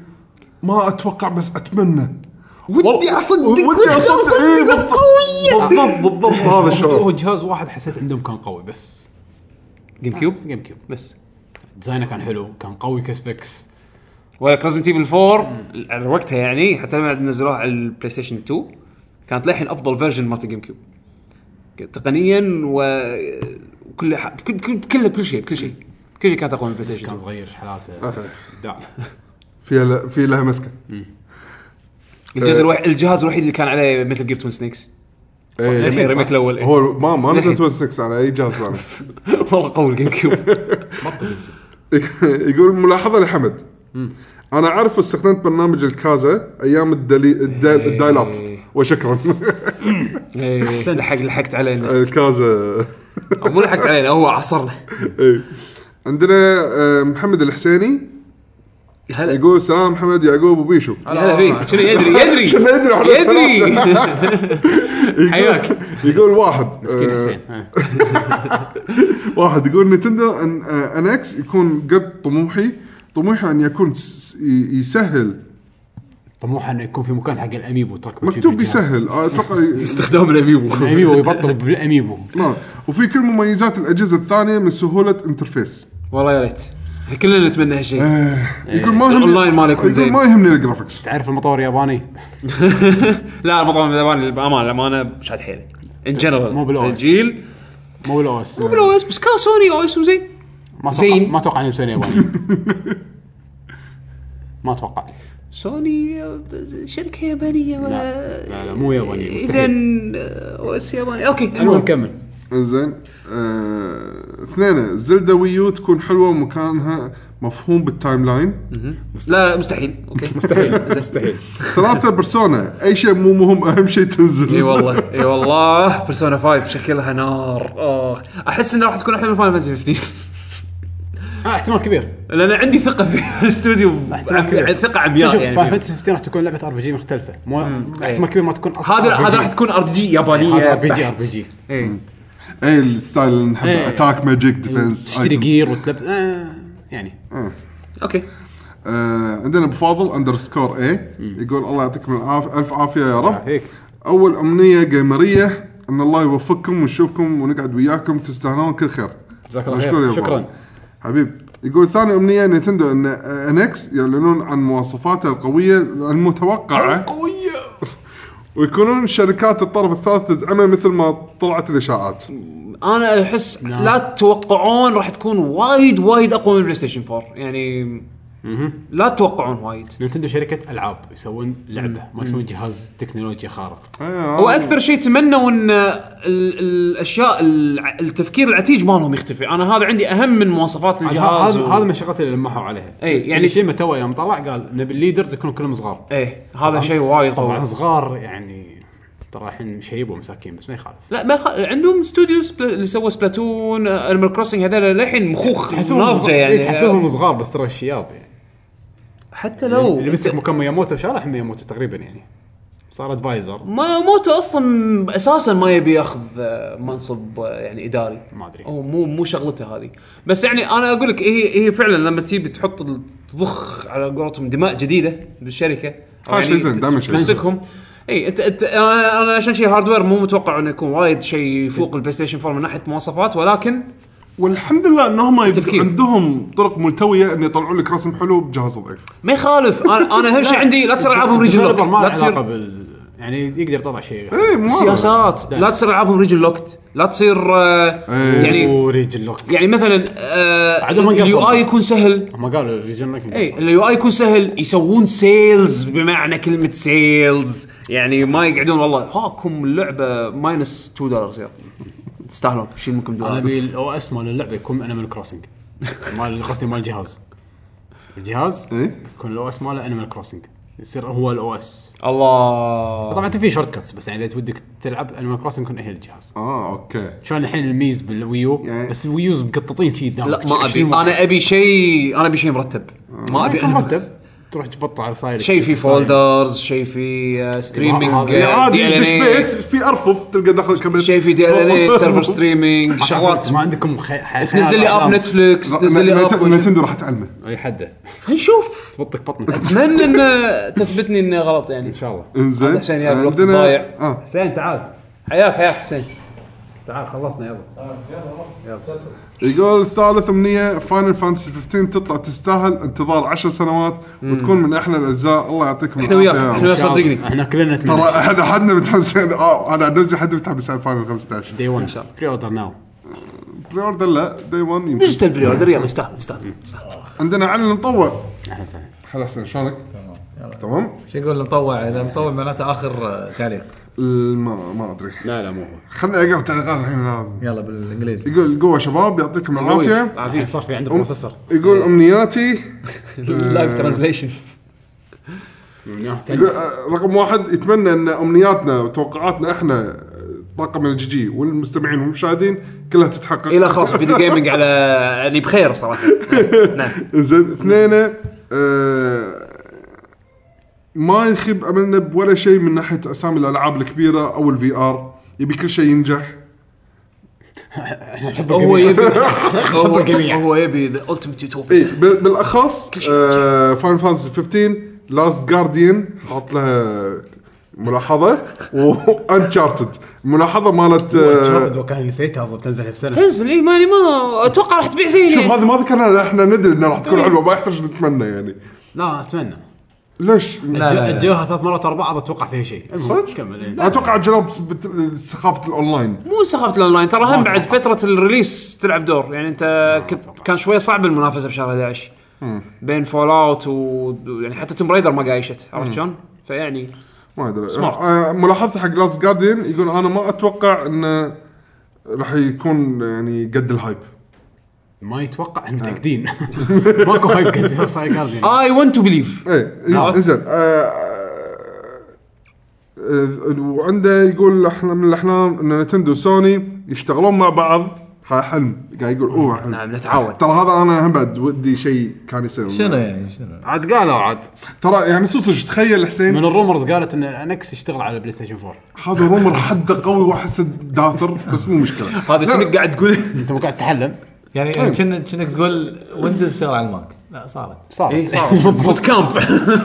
Speaker 3: ما اتوقع بس اتمنى.
Speaker 2: ودي أصدق،
Speaker 3: ودي اصدق إيه،
Speaker 2: بس
Speaker 3: بالضبط.
Speaker 2: قوية.
Speaker 3: بالضبط بالضبط *laughs* هذا
Speaker 1: هو
Speaker 3: الشعور.
Speaker 1: جهاز واحد حسيت عندهم كان قوي بس
Speaker 2: جيم كيوب
Speaker 1: جيم كيوب
Speaker 2: بس
Speaker 1: ديزاينه كان حلو كان قوي كسبكس
Speaker 2: ولا ريزنت ايفل 4 على وقتها يعني حتى لما نزلوها على البلاي ستيشن 2 كانت للحين افضل فيرجن مالت الجيم كيوب تقنيا وكل ح... كل كل كل, كل شيء كل شيء كل شيء كانت اقوى من البلاي
Speaker 1: بس
Speaker 2: ستيشن
Speaker 1: كان
Speaker 2: 2.
Speaker 1: صغير حالاته
Speaker 3: أخي،
Speaker 1: داع
Speaker 3: فيها ل- في لها مسكة.
Speaker 2: الجزء الوحيد الجهاز الوحيد اللي كان عليه مثل جير تون سنيكس
Speaker 3: إيه.
Speaker 1: للحين صح.
Speaker 2: الريميك الاول إيه.
Speaker 3: هو ما ما
Speaker 2: للحين.
Speaker 3: نزلت 6 على اي جهاز ثاني.
Speaker 2: *laughs*
Speaker 3: *laughs*
Speaker 2: والله قوي الجيم كيوب
Speaker 3: يقول ملاحظه لحمد انا اعرف استخدمت برنامج الكازا ايام الدلي الدا- الدايل اب
Speaker 2: إيه.
Speaker 3: *laughs* وشكرا
Speaker 2: إيه، لحق لحقت علينا
Speaker 3: الكازا *laughs*
Speaker 2: أو مو لحقت علينا هو عصرنا
Speaker 3: إيه. عندنا آه، محمد الحسيني
Speaker 2: هلا
Speaker 3: يقول سلام محمد يعقوب وبيشو
Speaker 2: هلا فيك شنو يدري يدري
Speaker 3: شنو يدري على
Speaker 2: يدري *laughs*
Speaker 3: يقول-
Speaker 2: حياك.
Speaker 3: يقول واحد
Speaker 1: مسكين
Speaker 2: أه.
Speaker 3: آه،
Speaker 1: حسين ها.
Speaker 3: واحد يقول نتندو ان آه، انكس يكون قد طموحي طموحي ان يكون س- ي- يسهل
Speaker 1: طموحه انه يكون في مكان حق الاميبو ترك موجود
Speaker 3: مكتوب
Speaker 1: بالجهاز.
Speaker 3: يسهل آه، اتوقع ي-
Speaker 2: استخدام الاميبو
Speaker 1: الاميبو يبطل بالاميبو
Speaker 3: نعم. وفي كل مميزات الاجهزه الثانيه من سهوله انترفيس
Speaker 2: والله يا ريت كلنا نتمنى هالشيء
Speaker 3: آه، يقول ما يهمني
Speaker 2: الأونلاين ماله إيه. يكون
Speaker 3: يقول
Speaker 2: زين.
Speaker 3: ما يهمني الجرافكس
Speaker 1: تعرف المطور الياباني *laughs*
Speaker 2: لا المطعم الياباني بامانه الامانه شاد حيله ان جنرال
Speaker 1: مو بالOS.
Speaker 2: الجيل
Speaker 1: مو بالاو اس
Speaker 2: مو بالاو اس بس كان سوني او اس زين
Speaker 1: ما
Speaker 2: زين.
Speaker 1: اتوقع ما اتوقع انه مسوي *laughs* ياباني ما اتوقع
Speaker 2: سوني آه، شركه يابانيه ولا
Speaker 1: لا لا مو ياباني
Speaker 2: اذا
Speaker 1: مستحيل
Speaker 2: او اس ياباني اوكي
Speaker 1: المهم
Speaker 2: المهم
Speaker 1: كمل
Speaker 3: انزين آه، اثنين زلدا ويو تكون حلوه ومكانها مفهوم بالتايم لاين
Speaker 2: لا لا مستحيل اوكي
Speaker 1: *laughs*
Speaker 2: *laughs*
Speaker 1: مستحيل
Speaker 2: طيب.
Speaker 1: مستحيل
Speaker 3: ثلاثه بيرسونا اي شيء مو مهم اهم شيء تنزل
Speaker 2: اي والله اي والله بيرسونا 5 شكلها نار اخ احس انها راح تكون احلى من فاينل فانتسي *laughs* 15
Speaker 1: اه احتمال كبير
Speaker 2: لان عندي ثقه في *laughs* الاستوديو
Speaker 1: احتمال كبير.
Speaker 2: ثقه
Speaker 1: شوف
Speaker 2: يعني عمياء
Speaker 1: شوف فاينل
Speaker 2: يعني
Speaker 1: فانتسي 15 راح تكون لعبه ار بي جي مختلفه مو
Speaker 2: إيه.
Speaker 1: احتمال كبير ما تكون اصلا
Speaker 2: هذا
Speaker 1: RPG.
Speaker 2: هذا راح تكون ار بي جي يابانيه
Speaker 1: هذا ار بي جي ار
Speaker 2: بحت.
Speaker 1: بي جي
Speaker 2: إيه.
Speaker 3: اي الستايل اللي نحبه
Speaker 1: إيه.
Speaker 3: اتاك ماجيك ديفنس
Speaker 1: تشتري جير وتلب آه، يعني
Speaker 2: اوكي
Speaker 3: آه، عندنا ابو فاضل اندرسكور اي يقول الله يعطيكم العاف- الف عافيه يا رب
Speaker 1: يعافيك.
Speaker 3: اول امنيه جيمريه ان الله يوفقكم ونشوفكم ونقعد وياكم تستاهلون كل خير
Speaker 1: جزاك الله
Speaker 3: مشكور
Speaker 1: خير.
Speaker 3: يا أبو
Speaker 1: شكراً.
Speaker 3: فاضل. حبيب يقول ثاني امنيه نينتندو ان انكس يعلنون عن مواصفاتها القويه المتوقعه
Speaker 1: قويه
Speaker 3: ويكونون شركات الطرف الثالث تدعمه مثل ما طلعت الاشاعات
Speaker 2: انا احس لا تتوقعون راح تكون وايد وايد اقوى من بلاي ستيشن 4 يعني لا تتوقعون وايد
Speaker 1: نينتندو شركه العاب يسوون لعبه ما يسوون جهاز تكنولوجيا خارق
Speaker 2: هو اكثر شيء تمنوا ان ال- الاشياء الع- التفكير العتيج مالهم يختفي انا هذا عندي اهم من مواصفات
Speaker 1: هذا
Speaker 2: الجهاز
Speaker 1: هذا- هذا من الشغلات اللي لمحوا عليها
Speaker 2: إي، يعني-
Speaker 1: شيء ما تو يوم طلع قال نبي الليدرز يكونون كلهم صغار
Speaker 2: ايه هذا شيء وايد
Speaker 1: طبعا
Speaker 2: قوي
Speaker 1: صغار يعني ترى الحين شيبوا مساكين بس ما يخالف
Speaker 2: لا ما خ... عندهم استوديوز بل... اللي سووا سبلاتون انيمال كروسنج هذول للحين مخوخ
Speaker 1: تحسبهم
Speaker 2: ناضجه
Speaker 1: صغار- إي،
Speaker 2: يعني
Speaker 1: تحسبهم إيه، صغار بس ترى الشياب يعني
Speaker 2: حتى لو
Speaker 1: اللي مسك مكان مياموتو شارح مياموتو تقريبا يعني صار ادفايزر
Speaker 2: ما موتو اصلا اساسا ما يبي ياخذ آه، منصب آه، يعني اداري
Speaker 1: ما أدري.
Speaker 2: هو مو مو شغلته هذه بس يعني انا اقول لك هي هي فعلا لما تيجي تحط ال- تضخ على قولتهم دماء جديده بالشركه أو
Speaker 3: هذا آه، شيء زين، دائماً شيء زين.
Speaker 2: تمسكهم اي انت انت انا أنا عشان شيء هاردوير مو متوقع انه يكون وايد شيء يفوق البلاي ستيشن 4 من ناحيه مواصفات ولكن
Speaker 3: والحمد لله انهم يب-
Speaker 2: تفكير.
Speaker 3: عندهم طرق ملتويه ان يطلعوا لك رسم حلو بجهاز ضعيف
Speaker 2: ما يخالف انا انا اهم شيء عندي لا
Speaker 1: *laughs*
Speaker 2: تصير العابهم ريجن
Speaker 1: Developer
Speaker 2: لوك
Speaker 1: ما له
Speaker 2: لا
Speaker 1: علاقه
Speaker 2: تصير
Speaker 1: بال يعني يقدر يطلع شيء
Speaker 3: اي مو هذا.
Speaker 1: *laughs*
Speaker 2: سياسات لا تصير العابهم ريجن لوكت لا تصير آه،
Speaker 3: إيه.
Speaker 2: يعني
Speaker 1: وريجن لوك
Speaker 2: يعني مثلا
Speaker 1: عدم
Speaker 2: آه
Speaker 1: ما
Speaker 2: اليو
Speaker 1: قصروا.
Speaker 2: اي يكون سهل إيه،
Speaker 1: هم قالوا ريجن لوك
Speaker 2: اي اليو اي يكون سهل يسوون سيلز بمعنى كلمه سيلز يعني ما يقعدون والله هاكم اللعبه ماينس 2 دولار يلا تستاهلون شيل منكم
Speaker 1: انا
Speaker 2: دولار
Speaker 1: ابي الاو اس مال اللعبه يكون انيمال كروسنج *laughs* مال قصدي مال الجهاز الجهاس
Speaker 3: إيه.
Speaker 1: يكون الاو اس ماله انيمال كروسنج يصير هو الاو اس
Speaker 2: الله
Speaker 1: طبعا انت في شورت كاتس بس يعني اذا ودك تلعب انيمال كروسنج يكون هي الجهاز
Speaker 3: اه اوكي
Speaker 1: شلون الحين الميز بالويو
Speaker 3: يعني-
Speaker 1: بس الويوز مقططين شي
Speaker 2: لا ما ابي انا ابي شيء انا ابي شيء مرتب ما ابي أنا-
Speaker 1: مرتب تروح تبطع على صاير
Speaker 2: آه، شيء في فولدرز شيء في آه، ستريمينج
Speaker 1: هذا-
Speaker 3: عادي دش بيت في ارفف تلقى داخل الكاميرا
Speaker 2: شيء إيه. في دي ال
Speaker 3: *laughs*
Speaker 2: ان سيرفر ستريمينج شغلات
Speaker 1: ما عندكم خي... خي...
Speaker 2: نزل لي اب نتفلكس نزل لي اب
Speaker 3: نتندو راح تعلمه
Speaker 1: اي حده
Speaker 2: نشوف
Speaker 1: تبطك بطنك
Speaker 2: اتمنى ان تثبتني انه غلط يعني
Speaker 1: ان شاء الله
Speaker 3: انزين
Speaker 2: هذا عشان ياكل وقت ضايع.
Speaker 3: اه
Speaker 1: حسين تعال
Speaker 2: حياك حياك حسين
Speaker 1: تعال خلصنا يلا
Speaker 3: يقول الثالث امنيه فاينل فانتسي 15 تطلع تستاهل انتظار 10 سنوات وتكون من احلى الاجزاء الله يعطيكم
Speaker 2: إحنا
Speaker 3: العافية.
Speaker 2: وياك، إحنا- صدقني.
Speaker 1: احنا كلنا نتمنى
Speaker 3: ترى احنا حدنا متحمسين اه انا عن نفسي حد متحمس على فاينل 15
Speaker 1: دي 1 ان
Speaker 2: شاء الله.
Speaker 1: بري اوردر ناو
Speaker 3: بري اوردر لا داي 1 يمكن
Speaker 2: ديجيتال بري اوردر يلا يستاهل يستاهل يستاهل.
Speaker 3: عندنا علن مطوع
Speaker 1: اهلا وسهلا
Speaker 3: هلا حسين شلونك؟
Speaker 4: يلا.
Speaker 3: تمام؟
Speaker 4: شو يقول مطوع اذا مطوع معناته اخر آه، تعليق
Speaker 3: الم- ما ادري
Speaker 1: لا لا مو هو
Speaker 3: خلنا اقرا تعليقات الحين هذا.
Speaker 4: يلا بالانجليزي
Speaker 3: يقول قوه شباب يعطيكم العافيه
Speaker 1: الحين صار في عنده بروسيسور
Speaker 3: يقول امنياتي
Speaker 2: لايف ترانزليشن
Speaker 3: يقول آه، رقم واحد يتمنى ان امنياتنا وتوقعاتنا احنا طاقم الجي جي والمستمعين والمشاهدين كلها تتحقق
Speaker 2: الى خلاص فيديو جيمنج على يعني بخير صراحه نعم
Speaker 3: زين اثنين آه، ما يخيب املنا بولا شيء من ناحيه اسامي الالعاب الكبيره او الفي ار يبي كل شيء ينجح
Speaker 2: هو يبي هو-
Speaker 1: الجميع.
Speaker 2: هو يبي ذا التيمت
Speaker 3: اي
Speaker 2: يوتوبيا
Speaker 3: إيه،
Speaker 1: يعني.
Speaker 3: بال- آه، بالاخص فاين فانز 15 لاست جارديان حاط لها ملاحظه وانشارتد ملاحظه مالت آه،
Speaker 1: كان نسيتها اصلا تنزل هالسنه
Speaker 2: تنزل اي ماني ما اتوقع راح تبيع زين
Speaker 3: شوف
Speaker 2: يعني.
Speaker 3: هذه ما ذكرنا احنا ندري انها راح تكون حلوه ما يحتاج نتمنى يعني
Speaker 1: لا اتمنى
Speaker 3: ليش؟
Speaker 4: لا، لا.
Speaker 1: اجلوها ثلاث مرات اربعه اتوقع فيها شيء المهم
Speaker 3: صدق؟
Speaker 1: كمل إيه.
Speaker 3: اتوقع جرب بت- سخافه الاونلاين
Speaker 2: مو سخافه الاونلاين ترى هم
Speaker 1: ما
Speaker 2: بعد
Speaker 1: أتوقع.
Speaker 2: فتره الريليس تلعب دور يعني انت كنت
Speaker 1: أتوقع.
Speaker 2: كان شويه صعب المنافسه بشهر 11 بين فول اوت و يعني حتى توم رايدر ما قايشت عرفت شلون؟ فيعني
Speaker 3: ما ادري
Speaker 2: سمارت.
Speaker 3: آه، ملاحظتي حق لاست جارديان يقول انا ما اتوقع انه راح يكون يعني قد الهايب
Speaker 1: ما يتوقع احنا
Speaker 2: آه.
Speaker 1: متاكدين *laughs* ماكو هايب كنت صاير جارديان
Speaker 2: اي ونت تو بليف
Speaker 3: ايه
Speaker 2: عرفت؟
Speaker 3: انزين آه، آه، وعنده يقول احنا من الاحلام ان نتندو وسوني يشتغلون مع بعض ها حلم قاعد يقول اوه حلم
Speaker 2: نعم نتعاون
Speaker 3: ترى هذا انا هم بعد ودي شيء كان يصير
Speaker 4: شنو يعني شنو
Speaker 1: عاد قالوا عاد
Speaker 3: ترى يعني صدق صدق تخيل حسين
Speaker 1: من الرومرز قالت ان انكس يشتغل على بلاي ستيشن 4
Speaker 3: هذا رومر حده قوي واحس داثر بس مو مشكله
Speaker 2: هذا كأنك قاعد تقول
Speaker 1: *laughs* انت مو قاعد تحلم
Speaker 4: يعني
Speaker 1: طيب.
Speaker 4: كأنك- كأنك تقول ويندوز اشتغل على الماك لا صارت
Speaker 1: صار
Speaker 2: إيه. بوت كامب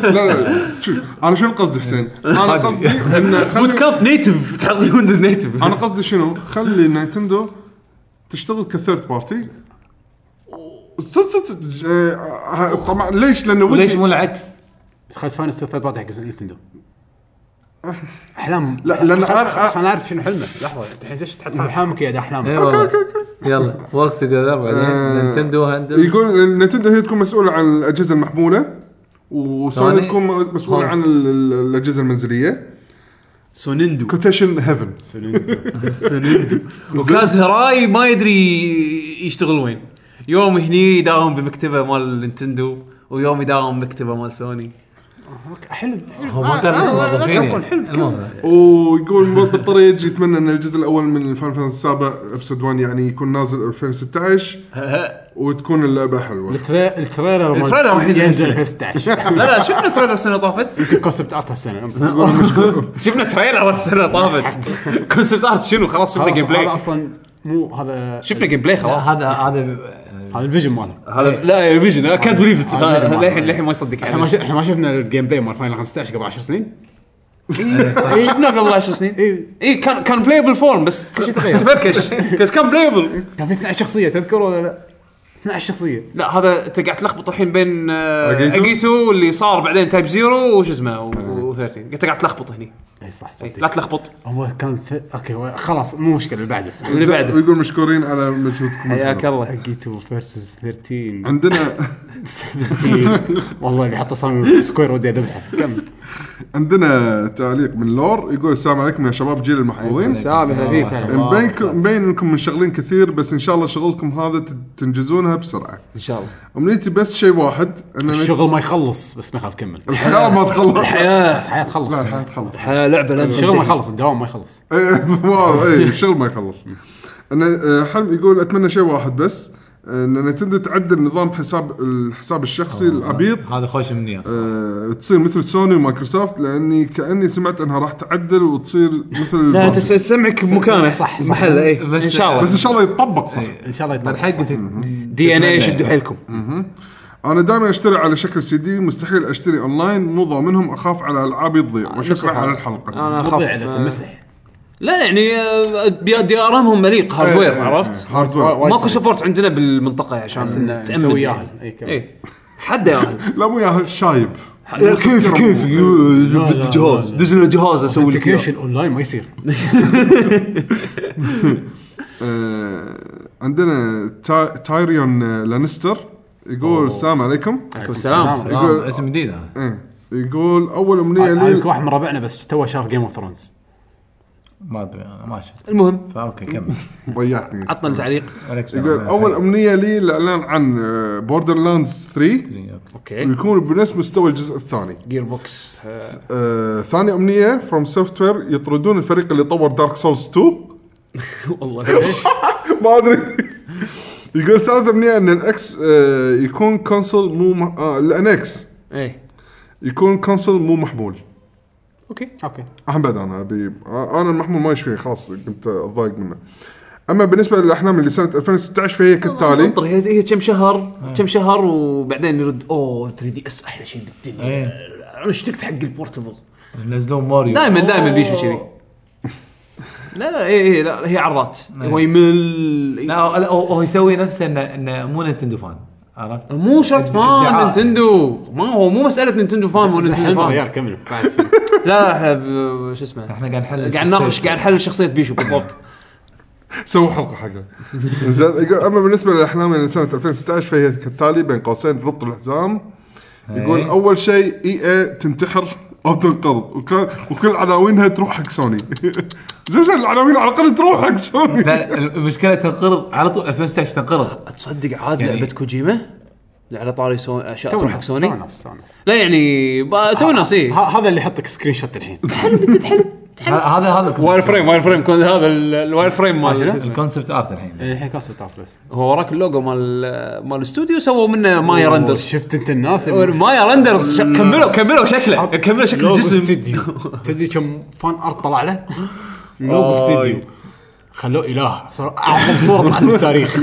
Speaker 3: لا لا شوف انا شنو قصدي حسين؟ انا قصدي ان
Speaker 2: بوت
Speaker 3: خلي
Speaker 2: كامب نيتف تحط لي ويندوز نيتف
Speaker 3: انا قصدي شنو؟ خلي نينتندو تشتغل كثيرد بارتي صدق صدق آه، آه، طبعا ليش؟ لانه
Speaker 4: وليش
Speaker 3: ودي
Speaker 4: مو العكس؟
Speaker 1: خلاص فاينل ستيت بارتي حق نينتندو احلام
Speaker 3: لا، لأن أنا-
Speaker 1: خلينا نعرف شنو حلمه لحظه الحين ليش تحط احلامك يا
Speaker 4: اي
Speaker 1: احلامك
Speaker 4: إيه والله يلا ورك توجذر
Speaker 1: أه،
Speaker 3: آه.
Speaker 4: بعدين نتندو هندل
Speaker 3: يقول إن نتندو هي تكون مسؤوله عن الاجهزه المحموله وسوني
Speaker 4: سوني؟
Speaker 3: تكون مسؤوله
Speaker 4: ها.
Speaker 3: عن ال- ال- الاجهزه المنزليه
Speaker 1: *laughs*
Speaker 5: سونندو
Speaker 3: كوتيشن هيفن
Speaker 5: سونندو
Speaker 4: *laughs*
Speaker 2: وكاز هراي ما يدري يشتغل وين
Speaker 5: يوم هني يداوم بمكتبه مال نينتندو ويوم يداوم بمكتبه مال سوني
Speaker 1: حلم حلم.
Speaker 4: هو ما كان
Speaker 1: آه،
Speaker 4: اسمه
Speaker 1: آه، لا
Speaker 4: موظفين
Speaker 1: تقول
Speaker 4: يعني.
Speaker 1: حلم
Speaker 4: المهم *laughs*
Speaker 3: ويقول مراد بالطريق يتمنى ان الجزء الاول من الفان فان السابع ابسود 1 يعني يكون نازل 2016 وتكون اللعبه حلوه
Speaker 1: التري- التريلر مال-
Speaker 2: التريلر راح ينزل
Speaker 1: ينزل
Speaker 2: هالسنة.
Speaker 4: *laughs*
Speaker 1: 15
Speaker 2: لا لا شفنا تريلر السنه طافت
Speaker 1: كونسبت ارت هالسنه
Speaker 3: يقول مشكلة-
Speaker 2: شفنا تريلر السنه
Speaker 4: *laughs*
Speaker 2: طافت كونسبت ارت شنو خلاص شفنا
Speaker 1: خلاص،
Speaker 2: جيم
Speaker 1: هذا
Speaker 2: بلاي
Speaker 1: اصلا مو هذا
Speaker 2: شفنا جيم بلاي خلاص
Speaker 4: هذا هذا إيه.
Speaker 1: هذا الفيجن ماله
Speaker 2: هذا لا إيه، فيجن كانت بريف
Speaker 1: هذا فيجن مال.
Speaker 2: للحين للحين آه، ما يصدق
Speaker 1: احنا ما
Speaker 2: عليه
Speaker 1: ش- احنا ما شفنا الجيم بلاي مال فاينل 15 قبل 10 سنين
Speaker 2: إيه، شفناه قبل 10 سنين
Speaker 1: إيه.
Speaker 2: اي كان كان بلايبل فورم بس
Speaker 1: شي تغير.
Speaker 2: *laughs* تفركش بس كان بلايبل
Speaker 1: كان في 12 شخصيه تذكر ولا لا؟ 12 شخصيه
Speaker 2: لا هذا انت قاعد تلخبط الحين بين
Speaker 3: أجيتو؟
Speaker 2: اجيتو اللي صار بعدين تايب زيرو وش اسمه و13 انت قاعد تلخبط هني
Speaker 1: اي صح
Speaker 2: إيه، لا
Speaker 1: صدق
Speaker 2: تلخبط
Speaker 1: هو كان ث... اوكي و- خلاص مو مشكله اللي بعده
Speaker 2: اللي بعده
Speaker 3: ويقول مشكورين على مجهودكم
Speaker 2: حياك
Speaker 3: الحلو.
Speaker 2: الله
Speaker 1: جيتو فيرسز 13
Speaker 3: عندنا
Speaker 1: 17 والله اللي حط صامي سكوير ودي اذبحه كمل
Speaker 3: عندنا تعليق من لور يقول السلام عليكم يا شباب جيل المحظوظين
Speaker 2: سلام اهلا فيك
Speaker 1: سلام.
Speaker 3: مبين مبين انكم منشغلين كثير بس ان شاء الله شغلكم هذا ت- تنجزونها بسرعه
Speaker 2: ان شاء الله
Speaker 3: امنيتي بس شيء واحد ان أنا-
Speaker 1: الشغل ما يخلص بس ما يخاف كمل
Speaker 3: الحياه ما تخلص *laughs*
Speaker 2: حياه
Speaker 1: الحياه تخلص
Speaker 3: لا الحياه تخلص
Speaker 2: حياه لعبه لن
Speaker 1: الشغل ما
Speaker 2: تنتهي
Speaker 1: يخلص الدوام ما يخلص
Speaker 3: إيه، واو، إيه، الشغل ما يخلص انا آه، حلم يقول اتمنى شيء واحد بس ان نتندو تعدل نظام حساب الحساب الشخصي العبيط
Speaker 4: هذا خوش مني اصلا
Speaker 3: آه، تصير مثل سوني ومايكروسوفت لاني كاني سمعت انها راح تعدل وتصير مثل
Speaker 2: لا
Speaker 3: الباقي.
Speaker 2: انت تسمعك بمكانه
Speaker 1: صح، صح.
Speaker 2: محله اي
Speaker 4: بس-
Speaker 2: ان شاء الله
Speaker 3: بس ان شاء الله يتطبق صح
Speaker 1: ان شاء الله يطلع
Speaker 4: الحين قلت
Speaker 2: دي ان اي شدوا حيلكم
Speaker 3: انا دائما اشتري على شكل سي دي مستحيل اشتري اونلاين مو ضامنهم اخاف على العابي تضيع
Speaker 2: نفس
Speaker 3: وشكرا على
Speaker 2: الحال.
Speaker 3: الحلقه
Speaker 1: مضيع
Speaker 2: انا اخاف
Speaker 1: اذا تمسح
Speaker 2: لا يعني آه، دي دي ار امهم مليق
Speaker 3: إيه،
Speaker 2: هاردوير عرفت؟
Speaker 3: هاردوير
Speaker 1: وايد
Speaker 2: ماكو
Speaker 1: سريع.
Speaker 2: سبورت عندنا بالمنطقه عشان
Speaker 1: إنه
Speaker 2: إيه،
Speaker 1: نسوي ياهل اي إيه، كمل
Speaker 2: اي حد ياهل
Speaker 3: لا مو يا شايب
Speaker 5: كيف كيف جبت الجهاز دز لنا جهاز اسوي لك إياه.
Speaker 1: التكنيشن اونلاين ما يصير
Speaker 3: آه، عندنا تا- تايريون آه، لانستر يقول السلام عليكم
Speaker 2: عليكم السلام
Speaker 3: يقول-
Speaker 4: آه، اسم جديد هذا
Speaker 3: إيه. يقول اول امنيه لي
Speaker 1: هذاك واحد من ربعنا بس توه شاف جيم اوف ثرونز
Speaker 4: ما ادري انا ما شفت
Speaker 2: المهم
Speaker 4: فاوكي كمل
Speaker 3: ضيعتني
Speaker 2: عطنا التعليق
Speaker 4: عليك السلام.
Speaker 3: يقول اول امنيه لي الاعلان عن بوردر لاندز 3
Speaker 4: أوكي.
Speaker 2: اوكي
Speaker 3: ويكون بنفس مستوى الجزء الثاني
Speaker 2: جير بوكس آه،
Speaker 3: آه، ثاني امنيه فروم سوفت وير يطردون الفريق اللي طور دارك سولز 2
Speaker 2: *laughs* والله *laughs*
Speaker 3: ما ادري يقول ثالث امنيه ان الاكس آه، يكون كونسول مو مح... آه الانكس
Speaker 2: اي
Speaker 3: يكون كونسول مو محمول
Speaker 2: اوكي
Speaker 1: اوكي
Speaker 3: اهم بعد انا ابي آه، انا المحمول ما يشفيه خلاص كنت اتضايق منه اما بالنسبه للاحلام اللي سنه 2016 فهي
Speaker 4: *laughs*
Speaker 3: كالتالي
Speaker 2: انطر هي هي كم شهر كم شهر وبعدين يرد اوه 3 دي اس احلى شيء بالدنيا
Speaker 4: إيه.
Speaker 2: انا اشتقت حق البورتبل
Speaker 4: آه. ينزلون ماريو
Speaker 2: دائما دائما بيشو كذي لا لا اي اي لا هي عرات هو يمل
Speaker 4: لا هو- لا، هو هو يسوي نفسه انه انه مو نتندو فان عرفت؟
Speaker 2: مو شرط فان
Speaker 4: ادعاء.
Speaker 2: نينتندو ما هو مو مساله نينتندو فان مو نينتندو
Speaker 1: حلم
Speaker 2: فان
Speaker 1: ريال كمل بعد *laughs* شو.
Speaker 2: لا لا احنا ب- شو اسمه
Speaker 4: احنا قاعد نحلل
Speaker 2: قاعد نناقش قاعد نحلل شخصيه بيشو بالضبط
Speaker 3: سووا حلقه حقها زين يقول اما بالنسبه للاحلام اللي سنه 2016 فهي كالتالي بين قوسين ربط الحزام يقول
Speaker 4: إيه.
Speaker 3: اول شيء اي اي تنتحر او تنقرض وكان وكل عناوينها تروح حق سوني *laughs* زين زين العناوين على الاقل تروح حق سوني
Speaker 4: لا المشكله تنقرض على طول 2016 تنقرض
Speaker 2: تصدق عاد
Speaker 4: يعني-
Speaker 2: لعبه كوجيما على طاري سو... اشياء تروح حق
Speaker 1: تونس
Speaker 2: سوني
Speaker 1: تونس تونس
Speaker 2: لا يعني
Speaker 5: آه،
Speaker 2: با- تو ناس
Speaker 1: ه-
Speaker 2: اي
Speaker 1: هذا اللي يحطك سكرين شوت الحين
Speaker 4: ه- هذا هذا
Speaker 2: واير
Speaker 4: الكونسبت
Speaker 2: فريم واير فريم كون هذا ال- الواير فريم مال
Speaker 4: الكونسبت ارت الحين
Speaker 1: الحين كاسب إيه، تعرف بس
Speaker 2: هو وراك اللوجو مال مال الاستوديو سووا منه مايا رندرز
Speaker 1: شفت انت الناس
Speaker 2: مايا رندرز شا- كملوا كملوا شكله كملوا شكل
Speaker 1: لوجو
Speaker 2: الجسم *laughs*
Speaker 1: استوديو تدري كم فان ارت طلع له؟ لوجو استوديو خلوه اله صار اعظم صوره طلعت بالتاريخ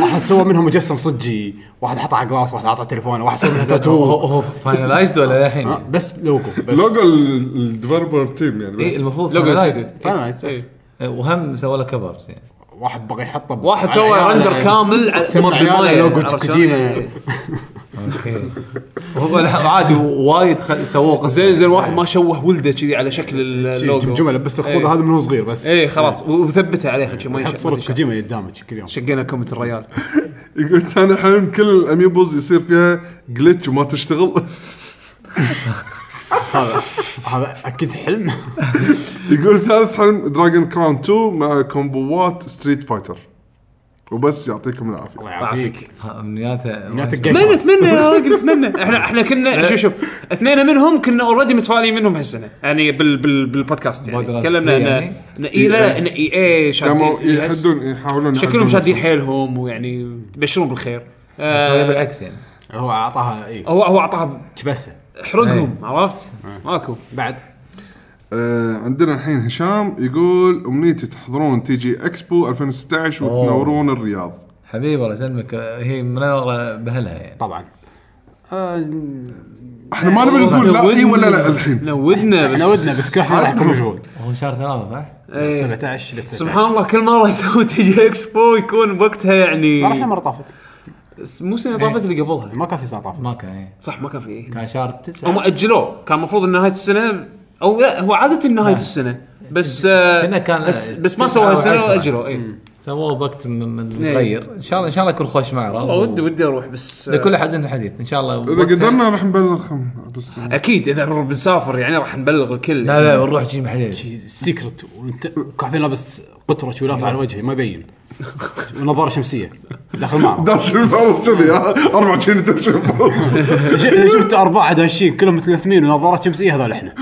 Speaker 1: واحد سوى منهم مجسم صجي واحد حطه على جلاس واحد حطه على تليفونه واحد سوى منها
Speaker 4: هو
Speaker 1: تاتو
Speaker 4: هو فاينلايزد ولا
Speaker 1: آه،
Speaker 4: الحين؟
Speaker 1: بس لوجو بس
Speaker 3: لوجو الديفلوبر تيم يعني
Speaker 4: اي
Speaker 2: إيه،
Speaker 3: بس
Speaker 4: إيه، المفروض
Speaker 2: لوجو
Speaker 4: finalized.
Speaker 1: فاينلايز بس
Speaker 4: إيه، وهم سوى له كفرز يعني *laughs*
Speaker 1: واحد بقى يحطه ب-
Speaker 2: واحد
Speaker 1: على
Speaker 2: سوى
Speaker 1: عياله.
Speaker 2: رندر كامل على
Speaker 1: سمى
Speaker 2: مال
Speaker 1: عياله
Speaker 2: بالماية،
Speaker 1: لوجو
Speaker 2: عرفت
Speaker 1: كوجيما.
Speaker 2: شلون؟
Speaker 4: هو لا عادي وايد خ- سووه قصه
Speaker 5: زين زين واحد ما شوه ولده كذي على شكل اللوجو
Speaker 1: جمجمه لبس الخوذه
Speaker 5: إيه.
Speaker 1: هذا من هو صغير بس
Speaker 5: اي خلاص
Speaker 2: إيه.
Speaker 5: و- وثبته عليها شي ما
Speaker 1: حط
Speaker 5: يشق ما
Speaker 1: صوره
Speaker 5: تشق.
Speaker 1: كوجيما قدامك كل يوم
Speaker 5: شقينا كومة الريال
Speaker 3: يقول كان الحين كل الاميبوز يصير فيها جلتش وما تشتغل *laughs*
Speaker 1: هذا هذا اكيد حلم
Speaker 3: يقول ثالث حلم دراجون كراون 2 مع كومبوات ستريت فايتر وبس يعطيكم العافيه
Speaker 1: الله يعافيك
Speaker 4: امنياته
Speaker 1: من
Speaker 2: اتمنى
Speaker 1: التقيت.
Speaker 2: اتمنى
Speaker 4: *laughs*
Speaker 2: يا راجل اتمنى احنا احنا كنا شوف شوف اثنين منهم كنا اوريدي متفائلين منهم هالسنه يعني بال بال بالبودكاست يعني
Speaker 4: بودكاست
Speaker 2: تكلمنا ان
Speaker 4: يعني؟
Speaker 2: ان اي لا ان اي اي
Speaker 3: قاموا
Speaker 2: إيه شادين يحس-
Speaker 3: يحدون يحاولون
Speaker 2: إيه، شكلهم
Speaker 3: يعدلون
Speaker 2: شادين حيلهم ويعني يبشرون بالخير آه،
Speaker 4: هذا بالعكس يعني
Speaker 1: هو إيه، اعطاها اي
Speaker 2: هو هو اعطاها
Speaker 1: كبسه
Speaker 2: حرقهم
Speaker 4: إيه.
Speaker 2: عرفت؟ ماكو
Speaker 1: بعد
Speaker 3: آه عندنا الحين هشام يقول امنيتي تحضرون تي جي اكسبو 2016 وتنورون الرياض
Speaker 4: حبيبي الله يسلمك آه، هي منوره باهلها يعني
Speaker 1: طبعا آه،
Speaker 3: احنا ما نبي نقول لا اي ولا
Speaker 2: *laughs*
Speaker 3: لا الحين
Speaker 2: نودنا بس
Speaker 1: احنا ودنا بس كل احنا راح يكون مشغول
Speaker 4: هو شهر ثلاثه صح؟
Speaker 2: *laughs* إيه.
Speaker 1: 17 ل 19
Speaker 2: سبحان الله كل مره يسوي تي جي اكسبو يكون وقتها يعني
Speaker 1: ما رحنا مره طافت
Speaker 2: مو سنه طافت اللي قبلها
Speaker 1: ما كان في سنه طافت
Speaker 4: ما كان إيه.
Speaker 2: صح ما كان في إيه.
Speaker 4: كان شهر
Speaker 2: هم
Speaker 4: تسعه
Speaker 2: اجلوه كان المفروض إن نهايه السنه او لا هو عاده نهايه السنه بس
Speaker 4: كنا
Speaker 2: آه
Speaker 4: نعم. كان
Speaker 2: بس بس ما
Speaker 4: تسعة
Speaker 2: سووها السنه
Speaker 4: وعشرة.
Speaker 2: واجلوه اي
Speaker 4: سووه بوقت م- م- متغير ان شاء الله ان شاء الله يكون خوش معرض
Speaker 2: والله ودي ودي اروح بس آه،
Speaker 4: لكل احد عنده حديث ان شاء الله
Speaker 3: اذا
Speaker 4: وقتها-
Speaker 3: قدرنا راح نبلغكم بس *laughs*
Speaker 2: اكيد اذا بن- بنسافر يعني راح نبلغ الكل
Speaker 4: لا لا بنروح جيم حديث
Speaker 1: سيكرت وانت كافين لابس قطره شولاف على وجهي ما يبين ونظاره شمسيه داخل
Speaker 2: *laughs*
Speaker 1: المعرض
Speaker 3: داش بالمره كذي ها؟ 24 داش بالمرة.
Speaker 1: ش- شفت اربعه داشين كلهم متلثمين ونظارات شمسيه هذول احنا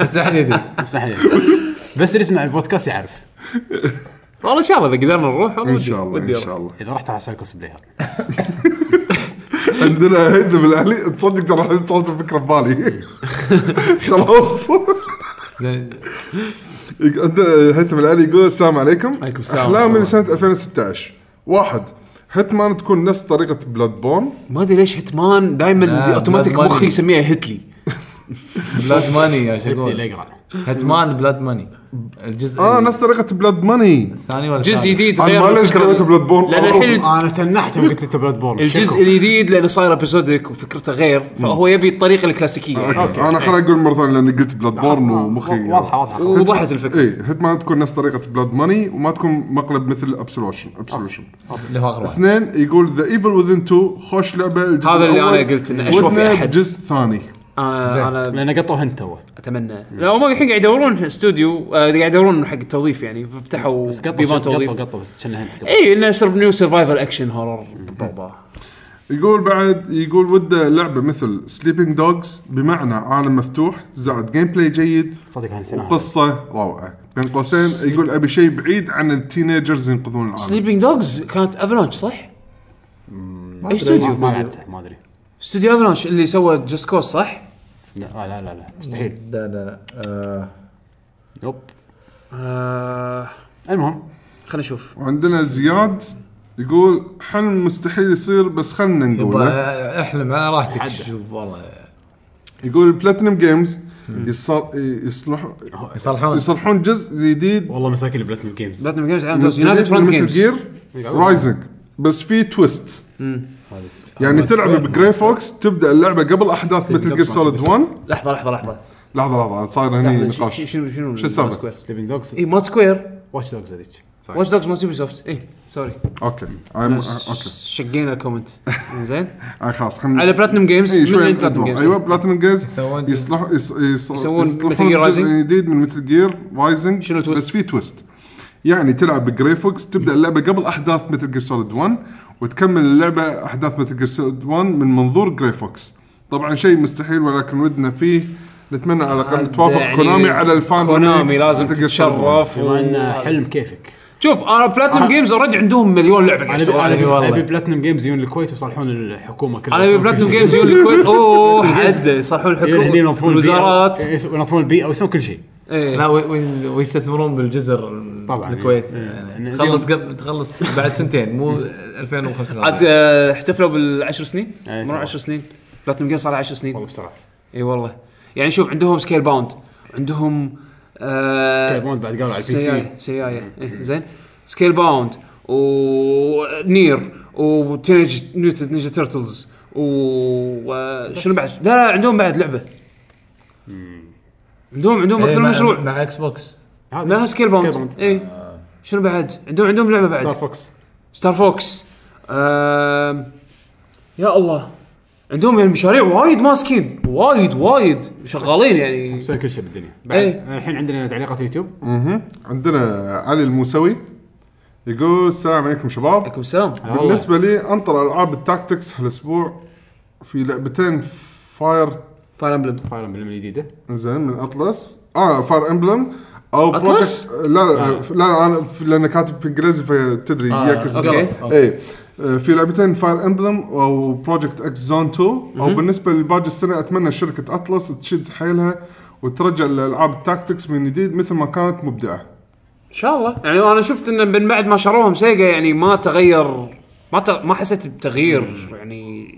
Speaker 4: بس احد يدري *laughs*
Speaker 1: بس احنا بس اللي يسمع البودكاست يعرف
Speaker 2: والله ان شاء الله اذا قدرنا نروح والله
Speaker 3: ان
Speaker 2: ودي-
Speaker 3: شاء الله
Speaker 2: ودي
Speaker 3: ان
Speaker 2: أروح.
Speaker 3: شاء الله
Speaker 1: اذا رحت راح اسوي كوسبلاي هذا
Speaker 3: عندنا هيدا بالاهلي تصدق ترى الحين صارت
Speaker 2: *laughs*
Speaker 3: الفكره ببالي خلاص عندنا هيثم الاهلي يقول السلام عليكم
Speaker 2: عليكم السلام.
Speaker 3: احلام من سنه 2016 واحد هيتمان تكون نفس طريقه بلاد بون
Speaker 2: ما ادري ليش هتمان دائما
Speaker 4: لا،
Speaker 2: في اوتوماتيك
Speaker 4: بلاد
Speaker 2: مخي
Speaker 4: ماني.
Speaker 2: يسميها هتلي
Speaker 4: بلاد ماني يا
Speaker 1: اللي
Speaker 4: شقول
Speaker 1: يقرا
Speaker 4: هدمان بلاد ماني الجزء
Speaker 3: اه نفس طريقه بلاد ماني
Speaker 4: الثاني ولا
Speaker 2: جزء
Speaker 4: الثالث؟
Speaker 2: جديد
Speaker 3: انا
Speaker 2: غير
Speaker 3: ما ليش
Speaker 2: الفكرة-
Speaker 3: قريت بلاد بون
Speaker 2: لأن الحين
Speaker 1: انا تنحتهم قلت انت بلاد بورن
Speaker 2: إيه. الجزء الجديد لانه صاير ابيزودك وفكرته غير فهو يبي الطريقه الكلاسيكيه
Speaker 3: أوكي. انا خليني اقول مره ثانيه لاني قلت بلاد بورن ومخي
Speaker 1: واضحه واضحه
Speaker 2: وضحت الفكره
Speaker 3: اي هيتمان تكون نفس طريقه بلاد ماني وما تكون مقلب مثل ابسولوشن ابسولوشن
Speaker 4: اللي هو اخر واحد
Speaker 3: اثنين يقول ذا ايفل وذن 2 خوش لعبه الجزء
Speaker 2: هذا اللي
Speaker 3: الأول.
Speaker 2: أنا قلت إنه أشوف
Speaker 3: ودنا
Speaker 2: أحد.
Speaker 3: بجزء ثاني
Speaker 2: انا انا
Speaker 1: لان قطوا هنت توه
Speaker 2: اتمنى لا هم الحين قاعد يدورون استوديو آه، قاعد يدورون حق التوظيف يعني فتحوا
Speaker 1: بس قطوا
Speaker 2: بيبان
Speaker 1: قطوا
Speaker 2: توظيف إيه،
Speaker 1: قطوا كنا هنت قطوا
Speaker 2: اي انه يصير نيو سرفايفل اكشن هورر بابا
Speaker 3: يقول بعد يقول وده لعبه مثل سليبنج دوجز بمعنى عالم مفتوح زائد جيم بلاي جيد
Speaker 1: صدق انا نسيناها
Speaker 3: وقصه روعه بين قوسين يقول ابي شيء بعيد عن التينيجرز ينقذون العالم
Speaker 2: سليبنج دوجز آه. كانت افلانش صح؟ اي
Speaker 1: ما-
Speaker 2: استوديو
Speaker 1: ما لعبتها ما ادري
Speaker 2: استوديو افلانش اللي سوى جست كوز صح؟
Speaker 1: لا لا لا لا مستحيل
Speaker 4: لا لا آه، لا
Speaker 1: يب
Speaker 2: آه
Speaker 1: المهم
Speaker 2: خلينا نشوف
Speaker 3: وعندنا زياد يقول حلم مستحيل يصير بس خلنا نقوله
Speaker 4: يبا آه، احلم على راحتك
Speaker 1: حده.
Speaker 4: شوف والله
Speaker 3: يقول بلاتينم جيمز يصل- يصلح
Speaker 4: يصلحون
Speaker 3: يصلحون جزء جديد
Speaker 1: والله مساكين البلاتنم جيمز
Speaker 2: بلاتنم جيمز يونايتد فرونت جيمز
Speaker 3: جير رايزنج بس في تويست يعني تلعب بجراي فوكس تبدا اللعبه قبل احداث مثل جير سوليد 1
Speaker 2: لحظه لحظه لحظه
Speaker 3: لحظه لحظه صاير هني
Speaker 2: شنو
Speaker 3: نقاش
Speaker 2: شنو شنو إيه،
Speaker 3: شو السالفة؟
Speaker 2: ماد سكوير؟
Speaker 1: سليبنج دوجز
Speaker 2: اي ماد سكوير
Speaker 1: واتش دوجز هذيك
Speaker 2: واتش دوجز مالت يوبي سوفت اي سوري
Speaker 3: اوكي أنا- اوكي
Speaker 2: إيه، شقينا
Speaker 3: *laughs*
Speaker 2: الكومنت زين
Speaker 3: آه، خلاص خلينا إيه،
Speaker 2: على بلاتنم جيمز
Speaker 3: اي
Speaker 2: من
Speaker 3: شوي
Speaker 2: عند بلاتنم
Speaker 3: بلاتنم جيمز
Speaker 2: جيمز
Speaker 3: ايوه بلاتنم جيمز
Speaker 4: يسوون جزء.
Speaker 3: يصلح يص- يص-
Speaker 2: يسوون
Speaker 3: يصلحون
Speaker 2: Metal Gear
Speaker 3: جزء
Speaker 2: Rising؟
Speaker 3: جديد من مثل جير رايزنج
Speaker 2: شنو تويست؟
Speaker 3: بس في تويست يعني تلعب بجراي فوكس تبدا اللعبه قبل احداث مثل جير سوليد 1 وتكمل اللعبه احداث مثل جير سوليد 1 من منظور جراي فوكس طبعا شيء مستحيل ولكن ودنا فيه نتمنى على الاقل توافق
Speaker 2: يعني
Speaker 3: كونامي على الفان
Speaker 2: كونامي لازم
Speaker 3: Metal Gear Solid 1.
Speaker 2: تتشرف
Speaker 1: بما
Speaker 2: و...
Speaker 1: ان حلم كيفك
Speaker 2: شوف انا بلاتنم
Speaker 1: آه.
Speaker 2: جيمز اوريدي عندهم مليون لعبه قاعد
Speaker 1: انا أبي-
Speaker 2: يشتغلون عليها.
Speaker 1: انا
Speaker 4: والله.
Speaker 1: أبي- ابي بلاتنم جيمز يجون الكويت ويصلحون الحكومه كلها
Speaker 2: انا ابي بلاتنم جيمز يقول لك وين- اوه حده يصلحون
Speaker 1: هني
Speaker 2: الحكومه
Speaker 1: ينظفون البيئة.
Speaker 2: الوزارات
Speaker 1: إيه، ينظفون البيئه ويسوون كل شيء
Speaker 2: إيه.
Speaker 4: لا وي- وي- ويستثمرون بالجزر
Speaker 1: طبعاً.
Speaker 4: الكويت
Speaker 1: إيه.
Speaker 4: يعني
Speaker 1: إن-
Speaker 4: تخلص قبل تخلص بعد سنتين مو 2005
Speaker 2: عاد آه، احتفلوا بالعشر سنين
Speaker 1: إيه،
Speaker 2: مروا
Speaker 1: طبعاً.
Speaker 2: 10 سنين بلاتنم جيمز صار 10 سنين
Speaker 1: والله بسرعه
Speaker 2: اي والله يعني شوف عندهم سكيل باوند عندهم آه
Speaker 1: سكيل باوند بعد قالوا على البي سي.
Speaker 2: سيايا- سيايا إيه، زين سكيل باوند ونير وتينيج نيوتن نينجا تيرتلز وشنو آه، بعد؟ لا لا عندهم بعد لعبه عندهم
Speaker 1: إيه،
Speaker 2: عندهم اكثر من مشروع
Speaker 4: إيه، مع اكس بوكس
Speaker 1: هذا
Speaker 2: لا سكيل باوند اي شنو بعد؟ عندهم عندهم لعبه
Speaker 1: ستار
Speaker 2: إيه، بعد
Speaker 1: فوكس
Speaker 2: ستار فوكس آم، يا الله ehm, عندهم يعني مشاريع وايد ماسكين وايد وايد شغالين يعني
Speaker 1: مسوي كل شيء بالدنيا بعد
Speaker 2: إيه.
Speaker 1: الحين عندنا تعليقات يوتيوب
Speaker 3: عندنا علي الموسوي يقول السلام عليكم شباب
Speaker 2: عليكم السلام
Speaker 1: آه، والله
Speaker 3: بالنسبه لي انطر العاب التاكتكس هالاسبوع في لعبتين فاير
Speaker 2: فاير امبلم
Speaker 1: فاير امبلم الجديده
Speaker 3: زين من اطلس اه فاير امبلم او
Speaker 2: أطلس؟ آه.
Speaker 3: Project- لا لا لا انا في- لان كاتب في انجليزي فتدري
Speaker 4: آه،
Speaker 3: يعكس
Speaker 2: أوكي.
Speaker 3: اي آه، في لعبتين فاير امبلم او بروجكت اكس زون 2 او بالنسبه لباقي السنه اتمنى شركه اطلس تشد حيلها وترجع الالعاب التاكتكس من جديد مثل ما كانت مبدعه
Speaker 2: ان شاء الله يعني انا شفت ان من بعد ما شروهم سيجا يعني ما تغير ما ت... ما حسيت بتغيير يعني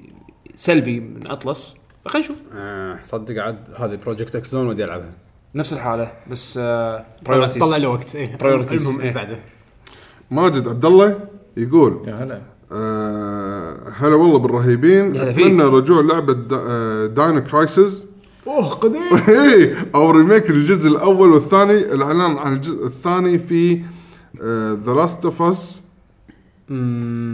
Speaker 2: سلبي من اطلس خلينا نشوف
Speaker 1: آه، صدق عاد هذه بروجكت اكسون ودي العبها
Speaker 2: نفس الحاله بس آه، برايورتيز
Speaker 1: طلع له وقت ايه
Speaker 2: Priorities.
Speaker 1: المهم
Speaker 2: إيه.
Speaker 1: اللي بعده
Speaker 3: ماجد عبد الله يقول
Speaker 4: يا هلا
Speaker 3: آه، هلا والله بالرهيبين
Speaker 2: يا هلا
Speaker 3: اتمنى
Speaker 2: فيك.
Speaker 3: رجوع لعبه دا- آه، إيه، داينو *laughs* كرايسز
Speaker 1: اوه قديم
Speaker 3: او ريميك الجزء الاول والثاني الاعلان عن الجزء الثاني في آه، ذا لاست اوف اس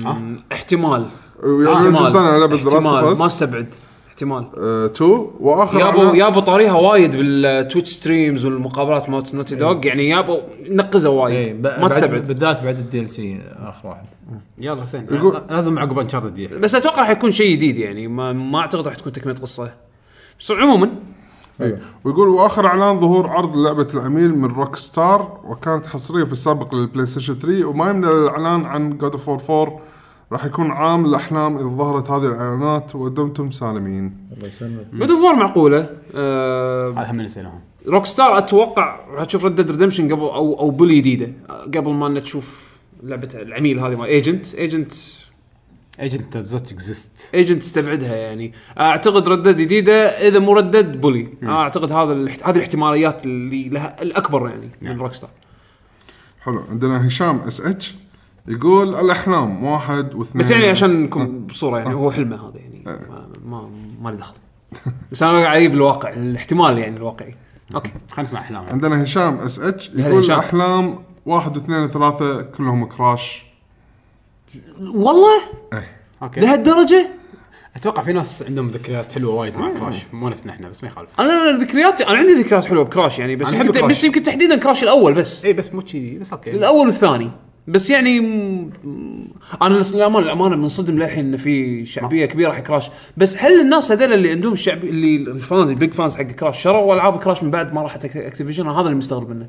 Speaker 1: آه.
Speaker 2: احتمال
Speaker 3: ويعلنون
Speaker 2: احتمال
Speaker 3: جزء ثاني على لعبه ذا
Speaker 2: احتمال
Speaker 3: لاست
Speaker 2: ما
Speaker 3: اوف اس
Speaker 2: استبعد احتمال
Speaker 3: 2 واخر
Speaker 2: يابو
Speaker 3: آه، إعلان-
Speaker 2: يابو طاريها وايد بالتويتش ستريمز والمقابلات مالت نوتي دوغ يعني يابو نقزوا
Speaker 4: إيه،
Speaker 2: وايد
Speaker 4: ب-
Speaker 2: ما
Speaker 4: بعد-
Speaker 2: تستبعد
Speaker 4: بالذات بعد الدي ال سي اخر واحد
Speaker 1: يلا زين
Speaker 3: يقول-
Speaker 1: لازم عقب انشارتد دي
Speaker 2: بس اتوقع راح يكون شيء جديد يعني ما, ما اعتقد راح تكون تكمله قصه بس عموما
Speaker 3: إيه. ويقول واخر اعلان ظهور عرض لعبه العميل من روك ستار وكانت حصريه في السابق للبلاي ستيشن 3 وما يمنع الاعلان عن جود اوف 4 راح يكون عام الاحلام اذا ظهرت هذه الاعلانات ودمتم سالمين.
Speaker 4: الله يسلمك
Speaker 2: جود اوف معقوله آه،
Speaker 1: هذا هم اللي نسيناهم
Speaker 2: روك ستار اتوقع راح تشوف ريد ديد ريدمشن قبل او او بلي جديده آه، قبل ما إن تشوف لعبه العميل هذه مال ايجنت ايجنت
Speaker 1: ايجنت دوت اكزيست
Speaker 2: ايجنت استبعدها يعني اعتقد ردد جديده اذا مو ردد بلي أنا اعتقد هذا الاحت- هذه الاحتماليات اللي لها الاكبر يعني
Speaker 4: نعم.
Speaker 2: من روك ستار
Speaker 3: حلو عندنا هشام اس اتش يقول الاحلام واحد واثنين
Speaker 2: بس يعني عشان
Speaker 3: آه.
Speaker 2: نكون بصوره يعني هو حلمه هذا يعني ما ما, ما لي دخل بس انا قاعد اجيب الواقع الاحتمال يعني الواقعي اوكي
Speaker 1: خلينا نسمع احلامهم
Speaker 3: عندنا هشام اس اتش
Speaker 2: هلا
Speaker 3: يقول
Speaker 2: هشام.
Speaker 3: الاحلام واحد واثنين وثلاثه كلهم كراش
Speaker 2: والله
Speaker 1: اوكي
Speaker 2: لهالدرجه
Speaker 1: اتوقع في ناس عندهم ذكريات حلوه وايد مع كراش مو نفسنا احنا بس ما يخالف
Speaker 2: انا ذكرياتي انا عندي ذكريات حلوه بكراش يعني بس
Speaker 1: أنا إيه. أحب
Speaker 2: يمكن
Speaker 1: كراش.
Speaker 2: بس يمكن تحديدا كراش الاول بس
Speaker 1: اي بس مو كذي بس اوكي
Speaker 2: الاول والثاني بس يعني م- م- انا للأمانة- للامانه منصدم للحين ان في شعبيه كبيره حق كراش بس هل الناس هذول اللي عندهم الشعب اللي الفانز البيج فانز حق كراش شروا العاب كراش من بعد ما راحت أك- اكتيفيجن أنا هذا اللي مستغرب منه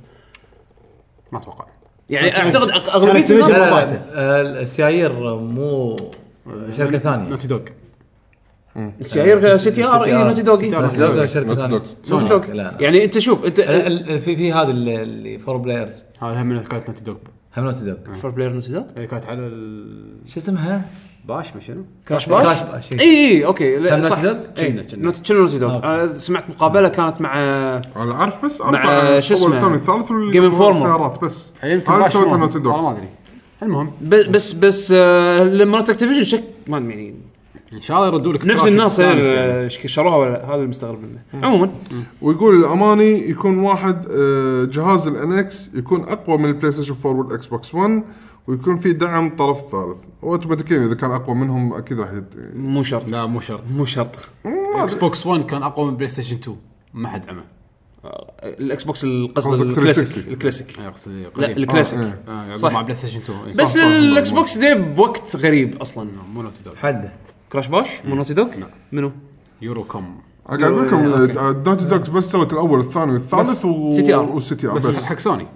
Speaker 1: ما اتوقع
Speaker 2: يعني
Speaker 1: كان-
Speaker 2: اعتقد أغ-
Speaker 1: كان
Speaker 2: اغلبيه
Speaker 1: Activision-
Speaker 2: الناس
Speaker 4: لا لا
Speaker 2: طلعت.
Speaker 4: لا آه، السيايير مو
Speaker 1: آه،
Speaker 4: شركه ثانيه
Speaker 1: نوتي دوغ
Speaker 2: السيايير
Speaker 4: سي-
Speaker 2: سي تي
Speaker 4: CTR.
Speaker 2: ار اي نوتي دوغ إيه.
Speaker 1: CTR.
Speaker 4: بس لا، شركه
Speaker 3: Naughty
Speaker 4: ثانيه
Speaker 3: Dog. نعم.
Speaker 2: نوتي
Speaker 4: لا،
Speaker 2: دوغ
Speaker 4: لا
Speaker 2: يعني انت شوف انت
Speaker 4: لا، ال- ال- في في هذا اللي- اللي فور بلايرز
Speaker 1: هذا هم من ذكريات نوتي دوغ
Speaker 4: هم نوتي دوغ
Speaker 2: فور بلاير نوتي دوغ
Speaker 1: اللي كانت على الباش
Speaker 4: شو اسمها؟
Speaker 1: ما شنو
Speaker 2: كراش
Speaker 4: باش؟
Speaker 2: باش
Speaker 4: كراش باش،
Speaker 2: اي
Speaker 4: إي.
Speaker 2: اي اوكي إيه، لا،
Speaker 4: كان
Speaker 2: صح. إيه.
Speaker 4: نوتي دوغ؟
Speaker 2: إي،
Speaker 1: كنا- كنا.
Speaker 2: نوتي كنا نوتي دوغ
Speaker 4: أوكي.
Speaker 2: انا آه، سمعت مقابله كانت مع آه،
Speaker 3: انا عارف بس
Speaker 2: مع
Speaker 3: أربعة،
Speaker 2: شو
Speaker 3: اول
Speaker 2: اسمه؟
Speaker 3: الثاني الثالث
Speaker 2: Game Informer.
Speaker 3: والسيارات بس
Speaker 1: يمكن
Speaker 3: هذا
Speaker 1: باش
Speaker 3: سويته
Speaker 1: مو-
Speaker 3: Naughty Dogs.
Speaker 1: والله ما ادري المهم
Speaker 2: ب- بس بس آه، لما رحت اكتيفيجن شك ما أدري يعني
Speaker 1: ان شاء الله يردوا لك
Speaker 2: نفس
Speaker 1: كراش
Speaker 2: الناس
Speaker 1: وستانس يعني.
Speaker 2: آه، ش- شروها ولا هذا اللي مستغرب منه عموما
Speaker 3: ويقول الاماني يكون واحد آه، جهاز الانكس يكون اقوى من البلاي ستيشن 4 والاكس بوكس 1 ويكون في دعم طرف ثالث اوتوماتيكيا اذا كان اقوى منهم اكيد راح يد-
Speaker 2: مو شرط
Speaker 1: لا مو شرط
Speaker 2: مو شرط
Speaker 1: اكس بوكس 1 كان اقوى من بلاي ستيشن 2 ما حد عمى
Speaker 2: آه، الاكس بوكس القصد
Speaker 3: قصدك
Speaker 2: الكلاسيك
Speaker 3: 360.
Speaker 2: الكلاسيك
Speaker 1: أنا اقصد
Speaker 2: لا
Speaker 1: يعني إيه، قريب.
Speaker 2: الكلاسيك
Speaker 3: آه،
Speaker 1: آه،
Speaker 2: صح.
Speaker 1: مع بلاي ستيشن 2 إيه.
Speaker 2: بس
Speaker 1: صح، صح، صح.
Speaker 2: الاكس بوكس دي بوقت غريب اصلا
Speaker 1: نعم، مو نوتي دوغ
Speaker 4: حده
Speaker 2: كراش باش مو نوتي دوغ منو
Speaker 1: يورو كوم
Speaker 3: انا قاعد اقول لكم دانتي دوكس بس سوت الاول والثاني والثالث
Speaker 2: بس.
Speaker 3: و...
Speaker 2: CTR.
Speaker 3: والسي تي ار
Speaker 1: بس
Speaker 3: بس
Speaker 1: حق سوني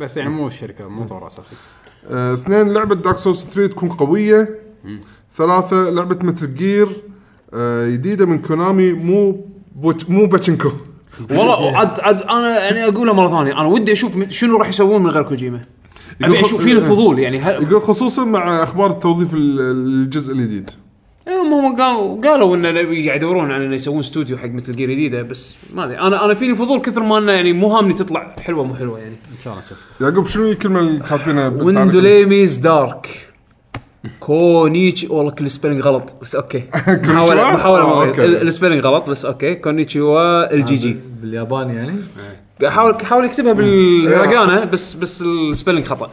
Speaker 1: بس يعني مو الشركه مو طور اساسي
Speaker 3: آه، اثنين لعبه دارك سولز 3 تكون قويه ثلاثه لعبه متل جير جديده آه، من كونامي مو بوت... مو باتشنكو
Speaker 2: والله عاد عاد انا يعني اقولها مره ثانيه انا ودي اشوف م- شنو راح يسوون من غير كوجيما ابي
Speaker 3: يقول- إيه.
Speaker 2: اشوف فيه الفضول يعني هل
Speaker 3: يقول خصوصا مع اخبار التوظيف ال- الجزء الجديد
Speaker 2: هم إيه، هم قالوا قالوا انه لا- قاعد يدورون على انه يسوون استوديو حق مثل جير جديده بس ما ادري انا انا فيني فضول كثر ما انه يعني مو هامني تطلع حلوه مو حلوه يعني
Speaker 1: ان شاء الله نشوف
Speaker 3: يعقوب شنو الكلمه اللي كاتبينها بالتعليق؟
Speaker 2: وندوليميز دارك كونيتشي والله كل سبيلنج غلط بس
Speaker 3: *laughs*
Speaker 2: اوكي محاولة
Speaker 3: آه،
Speaker 2: محاولة
Speaker 3: أوكي.
Speaker 2: ال- السبيلنج غلط بس اوكي كونيتشي والجي جي
Speaker 4: بالياباني يعني
Speaker 2: حاول حاول يكتبها بالهرجانة بس بس السبيلنج خطا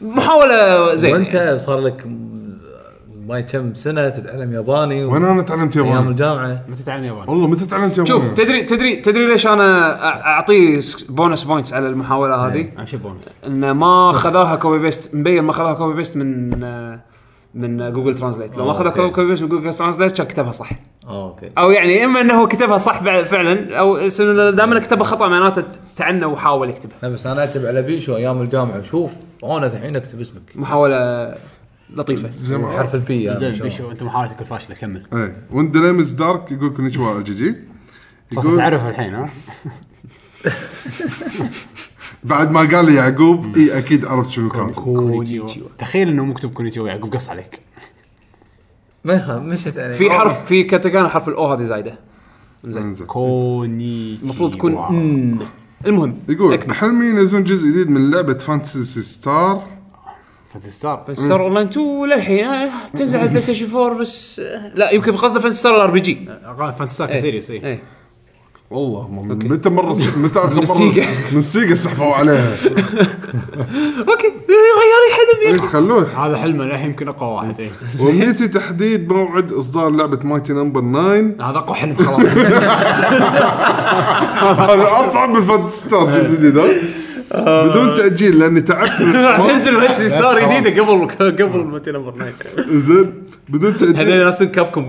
Speaker 2: محاولة زين يعني.
Speaker 4: وانت صار لك م- ما كم سنه تتعلم ياباني و-
Speaker 3: وين انا تعلمت
Speaker 4: ايام
Speaker 3: ياباني؟
Speaker 4: الجامعه
Speaker 1: متى تتعلم ياباني
Speaker 3: والله متى تعلمت ياباني؟
Speaker 2: شوف تدري تدري تدري ليش انا أ- اعطيه س- بونس بوينتس على المحاوله
Speaker 4: إيه.
Speaker 2: هذه
Speaker 1: عن شو بونس
Speaker 2: انه ما خذاها كوبي بيست مبين ما خذاها كوبي بيست من آه، من جوجل ترانزليت لو ما
Speaker 4: آه،
Speaker 2: خذاها
Speaker 4: أوكي.
Speaker 2: كوبي بيست من جوجل ترانزليت كان كتبها صح
Speaker 4: اه اوكي
Speaker 2: او يعني اما انه هو كتبها صح بع- فعلا او س- إنه دائما كتبها خطا معناته ت- تعنى وحاول يكتبها
Speaker 4: لا بس انا اكتب على بيشو ايام الجامعه شوف انا الحين اكتب اسمك
Speaker 2: محاوله لطيفه
Speaker 3: زي ما-
Speaker 4: حرف البي
Speaker 1: زين
Speaker 4: يعني
Speaker 1: بيشو انت محاولتك الفاشله كمل
Speaker 3: ايه وين دليمز دارك يقول كونيتشوا جي جي
Speaker 1: صرت
Speaker 3: يقول
Speaker 1: تعرف الحين ها
Speaker 3: بعد ما قال لي يعقوب اي اكيد عرفت شنو كاتب
Speaker 1: كونيتشيوا تخيل انه مكتوب كونيتشيوا يعقوب قص عليك
Speaker 4: ما يخاف مشت علي
Speaker 2: في حرف في كاتاكانا حرف الاو هذه زايده
Speaker 3: انزين.
Speaker 1: كونيتشيوا
Speaker 2: المفروض تكون إن. المهم
Speaker 3: يقول
Speaker 2: أكمل.
Speaker 3: حلمي ينزلون جزء جديد من لعبه فانتسي ستار
Speaker 1: فانتسي ستار
Speaker 2: فانتسي ستار اون لاين 2 للحين آه، تنزل على بلاي ستيشن 4 بس آه، لا يمكن قصده فانتسي ستار الار بي جي
Speaker 1: فانتسي
Speaker 5: آه،
Speaker 1: ستار سيريس اي
Speaker 2: ايه
Speaker 3: والله متى مره *laughs* متى اخر مره
Speaker 2: من السيجا.
Speaker 3: من السيجا سحبوا عليها
Speaker 2: اوكي غير حلم
Speaker 3: إيه، خلوه
Speaker 1: هذا حلمه للحين يمكن اقوى واحد إيه. *laughs* اي
Speaker 3: وامنيتي تحديد موعد اصدار لعبه مايتي نمبر 9
Speaker 1: *laughs* هذا اقوى حلم خلاص
Speaker 3: هذا اصعب من فانتسي ستار الجزء الجديد ها؟ بدون تاجيل لاني
Speaker 2: *laughs*
Speaker 3: تعبت من الحوار.
Speaker 5: تنزل فانتسي ستار جديده قبل قبل متى نمبر 9
Speaker 3: زين بدون تاجيل
Speaker 5: هذول نفسهم كابكم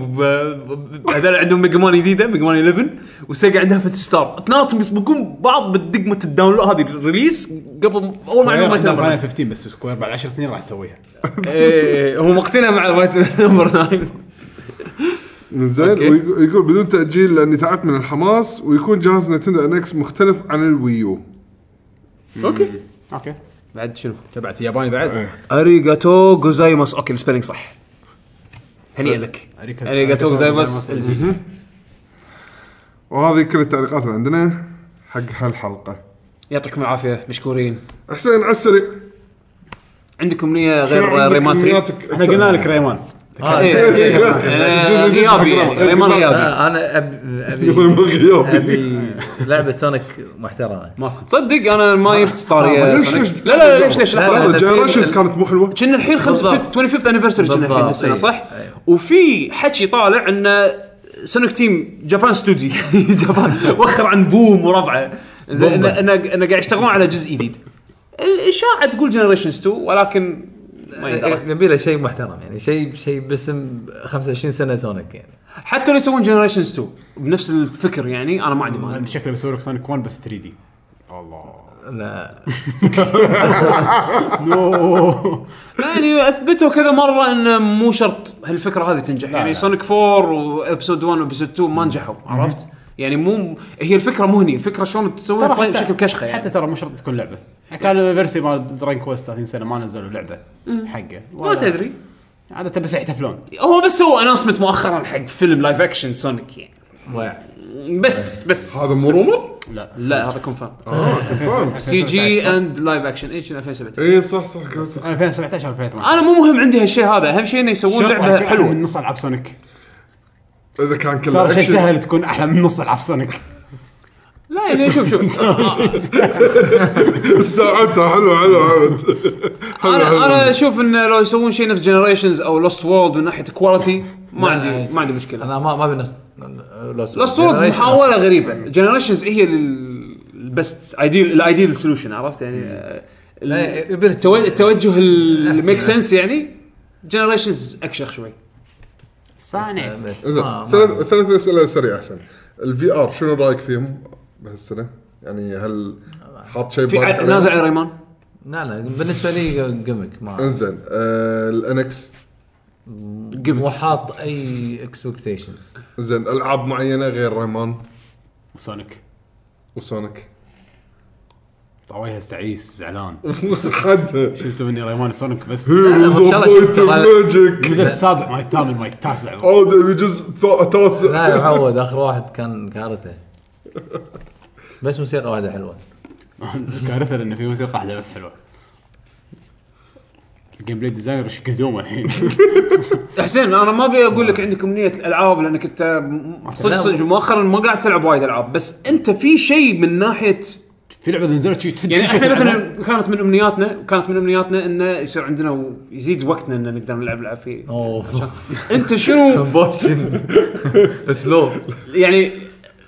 Speaker 5: هذول عندهم ميجا مان جديده ميجا مان 11 وسيجا عندها فانتسي ستار اثنيناتهم يسبقون بعض بدقمه الداونلود هذه الريليس قبل اول ما عندهم متى
Speaker 1: عندنا
Speaker 5: نمبر 9
Speaker 1: فاينل 15 بس سكوير بعد 10 سنين راح يسويها
Speaker 5: إيه، هو مقتنع مع
Speaker 2: *laughs*
Speaker 5: الوايت نمبر 9
Speaker 3: زين
Speaker 5: أوكي.
Speaker 3: ويقول بدون تاجيل لاني تعبت من الحماس ويكون جهاز نتندو ان اكس مختلف عن الويو
Speaker 5: اوكي
Speaker 1: اوكي
Speaker 2: بعد شنو؟
Speaker 1: تبعت في ياباني بعد
Speaker 2: اريجاتو جوزايماس اوكي السبيلنج صح هنيئا لك اريجاتو جوزايماس
Speaker 3: وهذه كل التعليقات اللي عندنا حق هالحلقه
Speaker 2: يعطيكم العافيه مشكورين
Speaker 3: حسين على السريع
Speaker 2: عندكم نيه
Speaker 3: شنو
Speaker 2: غير
Speaker 3: عندك
Speaker 2: ريمان 3
Speaker 3: أمنياتك؟
Speaker 1: احنا قلنا لك ريمان
Speaker 4: آه،
Speaker 2: إيه، إيه،
Speaker 3: لا،
Speaker 2: أنا
Speaker 3: الجزء
Speaker 2: غيابي
Speaker 3: الجديد
Speaker 2: يعني
Speaker 3: بالقرار.
Speaker 2: ريمان غيابي
Speaker 4: آه، انا
Speaker 3: *laughs*
Speaker 4: ابي
Speaker 3: يلا،
Speaker 4: ابي
Speaker 3: ما غيابي
Speaker 4: ابي لعبه سونيك محترمه
Speaker 2: صدق انا ما جبت طاريه
Speaker 3: آه، ليش-
Speaker 2: سونيك.
Speaker 3: ليش-
Speaker 2: لا لا لا، ليش ليش لحظه
Speaker 3: لحظه
Speaker 4: لا،
Speaker 3: جنريشنز
Speaker 4: في-
Speaker 3: كانت مو حلوه
Speaker 2: كنا الحين خمس-
Speaker 4: بالضبط.
Speaker 2: 25th انيفرسري كنا الحين
Speaker 4: بالضبط،
Speaker 2: هالسنه
Speaker 4: إيه.
Speaker 2: صح؟
Speaker 4: إيه.
Speaker 2: وفي حكي طالع ان سونيك تيم جابان *laughs* ستوديو جابان وخر عن بوم وربعه زين ان
Speaker 4: بومبا.
Speaker 2: ان إن قاعد يشتغلون على جزء جديد الاشاعه تقول جنريشنز 2 ولكن ما يدرى.
Speaker 4: يبي إيه، له شيء محترم يعني شيء شيء باسم 25 سنه سونيك يعني
Speaker 2: حتى لو يسوون جنريشنز 2 بنفس الفكر يعني انا ما عندي مانع
Speaker 1: شكله بيسوي لك سونيك 1 بس 3 دي الله
Speaker 4: لا
Speaker 1: *laughs* نو *laughs*
Speaker 2: يعني اثبتوا كذا مره انه مو شرط هالفكره هذه تنجح يعني
Speaker 1: لا.
Speaker 2: سونيك 4 وابسود 1 وابسود 2 ما نجحوا عرفت؟ يعني مو هي الفكره مو هني الفكره شلون تسوي طيب بشكل كشخه يعني
Speaker 1: حتى ترى مو شرط تكون لعبه كان فيرسي مال دراين كويست 30 سنه ما نزلوا لعبه حقه
Speaker 2: ما تدري
Speaker 1: عاده بس يحتفلون
Speaker 2: هو بس سووا اناونسمنت مؤخرا حق فيلم لايف اكشن سونيك يعني
Speaker 4: ضيع
Speaker 1: إيه.
Speaker 2: بس بس
Speaker 3: هذا مو
Speaker 2: بس-
Speaker 3: رومر؟
Speaker 1: لا
Speaker 2: لا هذا كونفيرم
Speaker 1: طيب،
Speaker 3: آه،
Speaker 2: سي جي اند لايف اكشن ايش 2017
Speaker 3: اي إيه، صح صح كان صح
Speaker 1: 2017 2018
Speaker 2: انا مو مهم عندي هالشيء هذا اهم شيء انه يسوون
Speaker 1: شرط
Speaker 2: لعبه
Speaker 1: أكون أحلى من
Speaker 2: حلوه
Speaker 1: نص العاب سونيك
Speaker 3: اذا كان كله
Speaker 1: ترى شيء
Speaker 3: أكشن.
Speaker 1: سهل تكون احلى من نص العاب سونيك
Speaker 2: لا يعني شوف شوف
Speaker 3: *laughs*
Speaker 1: *laughs*
Speaker 3: ساعتها حلو حلو عبد
Speaker 2: انا انا اشوف انه لو يسوون شيء نفس جنريشنز او لوست وورلد من ناحيه كواليتي ما عندي ما عندي مشكله
Speaker 4: انا ما ما ابي نص يعني
Speaker 2: لوست وورلد محاوله غريبه جنريشنز هي البست ايديل الايديل سولوشن عرفت يعني آه، ال-
Speaker 4: يبي
Speaker 2: التو-
Speaker 4: التوجه
Speaker 2: التوجه اللي
Speaker 4: أحسن،
Speaker 2: ميك
Speaker 4: أحسن.
Speaker 2: سنس يعني جنريشنز اكشخ شوي
Speaker 1: صانع
Speaker 3: زين ثلاث ثلاث اسئله سريعه احسن الفي ار شنو رايك فيهم بهالسنه؟ يعني هل حاط شيء
Speaker 2: في
Speaker 3: ببالك
Speaker 2: ع-
Speaker 3: عليه؟
Speaker 2: نازع على ريمان
Speaker 4: لا لا بالنسبه لي قمك ما
Speaker 3: انزين آه، الانكس
Speaker 2: قمك.
Speaker 4: مو حاط اي اكسبكتيشنز
Speaker 3: زين العاب معينه غير ريمان
Speaker 1: سونيك
Speaker 3: وسونيك *laughs*
Speaker 1: طويها استعيس
Speaker 3: *laughs*
Speaker 1: زعلان
Speaker 3: حد
Speaker 1: شلتوا مني ريمان سونيك بس
Speaker 3: هيروز
Speaker 4: إن شاء
Speaker 3: اوف
Speaker 4: الله شفت
Speaker 3: فايت
Speaker 4: ترى-
Speaker 3: ماجيك
Speaker 1: الجزء السابع ما الثامن ما التاسع *laughs*
Speaker 3: عود الجزء الثا- التاسع
Speaker 4: لا يا معود اخر واحد كان كارثه بس موسيقى واحده حلوه
Speaker 1: كارثه لان في موسيقى واحده بس حلوه الجيم بلاي ديزاينر ايش قدومه الحين *laughs*
Speaker 2: حسين انا ما ابي اقول لك عندك امنيه الالعاب لانك انت م- صدق
Speaker 4: لا،
Speaker 2: صدق
Speaker 4: مو-
Speaker 2: مؤخرا ما قاعد تلعب وايد العاب بس انت في شيء من ناحيه
Speaker 1: في لعبه نزلت شي تحد
Speaker 2: يعني
Speaker 1: كل شيء
Speaker 2: احنا
Speaker 1: تلعبها.
Speaker 2: مثلا كانت من امنياتنا كانت من امنياتنا انه يصير عندنا و- يزيد وقتنا ان نقدر نلعب العاب
Speaker 4: *laughs*
Speaker 2: فيه
Speaker 4: اوه
Speaker 2: انت شنو
Speaker 5: بوشن سلو
Speaker 2: يعني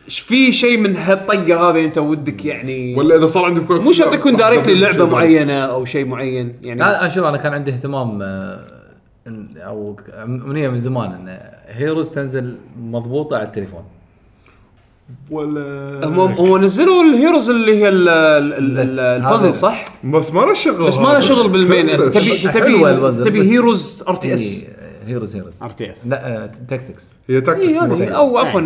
Speaker 2: ش- في شيء من هالطقه هذه انت ودك يعني
Speaker 3: ولا اذا صار عندك
Speaker 2: مو شرط تكون دايركتلي لعبه
Speaker 3: شيء ثاني.
Speaker 2: معينه او شيء معين يعني
Speaker 4: انا أنا شوف انا كان عندي اهتمام آه، إن- او ك- امنيه من زمان ان هيروز تنزل مضبوطه على التليفون
Speaker 2: هم
Speaker 3: ولا
Speaker 2: هم نزلوا الهيروز اللي هي ال- ال- ال- البازل
Speaker 4: هذا-
Speaker 2: صح؟
Speaker 3: بس ما له شغل
Speaker 2: بس ما له شغل بالمين انت تبي
Speaker 4: حلوة
Speaker 2: تبي
Speaker 4: البازل،
Speaker 2: تبي
Speaker 4: بس-
Speaker 2: هيروز ار تي اس
Speaker 4: يعني هيروز هيروز
Speaker 1: ار تي اس
Speaker 4: لا آه، تكتكس
Speaker 3: هي تاكتكس
Speaker 2: إيه،
Speaker 3: مو
Speaker 4: هذه.
Speaker 3: فيها.
Speaker 2: او عفوا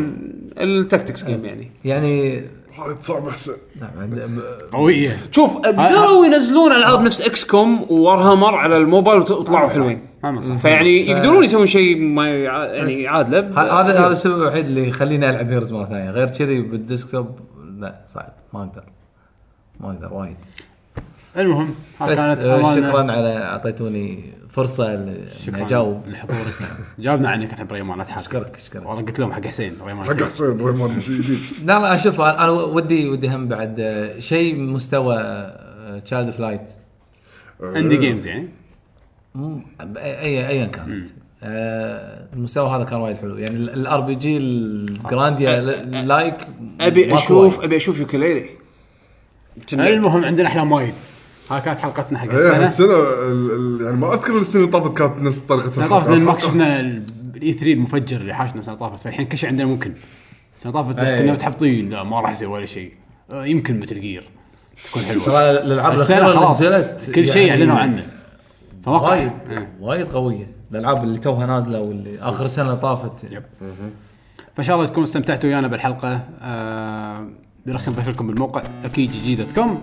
Speaker 2: التكتكس جيم يعني
Speaker 4: يعني
Speaker 3: وايد صعب احسن
Speaker 4: نعم، عند-
Speaker 1: قويه
Speaker 2: شوف قدروا ينزلون العاب نفس اكس كوم وورهامر على الموبايل وت- وطلعوا حلوين
Speaker 1: هم آه، صح
Speaker 2: فيعني يقدرون يسوون شيء ما يع- يعني عادله ب-
Speaker 4: ه- هذا هذا السبب الوحيد اللي يخليني العب هيروز مره ثانيه غير كذي بالديسكتوب لا صعب ما اقدر ما اقدر وايد
Speaker 1: المهم ها
Speaker 4: بس
Speaker 1: كانت
Speaker 4: آه،
Speaker 1: أمانة.
Speaker 4: شكرا على اعطيتوني فرصه ل- اني اجاوب
Speaker 1: لحضورك جاوبنا عنك احنا بريمان لا تحاول
Speaker 4: أشكرك- أشكرك.
Speaker 1: والله قلت لهم حق حسين بريمان
Speaker 3: حق حسين ريمان شيء جديد
Speaker 4: لا لا شوف انا أنا ودي ودي هم بعد آه، شيء مستوى آه، تشايلد فلايت
Speaker 1: اندي جيمز يعني
Speaker 4: اي ايا كانت آه، المستوى هذا كان وايد حلو يعني الار بي جي الجرانديا ل- لايك
Speaker 2: ابي
Speaker 4: ماكو
Speaker 2: اشوف
Speaker 4: وايد.
Speaker 2: ابي اشوف يوكليلي
Speaker 1: المهم عندنا احلام وايد ها كانت حلقتنا حق
Speaker 3: إيه،
Speaker 1: السنه
Speaker 3: السنه ال- ال- يعني ما اذكر السنه اللي طافت كانت نفس طريقه
Speaker 1: السنه طافت لان ما شفنا الاي 3 المفجر اللي حاشنا السنه طافت فالحين كل شيء عندنا ممكن السنه طافت
Speaker 4: أي.
Speaker 1: كنا متحبطين لا ما راح يصير ولا شيء آه، يمكن مثل جير تكون
Speaker 4: ترى
Speaker 1: حلوه
Speaker 4: الالعاب
Speaker 1: السنه
Speaker 4: الأخيرة اللي
Speaker 1: خلاص
Speaker 4: نزلت
Speaker 1: كل شيء
Speaker 4: يعني
Speaker 1: اعلنوا عنه إيه. فواقع
Speaker 4: وايد وايد قويه الالعاب اللي توها نازله واللي اخر سنه طافت
Speaker 1: يب. فان شاء الله تكونوا استمتعتوا ويانا بالحلقه آه نرخي نذكركم بالموقع اكي جي جي دوت كوم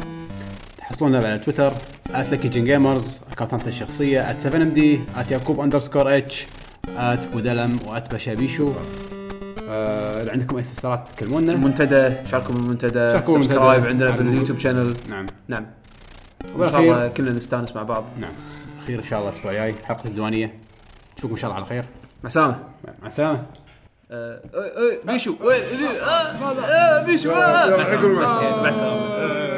Speaker 1: تحصلونا على تويتر @لكي جين جيمرز اكونتاتي الشخصيه @7md @يعقوب اندرسكور اتش @بودلم و@بشابيشو آه اذا عندكم اي استفسارات تكلمونا
Speaker 2: المنتدى شاركوا بالمنتدى
Speaker 1: شاركوا بالمنتدى.
Speaker 2: سبسكرايب عندنا
Speaker 1: على
Speaker 2: باليوتيوب شانل
Speaker 1: نعم
Speaker 2: نعم ان شاء الله
Speaker 1: وبالاخير
Speaker 2: كلنا نستانس مع بعض مع
Speaker 1: نعم الاخير ان شاء الله الاسبوع الجاي حلقه الديوانيه نشوفكم ان شاء الله على خير
Speaker 2: السلامه
Speaker 1: مع السلامه
Speaker 4: أه،
Speaker 2: آه، أه، آه، آه، بيشو آه، آه، آه، بيشو آه.
Speaker 3: حق
Speaker 5: بس